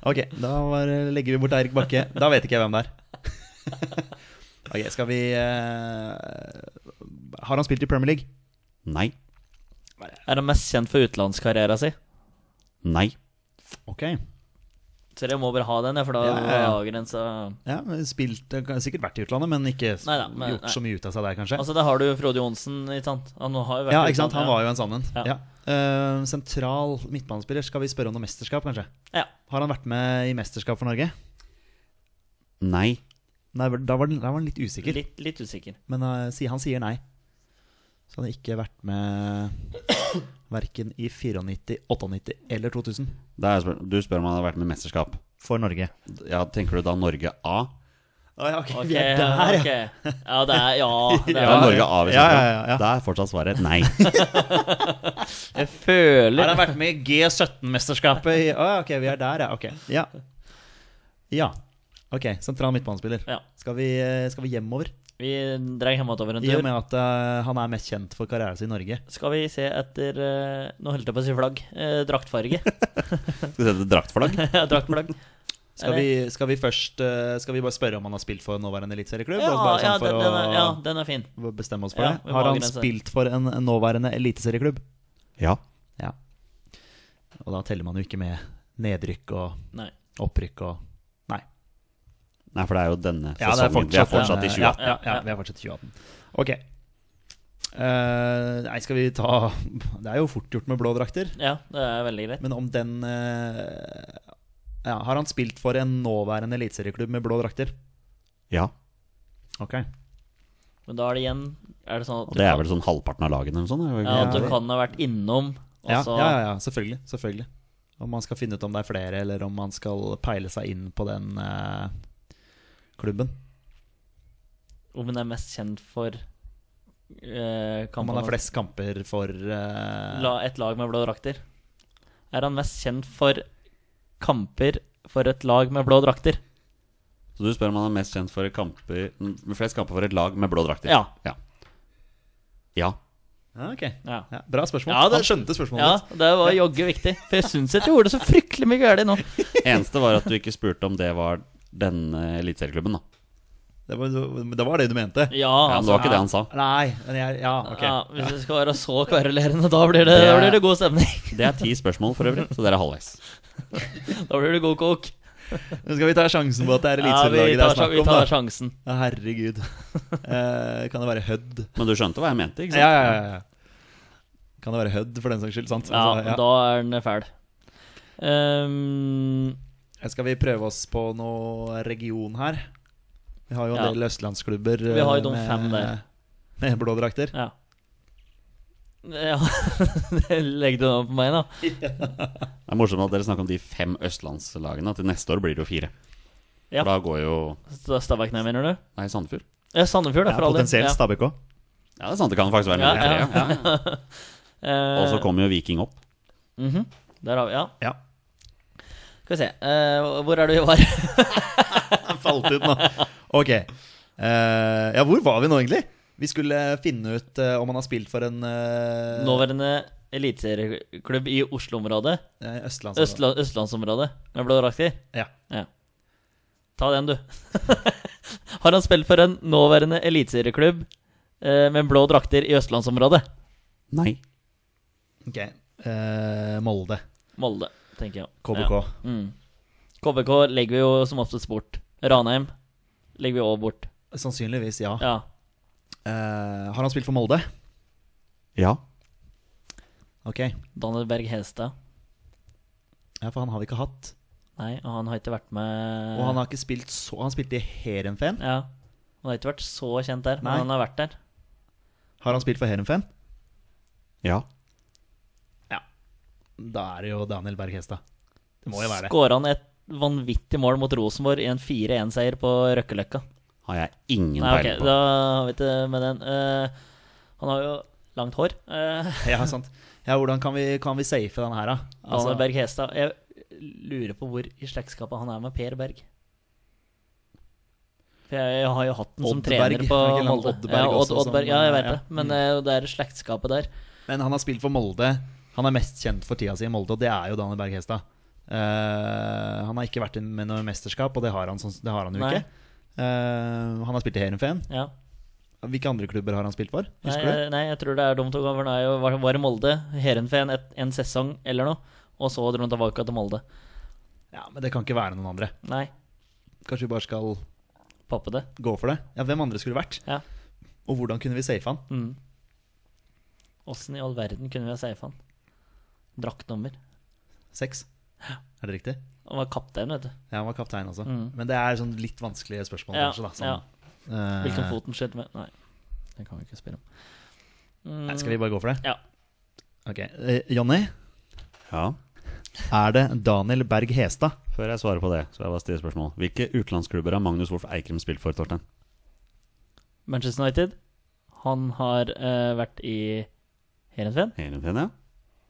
[SPEAKER 3] Ok, da var, legger vi bort Eirik Bakke. Da vet ikke jeg hvem det er. Ok, skal vi eh, Har han spilt i Premier League?
[SPEAKER 1] Nei.
[SPEAKER 2] Er han mest kjent for utenlandskarrieren sin?
[SPEAKER 1] Nei.
[SPEAKER 3] Ok
[SPEAKER 2] Så jeg må bare ha den, ja, for da
[SPEAKER 3] Ja,
[SPEAKER 2] ja,
[SPEAKER 3] ja, ja.
[SPEAKER 2] avgrensa
[SPEAKER 3] Ja, spilt, kan Sikkert vært i utlandet, men ikke s-
[SPEAKER 2] Neida, men-
[SPEAKER 3] gjort så mye ut av seg der, kanskje.
[SPEAKER 2] Altså, der har du Frode Johnsen, ikke sant? Han har jo vært
[SPEAKER 3] ja,
[SPEAKER 2] i
[SPEAKER 3] ikke sant? Han
[SPEAKER 2] utlandet,
[SPEAKER 3] var jo en sann en.
[SPEAKER 2] Ja.
[SPEAKER 3] Ja. Eh, sentral midtbanespiller. Skal vi spørre om noe mesterskap, kanskje?
[SPEAKER 2] ja.
[SPEAKER 3] Har han vært med i mesterskap for Norge?
[SPEAKER 1] Nei.
[SPEAKER 3] Nei, vel, da var den, da var den litt
[SPEAKER 2] ja,
[SPEAKER 3] usikker.
[SPEAKER 2] litt, litt usikker.
[SPEAKER 3] Men eh, si- han sier nei. Så han har ikke vært med verken i 94, 98 eller 2000
[SPEAKER 1] Da er jeg spør du spør om han har vært med i mesterskap.
[SPEAKER 3] for Norge.
[SPEAKER 1] Ja, tenker du da Norge A?
[SPEAKER 3] Oh, ja, ok,
[SPEAKER 2] Ok,
[SPEAKER 3] Vi er der, ja.
[SPEAKER 2] ok. ja. det er Ja. Det er,
[SPEAKER 1] Ja, Norge A vi
[SPEAKER 3] ja,
[SPEAKER 1] snakker om.
[SPEAKER 3] ja, ja.
[SPEAKER 1] Da er fortsatt svaret nei.
[SPEAKER 2] Jeg føler
[SPEAKER 3] Har han vært med i G17-mesterskapet i Å, ja, ok, vi er der, ja. Ok. Ja. ja. Ok, sentral midtbanespiller.
[SPEAKER 2] Ja.
[SPEAKER 3] Skal, vi, eh, skal vi hjemover?
[SPEAKER 2] Vi drar hjemover en
[SPEAKER 3] I og
[SPEAKER 2] tur.
[SPEAKER 3] med at eh, han er mest kjent for karrieren sin i Norge.
[SPEAKER 2] Skal vi se etter eh, Nå holdt jeg på å si flagg. eh, Draktfarge.
[SPEAKER 1] Skal vi sette draktflagg?
[SPEAKER 2] Ja, Draktflagg.
[SPEAKER 3] Skal vi, skal vi først eh, Skal vi bare spørre om han har spilt for nåværende eliteserieklubb?
[SPEAKER 2] Ja,
[SPEAKER 3] bare
[SPEAKER 2] ja,
[SPEAKER 3] sånn for
[SPEAKER 2] den, den er,
[SPEAKER 3] å
[SPEAKER 2] ja, den er fin.
[SPEAKER 3] bestemme oss for
[SPEAKER 2] Ja, vi
[SPEAKER 3] det.
[SPEAKER 2] må
[SPEAKER 3] Har han
[SPEAKER 2] avgrense.
[SPEAKER 3] spilt for en en nåværende eliteserieklubb?
[SPEAKER 1] Ja.
[SPEAKER 3] Ja. Og da teller man jo ikke med nedrykk og
[SPEAKER 2] Nei.
[SPEAKER 3] opprykk og Nei.
[SPEAKER 1] Nei, for det er jo denne
[SPEAKER 3] Ja, det er
[SPEAKER 1] sesongen. Vi er
[SPEAKER 3] fortsatt-
[SPEAKER 1] fortsatt i 2018.
[SPEAKER 3] Ja, ja, ja, vi er fortsatt i 2018. Ok. Eh, nei, skal vi ta Det er jo fort gjort med blå drakter.
[SPEAKER 2] Ja, det er veldig greit.
[SPEAKER 3] Men om den eh, ja, Har han spilt for en nåværende eliteserieklubb med blå drakter?
[SPEAKER 1] Ja,
[SPEAKER 3] Ok.
[SPEAKER 2] Men da er det igjen Er det sånn at
[SPEAKER 1] og
[SPEAKER 2] du,
[SPEAKER 1] det er
[SPEAKER 2] kan,
[SPEAKER 1] vel sånn halvparten av lagene eller sånn?
[SPEAKER 2] ja, at du
[SPEAKER 1] Ja,
[SPEAKER 2] kan ha vært innom, altså, og
[SPEAKER 3] Ja,
[SPEAKER 2] så
[SPEAKER 3] ja, ja, ja selvfølgelig, selvfølgelig. Om man skal finne ut om det er flere, eller om man skal peile seg inn på den eh, klubben.
[SPEAKER 2] Om hun er mest kjent for eh,
[SPEAKER 3] Om man
[SPEAKER 2] kampen
[SPEAKER 3] har flest kamper for eh,
[SPEAKER 2] La et lag med blå drakter. Er han mest kjent for kamper for et lag med blå drakter?
[SPEAKER 1] Så du spør om han er mest kjent for kamper med flest kamper for et lag med blå drakter?
[SPEAKER 2] Ja.
[SPEAKER 1] Ja. ja.
[SPEAKER 3] Ja, ok.
[SPEAKER 2] Ja.
[SPEAKER 3] Ja, bra spørsmål.
[SPEAKER 2] Ja, det-
[SPEAKER 3] Han skjønte spørsmålet
[SPEAKER 2] Ja,
[SPEAKER 3] ditt.
[SPEAKER 2] det var jogge viktig. For jeg syns jeg gjorde så fryktelig mye galt nå.
[SPEAKER 1] Eneste var at du ikke spurte om det var denne eliteserieklubben, da.
[SPEAKER 3] Det var, det var det du mente.
[SPEAKER 1] Ja,
[SPEAKER 2] Ja, altså,
[SPEAKER 1] men det var ikke det han sa.
[SPEAKER 3] Nei, men jeg Ja, ok.
[SPEAKER 2] ja, hvis det skal være så kverulerende, da blir det, da blir det god stemning.
[SPEAKER 1] Det er ti spørsmål for øvrig, så dere er halvveis.
[SPEAKER 2] Da blir det god kok.
[SPEAKER 3] Nå skal vi ta sjansen på at det er
[SPEAKER 2] Ja, vi
[SPEAKER 3] eliteserielaget det
[SPEAKER 2] tar,
[SPEAKER 3] er snakk
[SPEAKER 2] vi
[SPEAKER 3] om,
[SPEAKER 2] tar
[SPEAKER 3] da.
[SPEAKER 2] sjansen.
[SPEAKER 3] Ja, herregud. Eh, kan det være Hødd?
[SPEAKER 1] Men du skjønte hva jeg mente, ikke
[SPEAKER 3] Ja,
[SPEAKER 1] sant?
[SPEAKER 3] ja, ja, ja. Kan det være Hødd, for den saks skyld? sant?
[SPEAKER 2] Ja,
[SPEAKER 3] Altså, ja.
[SPEAKER 2] da er den fæl. Ehm,
[SPEAKER 3] Eh, Skal vi prøve oss på noe region her? Vi har jo en
[SPEAKER 2] Ja.
[SPEAKER 3] del østlandsklubber
[SPEAKER 2] Vi har jo
[SPEAKER 3] eh,
[SPEAKER 2] de fem der.
[SPEAKER 3] med blå drakter.
[SPEAKER 2] ja. ja. det Legger du den på meg, da?
[SPEAKER 1] Det er morsomt at dere snakker om de fem østlandslagene. Til neste år blir det jo fire.
[SPEAKER 2] Ja.
[SPEAKER 1] For da går jo
[SPEAKER 2] Sta- Stabæk ned, mener du?
[SPEAKER 1] Nei, Sandefjord.
[SPEAKER 2] Ja, Sandefjord, da,
[SPEAKER 3] Ja,
[SPEAKER 2] for all del.
[SPEAKER 3] potensielt
[SPEAKER 2] Ja.
[SPEAKER 3] Stabæk òg.
[SPEAKER 1] Ja, det er sant. Det kan faktisk være
[SPEAKER 2] Ja,
[SPEAKER 1] nummer tre. Ja,
[SPEAKER 2] Eh,
[SPEAKER 1] Og så kommer jo Viking opp.
[SPEAKER 2] mhm. Der har vi, ja.
[SPEAKER 3] Ja.
[SPEAKER 2] Skal vi se. eh, hvor er du vi var?
[SPEAKER 3] Falt ut nå. Ok. Eh, ja, hvor var vi nå, egentlig? Vi skulle finne ut eh, om han har spilt for en uh,
[SPEAKER 2] Nåværende eliteserieklubb i Oslo-området.
[SPEAKER 3] Altså- eh, Østlands...
[SPEAKER 2] Østla Østlandsområdet. Med blå drakter.
[SPEAKER 3] Ja.
[SPEAKER 2] Ja. Ta den, du. Har han spilt for en nåværende eliteserieklubb eh, med blå drakter i østlandsområdet?
[SPEAKER 1] Nei.
[SPEAKER 3] Ok. Eh, Molde.
[SPEAKER 2] Molde, tenker jeg.
[SPEAKER 3] KBK.
[SPEAKER 2] Ja. Mm. KBK legger vi jo som oftest bort. Ranheim legger vi òg bort.
[SPEAKER 3] Sannsynligvis, ja.
[SPEAKER 2] Ja.
[SPEAKER 3] Eh, har han spilt for Molde?
[SPEAKER 1] Ja.
[SPEAKER 3] Ok. Ja,
[SPEAKER 2] Daniel Berg Hestad.
[SPEAKER 3] for han har vi ikke hatt.
[SPEAKER 2] Nei, og han har ikke vært med
[SPEAKER 3] Og han har ikke spilt så Han spilte i Heerenveen.
[SPEAKER 2] Ja. Han har ikke vært så kjent der, men
[SPEAKER 3] Nei.
[SPEAKER 2] han har vært der.
[SPEAKER 3] Har han spilt for Heerenveen?
[SPEAKER 1] Ja.
[SPEAKER 3] Da er det jo Daniel Berg Hestad. Det må jo være det.
[SPEAKER 2] Skåra han et vanvittig mål mot Rosenborg i en 4-1-seier på Røkkeløkka.
[SPEAKER 1] Har jeg ingen
[SPEAKER 2] Nei, ok,
[SPEAKER 1] peiling på.
[SPEAKER 2] da har vi ikke med den. Eh, han har jo langt hår. Uh,
[SPEAKER 3] Ja, sant. Ja, hvordan kan vi, kan vi safe den her, da? Altså,
[SPEAKER 2] Arne Berg Hestad. Jeg lurer på hvor i slektskapet han er med Per Berg. For jeg, jeg har jo hatt den som
[SPEAKER 3] Oddberg,
[SPEAKER 2] trener på
[SPEAKER 3] er det ikke en
[SPEAKER 2] Molde.
[SPEAKER 3] Oddberg
[SPEAKER 2] Ja,
[SPEAKER 3] også
[SPEAKER 2] Odd,
[SPEAKER 3] som-
[SPEAKER 2] Oddberg, ja, jeg vet
[SPEAKER 3] ja.
[SPEAKER 2] det. Men eh, det er slektskapet der.
[SPEAKER 3] Men han har spilt for Molde. Han er mest kjent for tida si i Molde, og det er jo Daniel Berg Hestad. Eh, han har ikke vært inn med noe mesterskap, og det har han, sånn- det har han jo
[SPEAKER 2] Nei.
[SPEAKER 3] ikke. Eh, han har spilt i Heerenveen.
[SPEAKER 2] Ja.
[SPEAKER 3] Hvilke andre klubber har han spilt for?
[SPEAKER 2] Nei,
[SPEAKER 3] Husker du?
[SPEAKER 2] jeg, nei, jeg tror det er dumt å gå over. Han er jo- var, var i Molde, Heerenveen et- en sesong eller noe. Og så dro han tilbake til Molde.
[SPEAKER 3] Ja, Men det kan ikke være noen andre.
[SPEAKER 2] Nei,
[SPEAKER 3] Kanskje vi bare skal
[SPEAKER 2] pappe det.
[SPEAKER 3] gå for det? Ja, Hvem andre skulle vært?
[SPEAKER 2] Ja.
[SPEAKER 3] Og hvordan kunne vi safe han?
[SPEAKER 2] Mm. Åssen i all verden kunne vi ha safe han? Draktnummer.
[SPEAKER 3] Seks? Er det riktig?
[SPEAKER 2] Han var kaptein, vet du.
[SPEAKER 3] Ja, han var kaptein også.
[SPEAKER 2] Mm.
[SPEAKER 3] Men det er sånn litt vanskelige spørsmål,
[SPEAKER 2] Ja,
[SPEAKER 3] kanskje. da
[SPEAKER 2] ja.
[SPEAKER 3] sånn, eh,
[SPEAKER 2] Hvilken fot den skjøt med? Nei, det kan vi ikke spørre om. Mm,
[SPEAKER 3] Nei, skal vi bare gå for det?
[SPEAKER 2] Ja.
[SPEAKER 3] Ok, eh, Jonny,
[SPEAKER 1] Ja.
[SPEAKER 3] er det Daniel Berg Hestad?
[SPEAKER 1] Før jeg svarer på det, så vil jeg bare stille spørsmål. Hvilke utenlandsklubber har Magnus Wolff Eikrem spilt for, Torstein?
[SPEAKER 2] Manchester United. Han har eh, vært i Heerenveen.
[SPEAKER 1] Heerenveen, ja.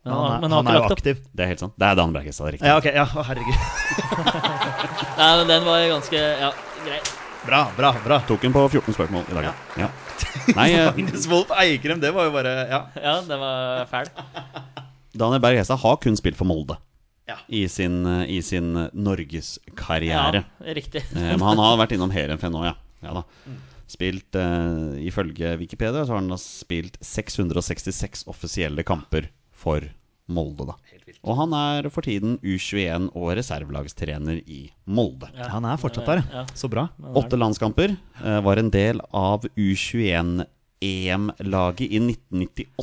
[SPEAKER 2] Men
[SPEAKER 3] Han er,
[SPEAKER 2] men
[SPEAKER 3] han er jo
[SPEAKER 2] lagt opp.
[SPEAKER 3] aktiv.
[SPEAKER 1] Det er helt sant. Det er Dan Bergestad, riktig.
[SPEAKER 3] Ja, ok, ja, å, herregud.
[SPEAKER 2] Nei, men den var ganske Ja, grei.
[SPEAKER 3] Bra, bra, bra.
[SPEAKER 1] Tok hun på 14 spørsmål i dag, ja. ja. Nei, eh,
[SPEAKER 3] Magnus Wolff Eikrem, det var jo bare Ja.
[SPEAKER 2] Ja, den var fæl.
[SPEAKER 1] Daniel Berg Hestad har kun spilt for Molde
[SPEAKER 3] Ja.
[SPEAKER 1] i sin, eh, i sin
[SPEAKER 2] Ja,
[SPEAKER 1] norgeskarriere.
[SPEAKER 2] riktig.
[SPEAKER 1] Eh, Men han har vært innom Heerenveen nå, ja. ja da. Spilt, eh, Ifølge Wikipedia så har han da spilt 666 offisielle kamper for Molde. da Og han er for tiden U21 og reservelagstrener i Molde.
[SPEAKER 3] Han er fortsatt der,
[SPEAKER 2] Ja.
[SPEAKER 3] ja. Så bra.
[SPEAKER 1] Åtte landskamper. eh, Var en del av U21-EM-laget i 1998.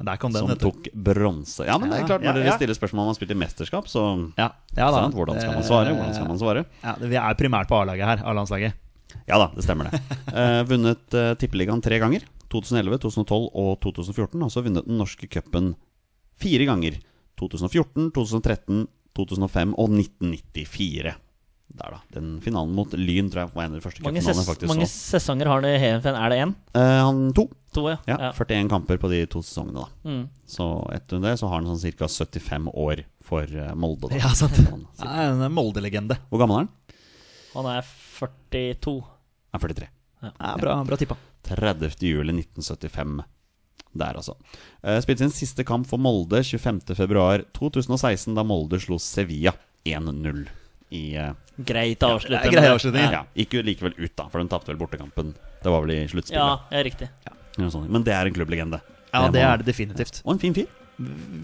[SPEAKER 3] Der kom den,
[SPEAKER 1] som
[SPEAKER 3] vet du.
[SPEAKER 1] tok bronse. Ja, men det er
[SPEAKER 3] Ja,
[SPEAKER 1] klart, når
[SPEAKER 3] ja,
[SPEAKER 1] dere
[SPEAKER 3] ja.
[SPEAKER 1] stiller spørsmål om han spilte mesterskap, så
[SPEAKER 3] Ja, ja da. Eh,
[SPEAKER 1] sant? Hvordan skal man svare? Hvordan skal man svare?
[SPEAKER 3] Ja, vi er primært på A-laget her. A-landslaget.
[SPEAKER 1] Ja da, det stemmer det. Eh, vunnet eh, Tippeligaen tre ganger. 2011, 2012 og 2014. Og så vunnet den norske cupen fire ganger. 2014, 2013, 2005 og 1994. Der, da. Den finalen mot Lyn tror jeg var en av de første
[SPEAKER 2] Mange,
[SPEAKER 1] cupfinalene,
[SPEAKER 2] ses
[SPEAKER 1] faktisk.
[SPEAKER 2] mange
[SPEAKER 1] så.
[SPEAKER 2] sesonger har han i Heerenveen. Er det én?
[SPEAKER 1] Eh, han to.
[SPEAKER 2] To, ja.
[SPEAKER 1] Ja,
[SPEAKER 2] ja.
[SPEAKER 1] 41 kamper på de to sesongene, da.
[SPEAKER 2] Mm.
[SPEAKER 1] Så etter det så har han sånn ca. 75 år for eh, Molde, da.
[SPEAKER 3] Ja, sant.
[SPEAKER 1] Sånn.
[SPEAKER 3] Ja, En Molde-legende.
[SPEAKER 1] Hvor gammel er han?
[SPEAKER 2] Han er 42.
[SPEAKER 1] Han er 43.
[SPEAKER 3] Ja, bra, bra tippa.
[SPEAKER 1] 30. juli 1975. Der, altså. Eh, Spilte sin siste kamp for Molde 25. februar 2016, da Molde slo Sevilla 1-0 i eh,
[SPEAKER 2] Greit å avslutte.
[SPEAKER 3] det er
[SPEAKER 2] med
[SPEAKER 3] grei
[SPEAKER 2] det.
[SPEAKER 3] avslutning,
[SPEAKER 1] ja, Gikk jo likevel ut, da, for den tapte vel bortekampen. Det var vel i
[SPEAKER 2] Ja,
[SPEAKER 1] sluttspillet.
[SPEAKER 2] ja, riktig.
[SPEAKER 1] eller noe sånt. Men det er en klubblegende.
[SPEAKER 3] Ja, det
[SPEAKER 1] må-
[SPEAKER 3] er det definitivt.
[SPEAKER 1] Og en fin fyr.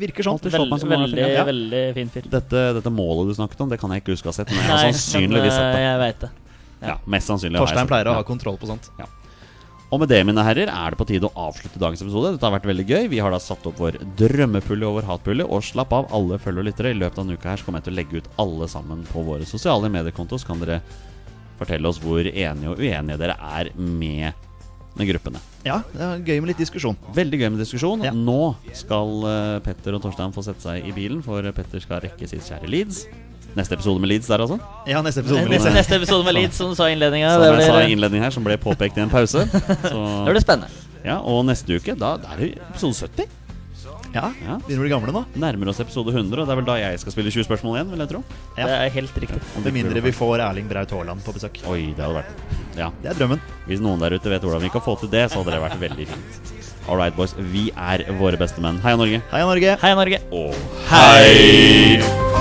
[SPEAKER 3] Virker sånn.
[SPEAKER 1] Alltid slått meg
[SPEAKER 2] Veldig,
[SPEAKER 1] som han er fin,
[SPEAKER 2] veldig,
[SPEAKER 1] ja.
[SPEAKER 2] veldig fin fyr.
[SPEAKER 1] Dette, dette målet du snakket om, det kan jeg ikke huske å ha sett. Men jeg har
[SPEAKER 2] Nei, men eh,
[SPEAKER 1] sannsynligvis sett det.
[SPEAKER 2] jeg veit det.
[SPEAKER 1] Ja, mest sannsynlig har jeg
[SPEAKER 3] Torstein
[SPEAKER 1] sett det.
[SPEAKER 3] pleier å
[SPEAKER 1] Ja.
[SPEAKER 3] ha kontroll på sånt.
[SPEAKER 1] Og med det, mine herrer, er det på tide å avslutte dagens episode. Dette har vært veldig gøy. Vi har da satt opp vår drømmepulje og vår hatpulje. Og slapp av, alle følger og lyttere. I løpet av denne uka her så kommer jeg til å legge ut alle sammen på våre sosiale mediekonto. Så kan dere fortelle oss hvor enige og uenige dere er med, med gruppene.
[SPEAKER 3] Ja, det er gøy med litt diskusjon.
[SPEAKER 1] Veldig gøy med diskusjon.
[SPEAKER 3] Ja.
[SPEAKER 1] Nå skal eh, Petter og Torstein få sette seg i bilen, for Petter skal rekke sitt kjære Leeds. Neste episode med Leeds der, altså.
[SPEAKER 3] Ja, neste episode.
[SPEAKER 2] Neste,
[SPEAKER 3] Melissa.
[SPEAKER 2] neste episode med Leeds, som du sa i innledninga.
[SPEAKER 1] Som
[SPEAKER 2] Det
[SPEAKER 1] jeg sa i
[SPEAKER 2] blir,
[SPEAKER 1] innledningen her, som ble påpekt i en pause.
[SPEAKER 2] det
[SPEAKER 1] Så,
[SPEAKER 2] blir spennende.
[SPEAKER 1] ja, og neste uke, da da er det episode 70.
[SPEAKER 3] Ja,
[SPEAKER 1] Ja.
[SPEAKER 3] Begynner å bli gamle nå.
[SPEAKER 1] nærmer oss episode 100, og det er vel da jeg skal spille 20 spørsmål igjen, vil jeg tro.
[SPEAKER 3] Ja.
[SPEAKER 2] Det er helt riktig.
[SPEAKER 1] Om
[SPEAKER 3] Med
[SPEAKER 1] det ikke
[SPEAKER 3] mindre
[SPEAKER 1] blir
[SPEAKER 3] vi får Erling Braut Haaland på besøk.
[SPEAKER 1] Oi, det hadde vært Ja.
[SPEAKER 3] Det er drømmen.
[SPEAKER 1] Hvis noen der ute vet hvordan vi kan få til det, så hadde det vært veldig fint. All right, boys. Vi er våre beste menn. Heia Norge.
[SPEAKER 3] Heia Norge!
[SPEAKER 2] Heia Norge.
[SPEAKER 1] Og hei!